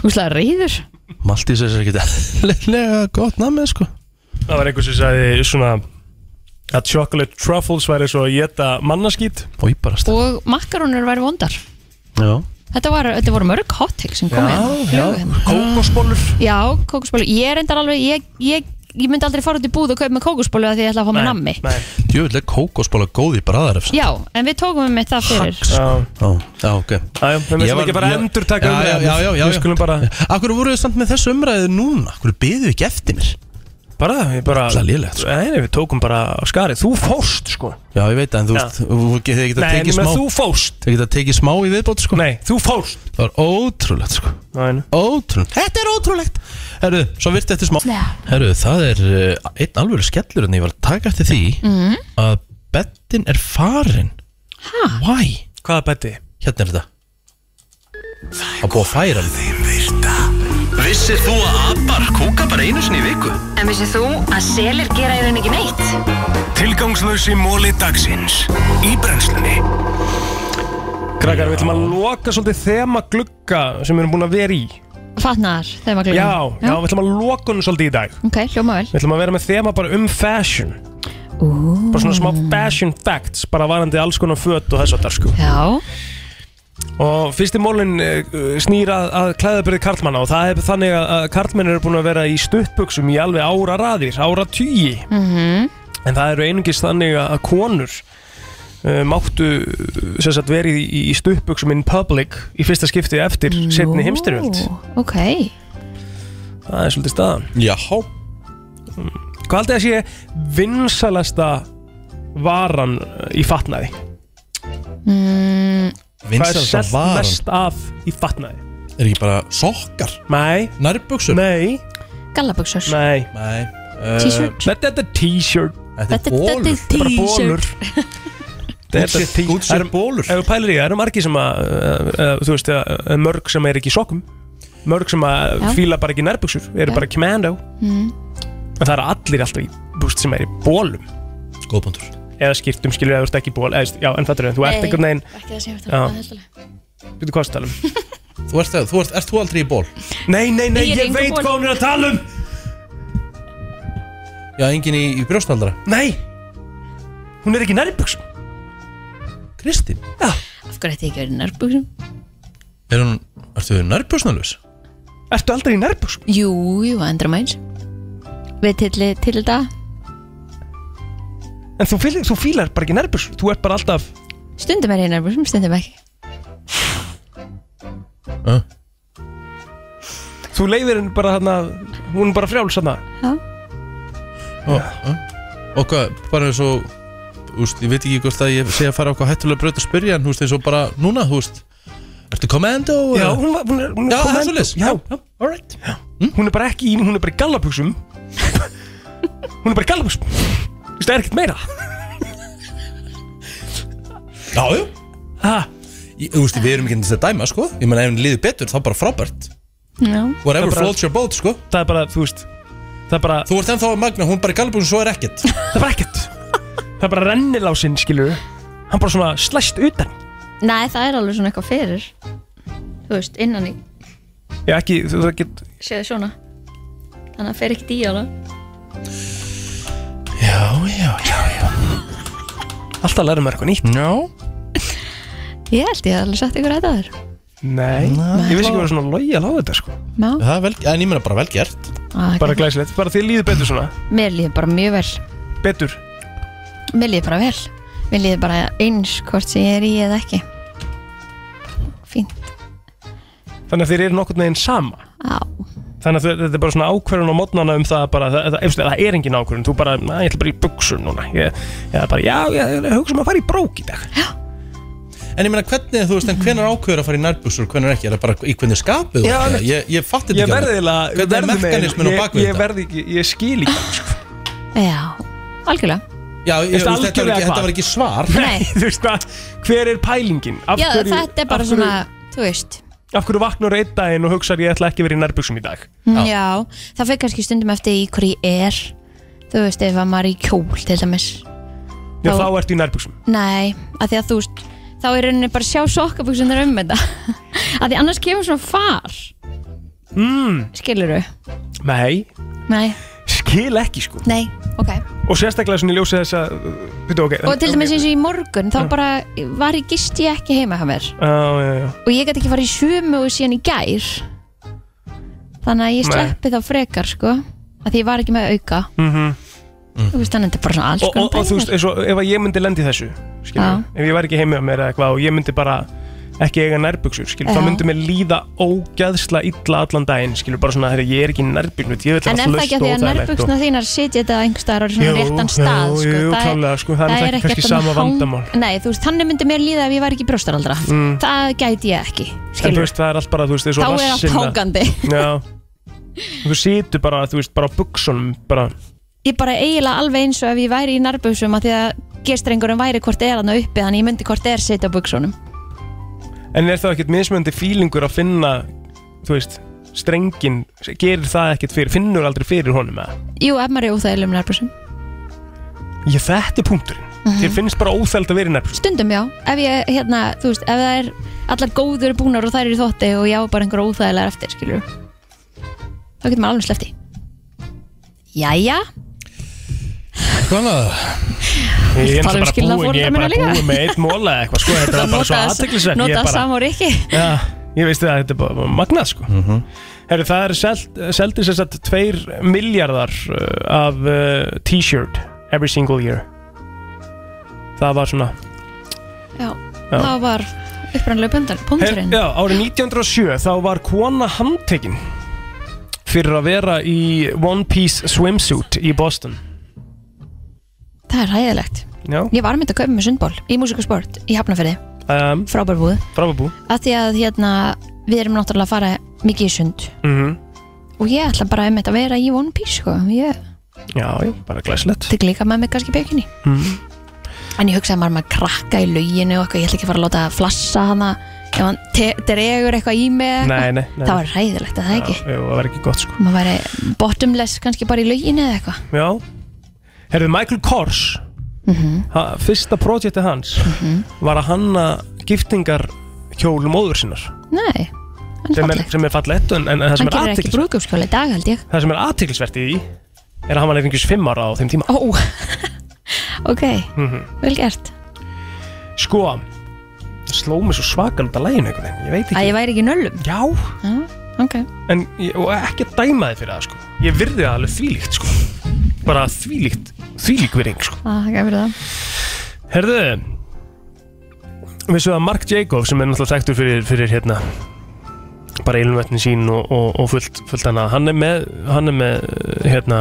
Úslega reyður Maltisers er ekki Lega gott namið sko Það var einhver sem sagði svona að chocolate truffles væri svo að geta mannaskýt Í bara stað Og makkarónur væri vondar Já Þetta, var, þetta voru mörg hot takes sem kom inn Kókosbólur hérna. Já, kókusbólu Ég er endar alveg Ég, ég, ég myndi aldrei fara út í búð og kaupa með kókusbólu því ég ætla að fá mér nammi Djöfull er kókosbóla góð í bræðarefs Já, en við tókum með það fyrir Já, já, ok Já, við Ég myndum var- ekki bara ég- endur taka Já, já, já, já, já, Við skulum bara Akkur voruð þið samt með þessu umræðu núna? Akkur byðu ekki eftir mér? Bara, ég bara Það er lélegt, sko. Nei, nei, við tókum bara á skarið Þú fóst, sko Já, ég veit það, en þú Já. veist, þú get- þið geta Nei, tekið en smá þú fóst Þið geta tekið smá í viðbót, sko Nei, þú fóst Það var ótrúlegt, sko Nei. Ótrúlegt Þetta er ótrúlegt Herru, svo virt eftir smá Herru, það er uh, einn alvöru skellur en ég var að taka eftir því Mhm. að bettin er farin Ha? Why? Hvaða betti? Hérna er þetta Það er búið að færa hann Vissir þú að abar kúka bara einu sinni í viku? En vissið þú að selir gera í rauninni ekki neitt? Tilgangslösi móli dagsins Í brennslunni Krakkar, við ætlum að loka svolítið þema glugga sem við erum búin að vera í Fatnaðar, þegar maður Já, glugga já, við ætlum að loka hún svolítið í dag Ok, hljóma vel Við ætlum að vera með þema bara um fashion Ú. Bara svona smá fashion facts Bara varandi alls konar fött og þess að það sko Já Og fyrsti mólin snýra að klæðaburði karlmanna og það er þannig að- að karlmenn eru búin að vera í stuttbuxum í alveg ára raðir, ára tugi Mhm. En það eru einungis þannig að að konur uh, máttu uh, sem sagt verið í, í stuttbuxum in public í fyrsta skipti eftir setni heimstyrjöld. Ok Það er svolítið staðan. Mm. Já. Hvað haldið að sé vinsalasta varan uh, í fatnaði? mm, Hvað er selt mest af í fatnaði? Er ekki bara sokkar? Nei Nærbuxur? Nei Gallabuxur Nei Nei Eh, T-shirt? Þetta er t-shirt Þetta er bólur. Þetta er Bara t-shirt. bólur Þetta er Útsett- t- útsett það eru- bólur. Ef þú pælir í, það eru margir sem að uh, uh, Þú veist, uh, uh, mörg sem er ekki í sokkum Mörg sem að Já. fíla bara ekki nærbuxur Eru Já. bara commando Mm. En það eru allir alltaf í, búst, sem er í bólum Góðbundur Eða skiptum, skilur, eða þú ert ekki í ból eða, Já, en fattur þau, þú ert Nei, einhvern veginn ekki það sem ég var að tala um, Já. Býttu hvað að tala um Þú ert, þú ert, ert þú aldrei í ból? Nei, nei, nei, Ég er ég, engu veit ból. hvað hún er að tala um Já, engin í, í brjóstnaldara Nei Hún er ekki nærbuxum Kristín Af hverju ætti ég ekki verið nærbuxum? Er hún, ertu nærbuxnalus? Ertu aldrei í nærbuxum? Jú, jú, andra mæns Við til, til þetta En þú, fíl, þú fílar bara ekki nærbuxur Þú ert bara alltaf Stundum er ég í nærbuxum, stundum ekki Uh. Þú leifir henni bara hérna Hún er bara frjáls hérna Ó, já. eh? Og hvað, bara eins og úst, Ég veit ekki hvort að ég sé að fara á hvað hættulega braut að spyrja En húst eins og bara núna, húst Ertu kommendo? Já, hún, var, hún er, hún er Já, Hm? það er svoleiðis. Já, já, all right Hún er bara ekki í, hún er bara í gallabuxum Hún er bara í gallabuxum Þú veist, það er ekkert meira Já, já Ha? Ég, þú veist, við erum ekki að dæma, sko Ég meina, ef henni líður betur, þá bara frábært Já. Whatever Það er bara- floats your boat, sko Það er bara, þú veist Það er bara Þú ert ennþá að magna, hún bara í galbúin, svo er ekkert Það er bara ekkert Það er bara rennilásinn, skilur Hann bara svona slæst utan Nei, það er alveg svona eitthvað fyrir Þú veist, innan í Já, ekki, þú veist, ekki séðu svona Þannig að fer ekkert í hana Já, já, já, já Alltaf lærum við eitthvað nýtt Já no. Ég held ég að alveg sagt ykkur þetta þér Nei, ég vissi ekki að vera svona lojal á þetta, sko Já. Það er vel, en ég meina bara vel gert Ah, Bara glæsilegt, bara þið líður betur svona Mér líður bara mjög vel Betur Mér líður bara vel Mér líður bara eins hvort sem ég er í eða ekki Þannig að þeir eru nokkurn veginn sama Já. Þannig að þau- þetta er bara svona ákvörðun á mótnana um það bara, það, það, ef það er engin ákvörðun, þú bara, na, ég ætla bara í buxur núna ég, ég er bara, já, ég, ég hugsa um að fara í brók í dag En ég meina, hvernig, þú veist, en hvenar ákveður að fara í nærbuxur, hvenar ekki, er það bara í hvernig skapið þú Já, ert eða? einmitt. Ég, ég fatti þetta Ég ekki verði eiginlega Hvernig er verði með- mekanismin á ég- bakvið Ég þetta? verði ekki, ég skil ekki sko. Já, algjörlega Já, ég, þú Veistu veist, þetta, var algjörlega ekki, hvað? þetta var ekki svar Nei. Þú veist hvað, hver er pælingin? Af Já, hverju- þetta er bara af hverju- svona, þú veist Af hverju vaknar einn daginn og hugsar ég ætla ekki að vera í nærbuxum í dag Já, það fer kannski stundum eftir í hverju ég er Þú veist, ef að maður er í kjól til dæmis Já, þá ertu í nærbuxum Nei, að því að þú veist Þá er rauninni bara að sjá sokkabuksunar um þetta Að því annars kemur svona far mm, Skilurðu? Nei, Nei, skil ekki sko nei, ok Og sérstaklega svona í ljósi þess að Býtu, ok Og til dæmis eins og í morgun Þá bara var ég gist ég ekki heima hjá mér Já, já, já Og ég gæti ekki farið í sumu og síðan í gær Þannig að ég Nei. sleppi þá frekar sko Að því ég var ekki með auka mm Þú veist, þannig að þetta er bara svona alls og, og, og þú veist, eins og ef að ég myndi lendi þessu skilur, Já. ef ég væri ekki heimi á mér eða eitthvað og ég myndi bara ekki eiga nærbuksur, skilur, þá Já. myndi mér líða ógæðsla illa allan daginn, skilur, bara svona þegar ég er ekki í nærbuksum, ég vil En er það ekki að því að nærbuksna þínar sitja þetta einhvers staðar á svona sko. Jú, réttan jú, stað sko. jú, Það klárlega, sko, það er náttúrulega ekkert kannski að sama hang- vandamál. Nei, þú veist, þannig myndi mér líða ef ég væri ekki brjóstaraldra Mm. Það gæti ég ekki En þú skilur. veist, það er allt bara, þú veist, eins Þá og er allt hókandi Já Þú situr bara, þú veist, bara á buksunum bara, ég bara eiginlega alveg eins og ef ég væri í nærbúsum að því að gerstrengurinn væri hvort er hann uppi þannig ég myndi hvort er sitja á buksunum En er það ekkert mismöndi fílingur að finna, þú veist, strengin Gerir það ekkert fyrir, finnur aldrei fyrir honum eða? Jú, ef maður er óþægilegum nærbúsum Ég þetta er punkturinn Mhm. Þér finnst bara óþæld að vera í nærbuksum Stundum já, ef ég, hérna, þú veist, ef það er allar góður búnar og þær eru í þótti og ég á bara einhver óþægilegar eftir, skilur þá getur maður alveg slefti Jæja, Hvað annað? Ég er Tala um náttúrulega bara skilnaðarforeldra búinn, ég er bara mína líka. búinn með eitt móla eða eitthvað, sko, þetta var bara svo aðteklisverð nota samar ekki Já, ég veistu að þetta er bara magnað, sko Mhm. Herru, það er seld, seldir sér satt 2 miljardar uh, af uh, t-shirt every single year Það var svona Já, Já. það var upprannlega bundan, Her, punkturinn Já, árið 1907 þá var kona handtekinn fyrir að vera í One Piece swimsuit í Boston Það er hæðilegt Já, Ég var myndi að kaupa með sundból í Músikasport í Hafnafyrði, um, frábær búð frábabú að því að hérna við erum náttúrulega að fara mikið í sund mm og ég ætla bara um þetta að vera í One Piece sko. ég Já, já, bara glæslegt tek líka með mig kannski bjökinni Mhm. en ég hugsaði maður maður krakka í lauginu og eitthvað, ég ætla ekki að fara að láta það flassa hana ef hann te- dregur eitthvað í mig eða Nei, eitthvað. nei, nei það var ræðilegt að það ekki Já, jú, það var ekki gott sko maður væri bottomless kannski bara í lauginu eða eitthvað Já Herðu, Michael Kors Mhm. ha, Fyrsta projekti hans Var að hanna giftingar kjól móður sinnar nei, hann er sem er, fallegt sem er fallett en, en það, hann sem er gerir ekki athyglis- brúkumskjóli í dag held ég það sem er aðtiklisvert í því Er að hann var nefningis fimm ára á þeim tíma ó, ok, mm vel gert Sko það Sló mig svo svakal út af læginu einhvern veginn Ég veit að ekki ég væri ekki í nöllum já, ok En ég, og ekki að dæma þið fyrir það sko Ég virði það alveg þvílíkt sko Bara þvílíkt, þvílík virðing sko Ah, það gæfir það Herðu Vissu að Mark Jacob sem er náttúrulega þekktur fyrir, fyrir hérna bara ilmvötnin sín og, og, og fullt, fullt annað hann er með, hann er með uh, hérna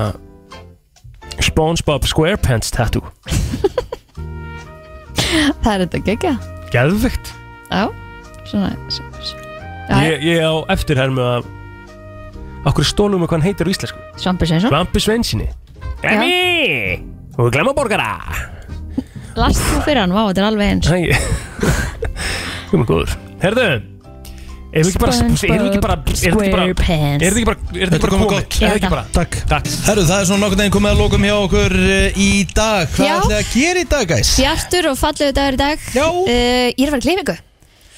Spongebob Squarepants tattoo Það er þetta gegja geðvikt Já, svona s- s- Já, ég, ég á eftir hér með að okkur stólum við hvað hann heitir á íslensku Svampi Sveinsson Svampi Sveinsinni Emmi og glemmaborgara Last þú fyrir hann, vá, þetta er alveg eins Æ, Þú erum góður Herðu Erum við ekki bara Erum við ekki bara Erum við ekki bara SpongeBob Erum við ekki bara Erum við ekki Þetta bara er komið komið gott. Erum við ekki bara Takk Takk Herru, það er svona nokkur neginn komið að lókum hjá okkur eh, í dag Hvað Já. ætlið þið að gera í dag, guys? Bjartur og fallegu dagur í dag Já Ég er að fara í klippingu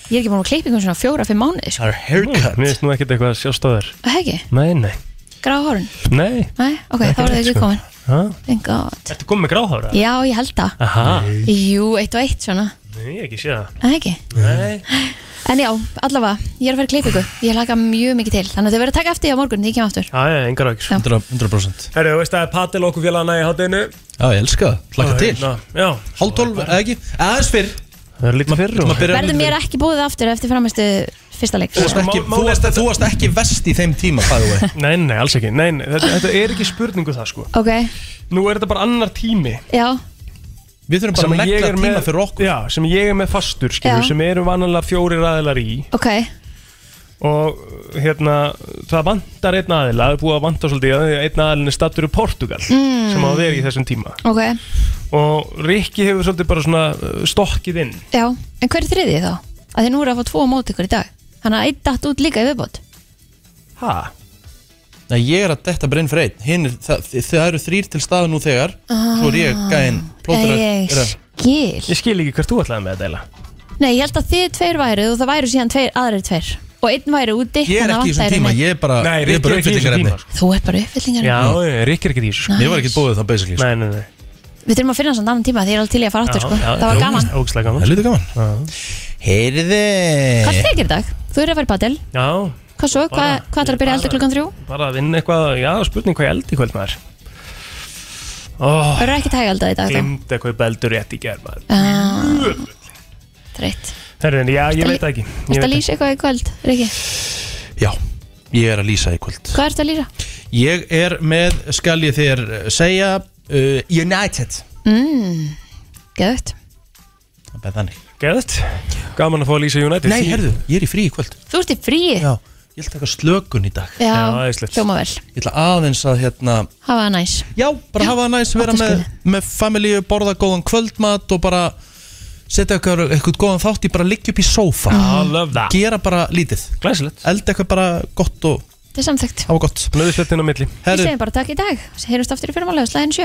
Ég er ekki búin að klippa ykkur svona fjóra, fimm mánuði sko. Our haircut Mér veist nú ekkert eitthvað að sjást á þér Er Það ekki, Nei, nei gráða hórun Nei Nei, ok, þá er það sko. ekki komin Ha? Thank God Ertu komið með gráhára? Já, ég held það Aha Jú, eitt og eitt svona Nei, ég ekki sé það Er Það ekki Nei En já, allavega, ég er að fara í klippingu Ég laka mjög mikið til Þannig að þið verður að taka eftir á morgun, þegar ég kem aftur Já, já, engar ákjör 100% Herru, þú veist að það er patil okkur félagana í hátinu Já, ég elska það Laka Já, til hérna, Já Hálf tólf, eða ekki? Aðeins fyrr Það er lítið fyrr Verður mér ekki búið aftur eftir framistu fyrsta leik Þú varst ekki, þú varst, þú varst ekki vest í þeim tíma, by the way Nei, nei, alls ekki Nei, nei, þetta, þetta er ekki spurningu það sko Ok, Nú er þetta bara annar tími já, Við þurfum bara Sem að ég negla er tíma með- fyrir okkur Já, sem ég er með fastur skilur, Já. sem eru vanalega fjórir aðilar í ok og hérna, það vantar einn aðila, það er búið að vanta svolítið að einn aðilin er stattur í Portugal Mm. sem á að vera í þessum tíma Ok, og Rikki hefur svolítið bara svona uh, stokkið inn já, en hver er þriðið þá? Að þið nú eru að fá tvo á móti ykkur í dag Þannig að einn datt út líka í viðbót Ha? Nei, ég er að detta bara inn fyrir einn Hinn er, það, þið- það eru þrýr til staða nú þegar Svo er ég gæinn plóterar- Ég er að- skil Ég skil ekki hvert þú ætlaði með að deila Nei, ég held að þið tveir væruð og það væru síðan tveir, aðrir tveir Og einn væri úti Ég er þannig að ekki vantaði í þessum tíma, rauninni- ég er bara, Nei, ég er bara Rikki er ekki í þessum uppfyllingarefni tíma, sko. Þú er bara uppfyllingar Já, Rikki er ekki í þessu sko. Ég var ekki búið það basically Nei, nei, nei Við þurfum að finna samt annan tíma því ég er alveg til í að fara aftur Já, sko. já, Það var já, gaman Ógeðslega gaman Það er lítið gaman Heyrði Eh. Hvað er þið að gera í dag? Þú eru að fara í padel Já, Hvað svo? Hva, Bara- hvað ætlar að byrja bara- eldur klukkan þrjú? bara að vinna eitthvað, já, spurning hvað ég eldi í kvöld maður Ó, Það eru ekki tæg elda í dag sko. þá glimta hvað ég beldur rétt í gerð maður Ah, Þreytt Herrin, já, ég Ertu veit það ekki Ég Ertu veit að lýsa eitthvað í kvöld, Riki? Já, ég er að lýsa í kvöld Hvað ertu að lýsa? Ég er með, skal ég þér eh, segja uh, United Mm, Gæðut Það er bara þannig Geðt, gaman að fá að lýsa United Nei, herðu, ég er í frí í kvöld Þú ert í fríi Já, ég ætla að taka slökun í dag Já, Já, æðislegt. hljóma vel. Ég ætla aðeins að hérna Hafa það næs Já, bara hafa það næs, vera áttu með, með familíu, borða góðan kvöldmat og bara setja eitthvað, eitthvað góðan þátt í bara liggja upp í sófa Já, love that. Gera bara lítið Glæsilegt Elda eitthvað bara gott og Þetta er samþygt hafa gott Nauðislettinn á milli Við segjum bara takk í dag Heyrjumst aftur í fyrrmálega, slæðin sjö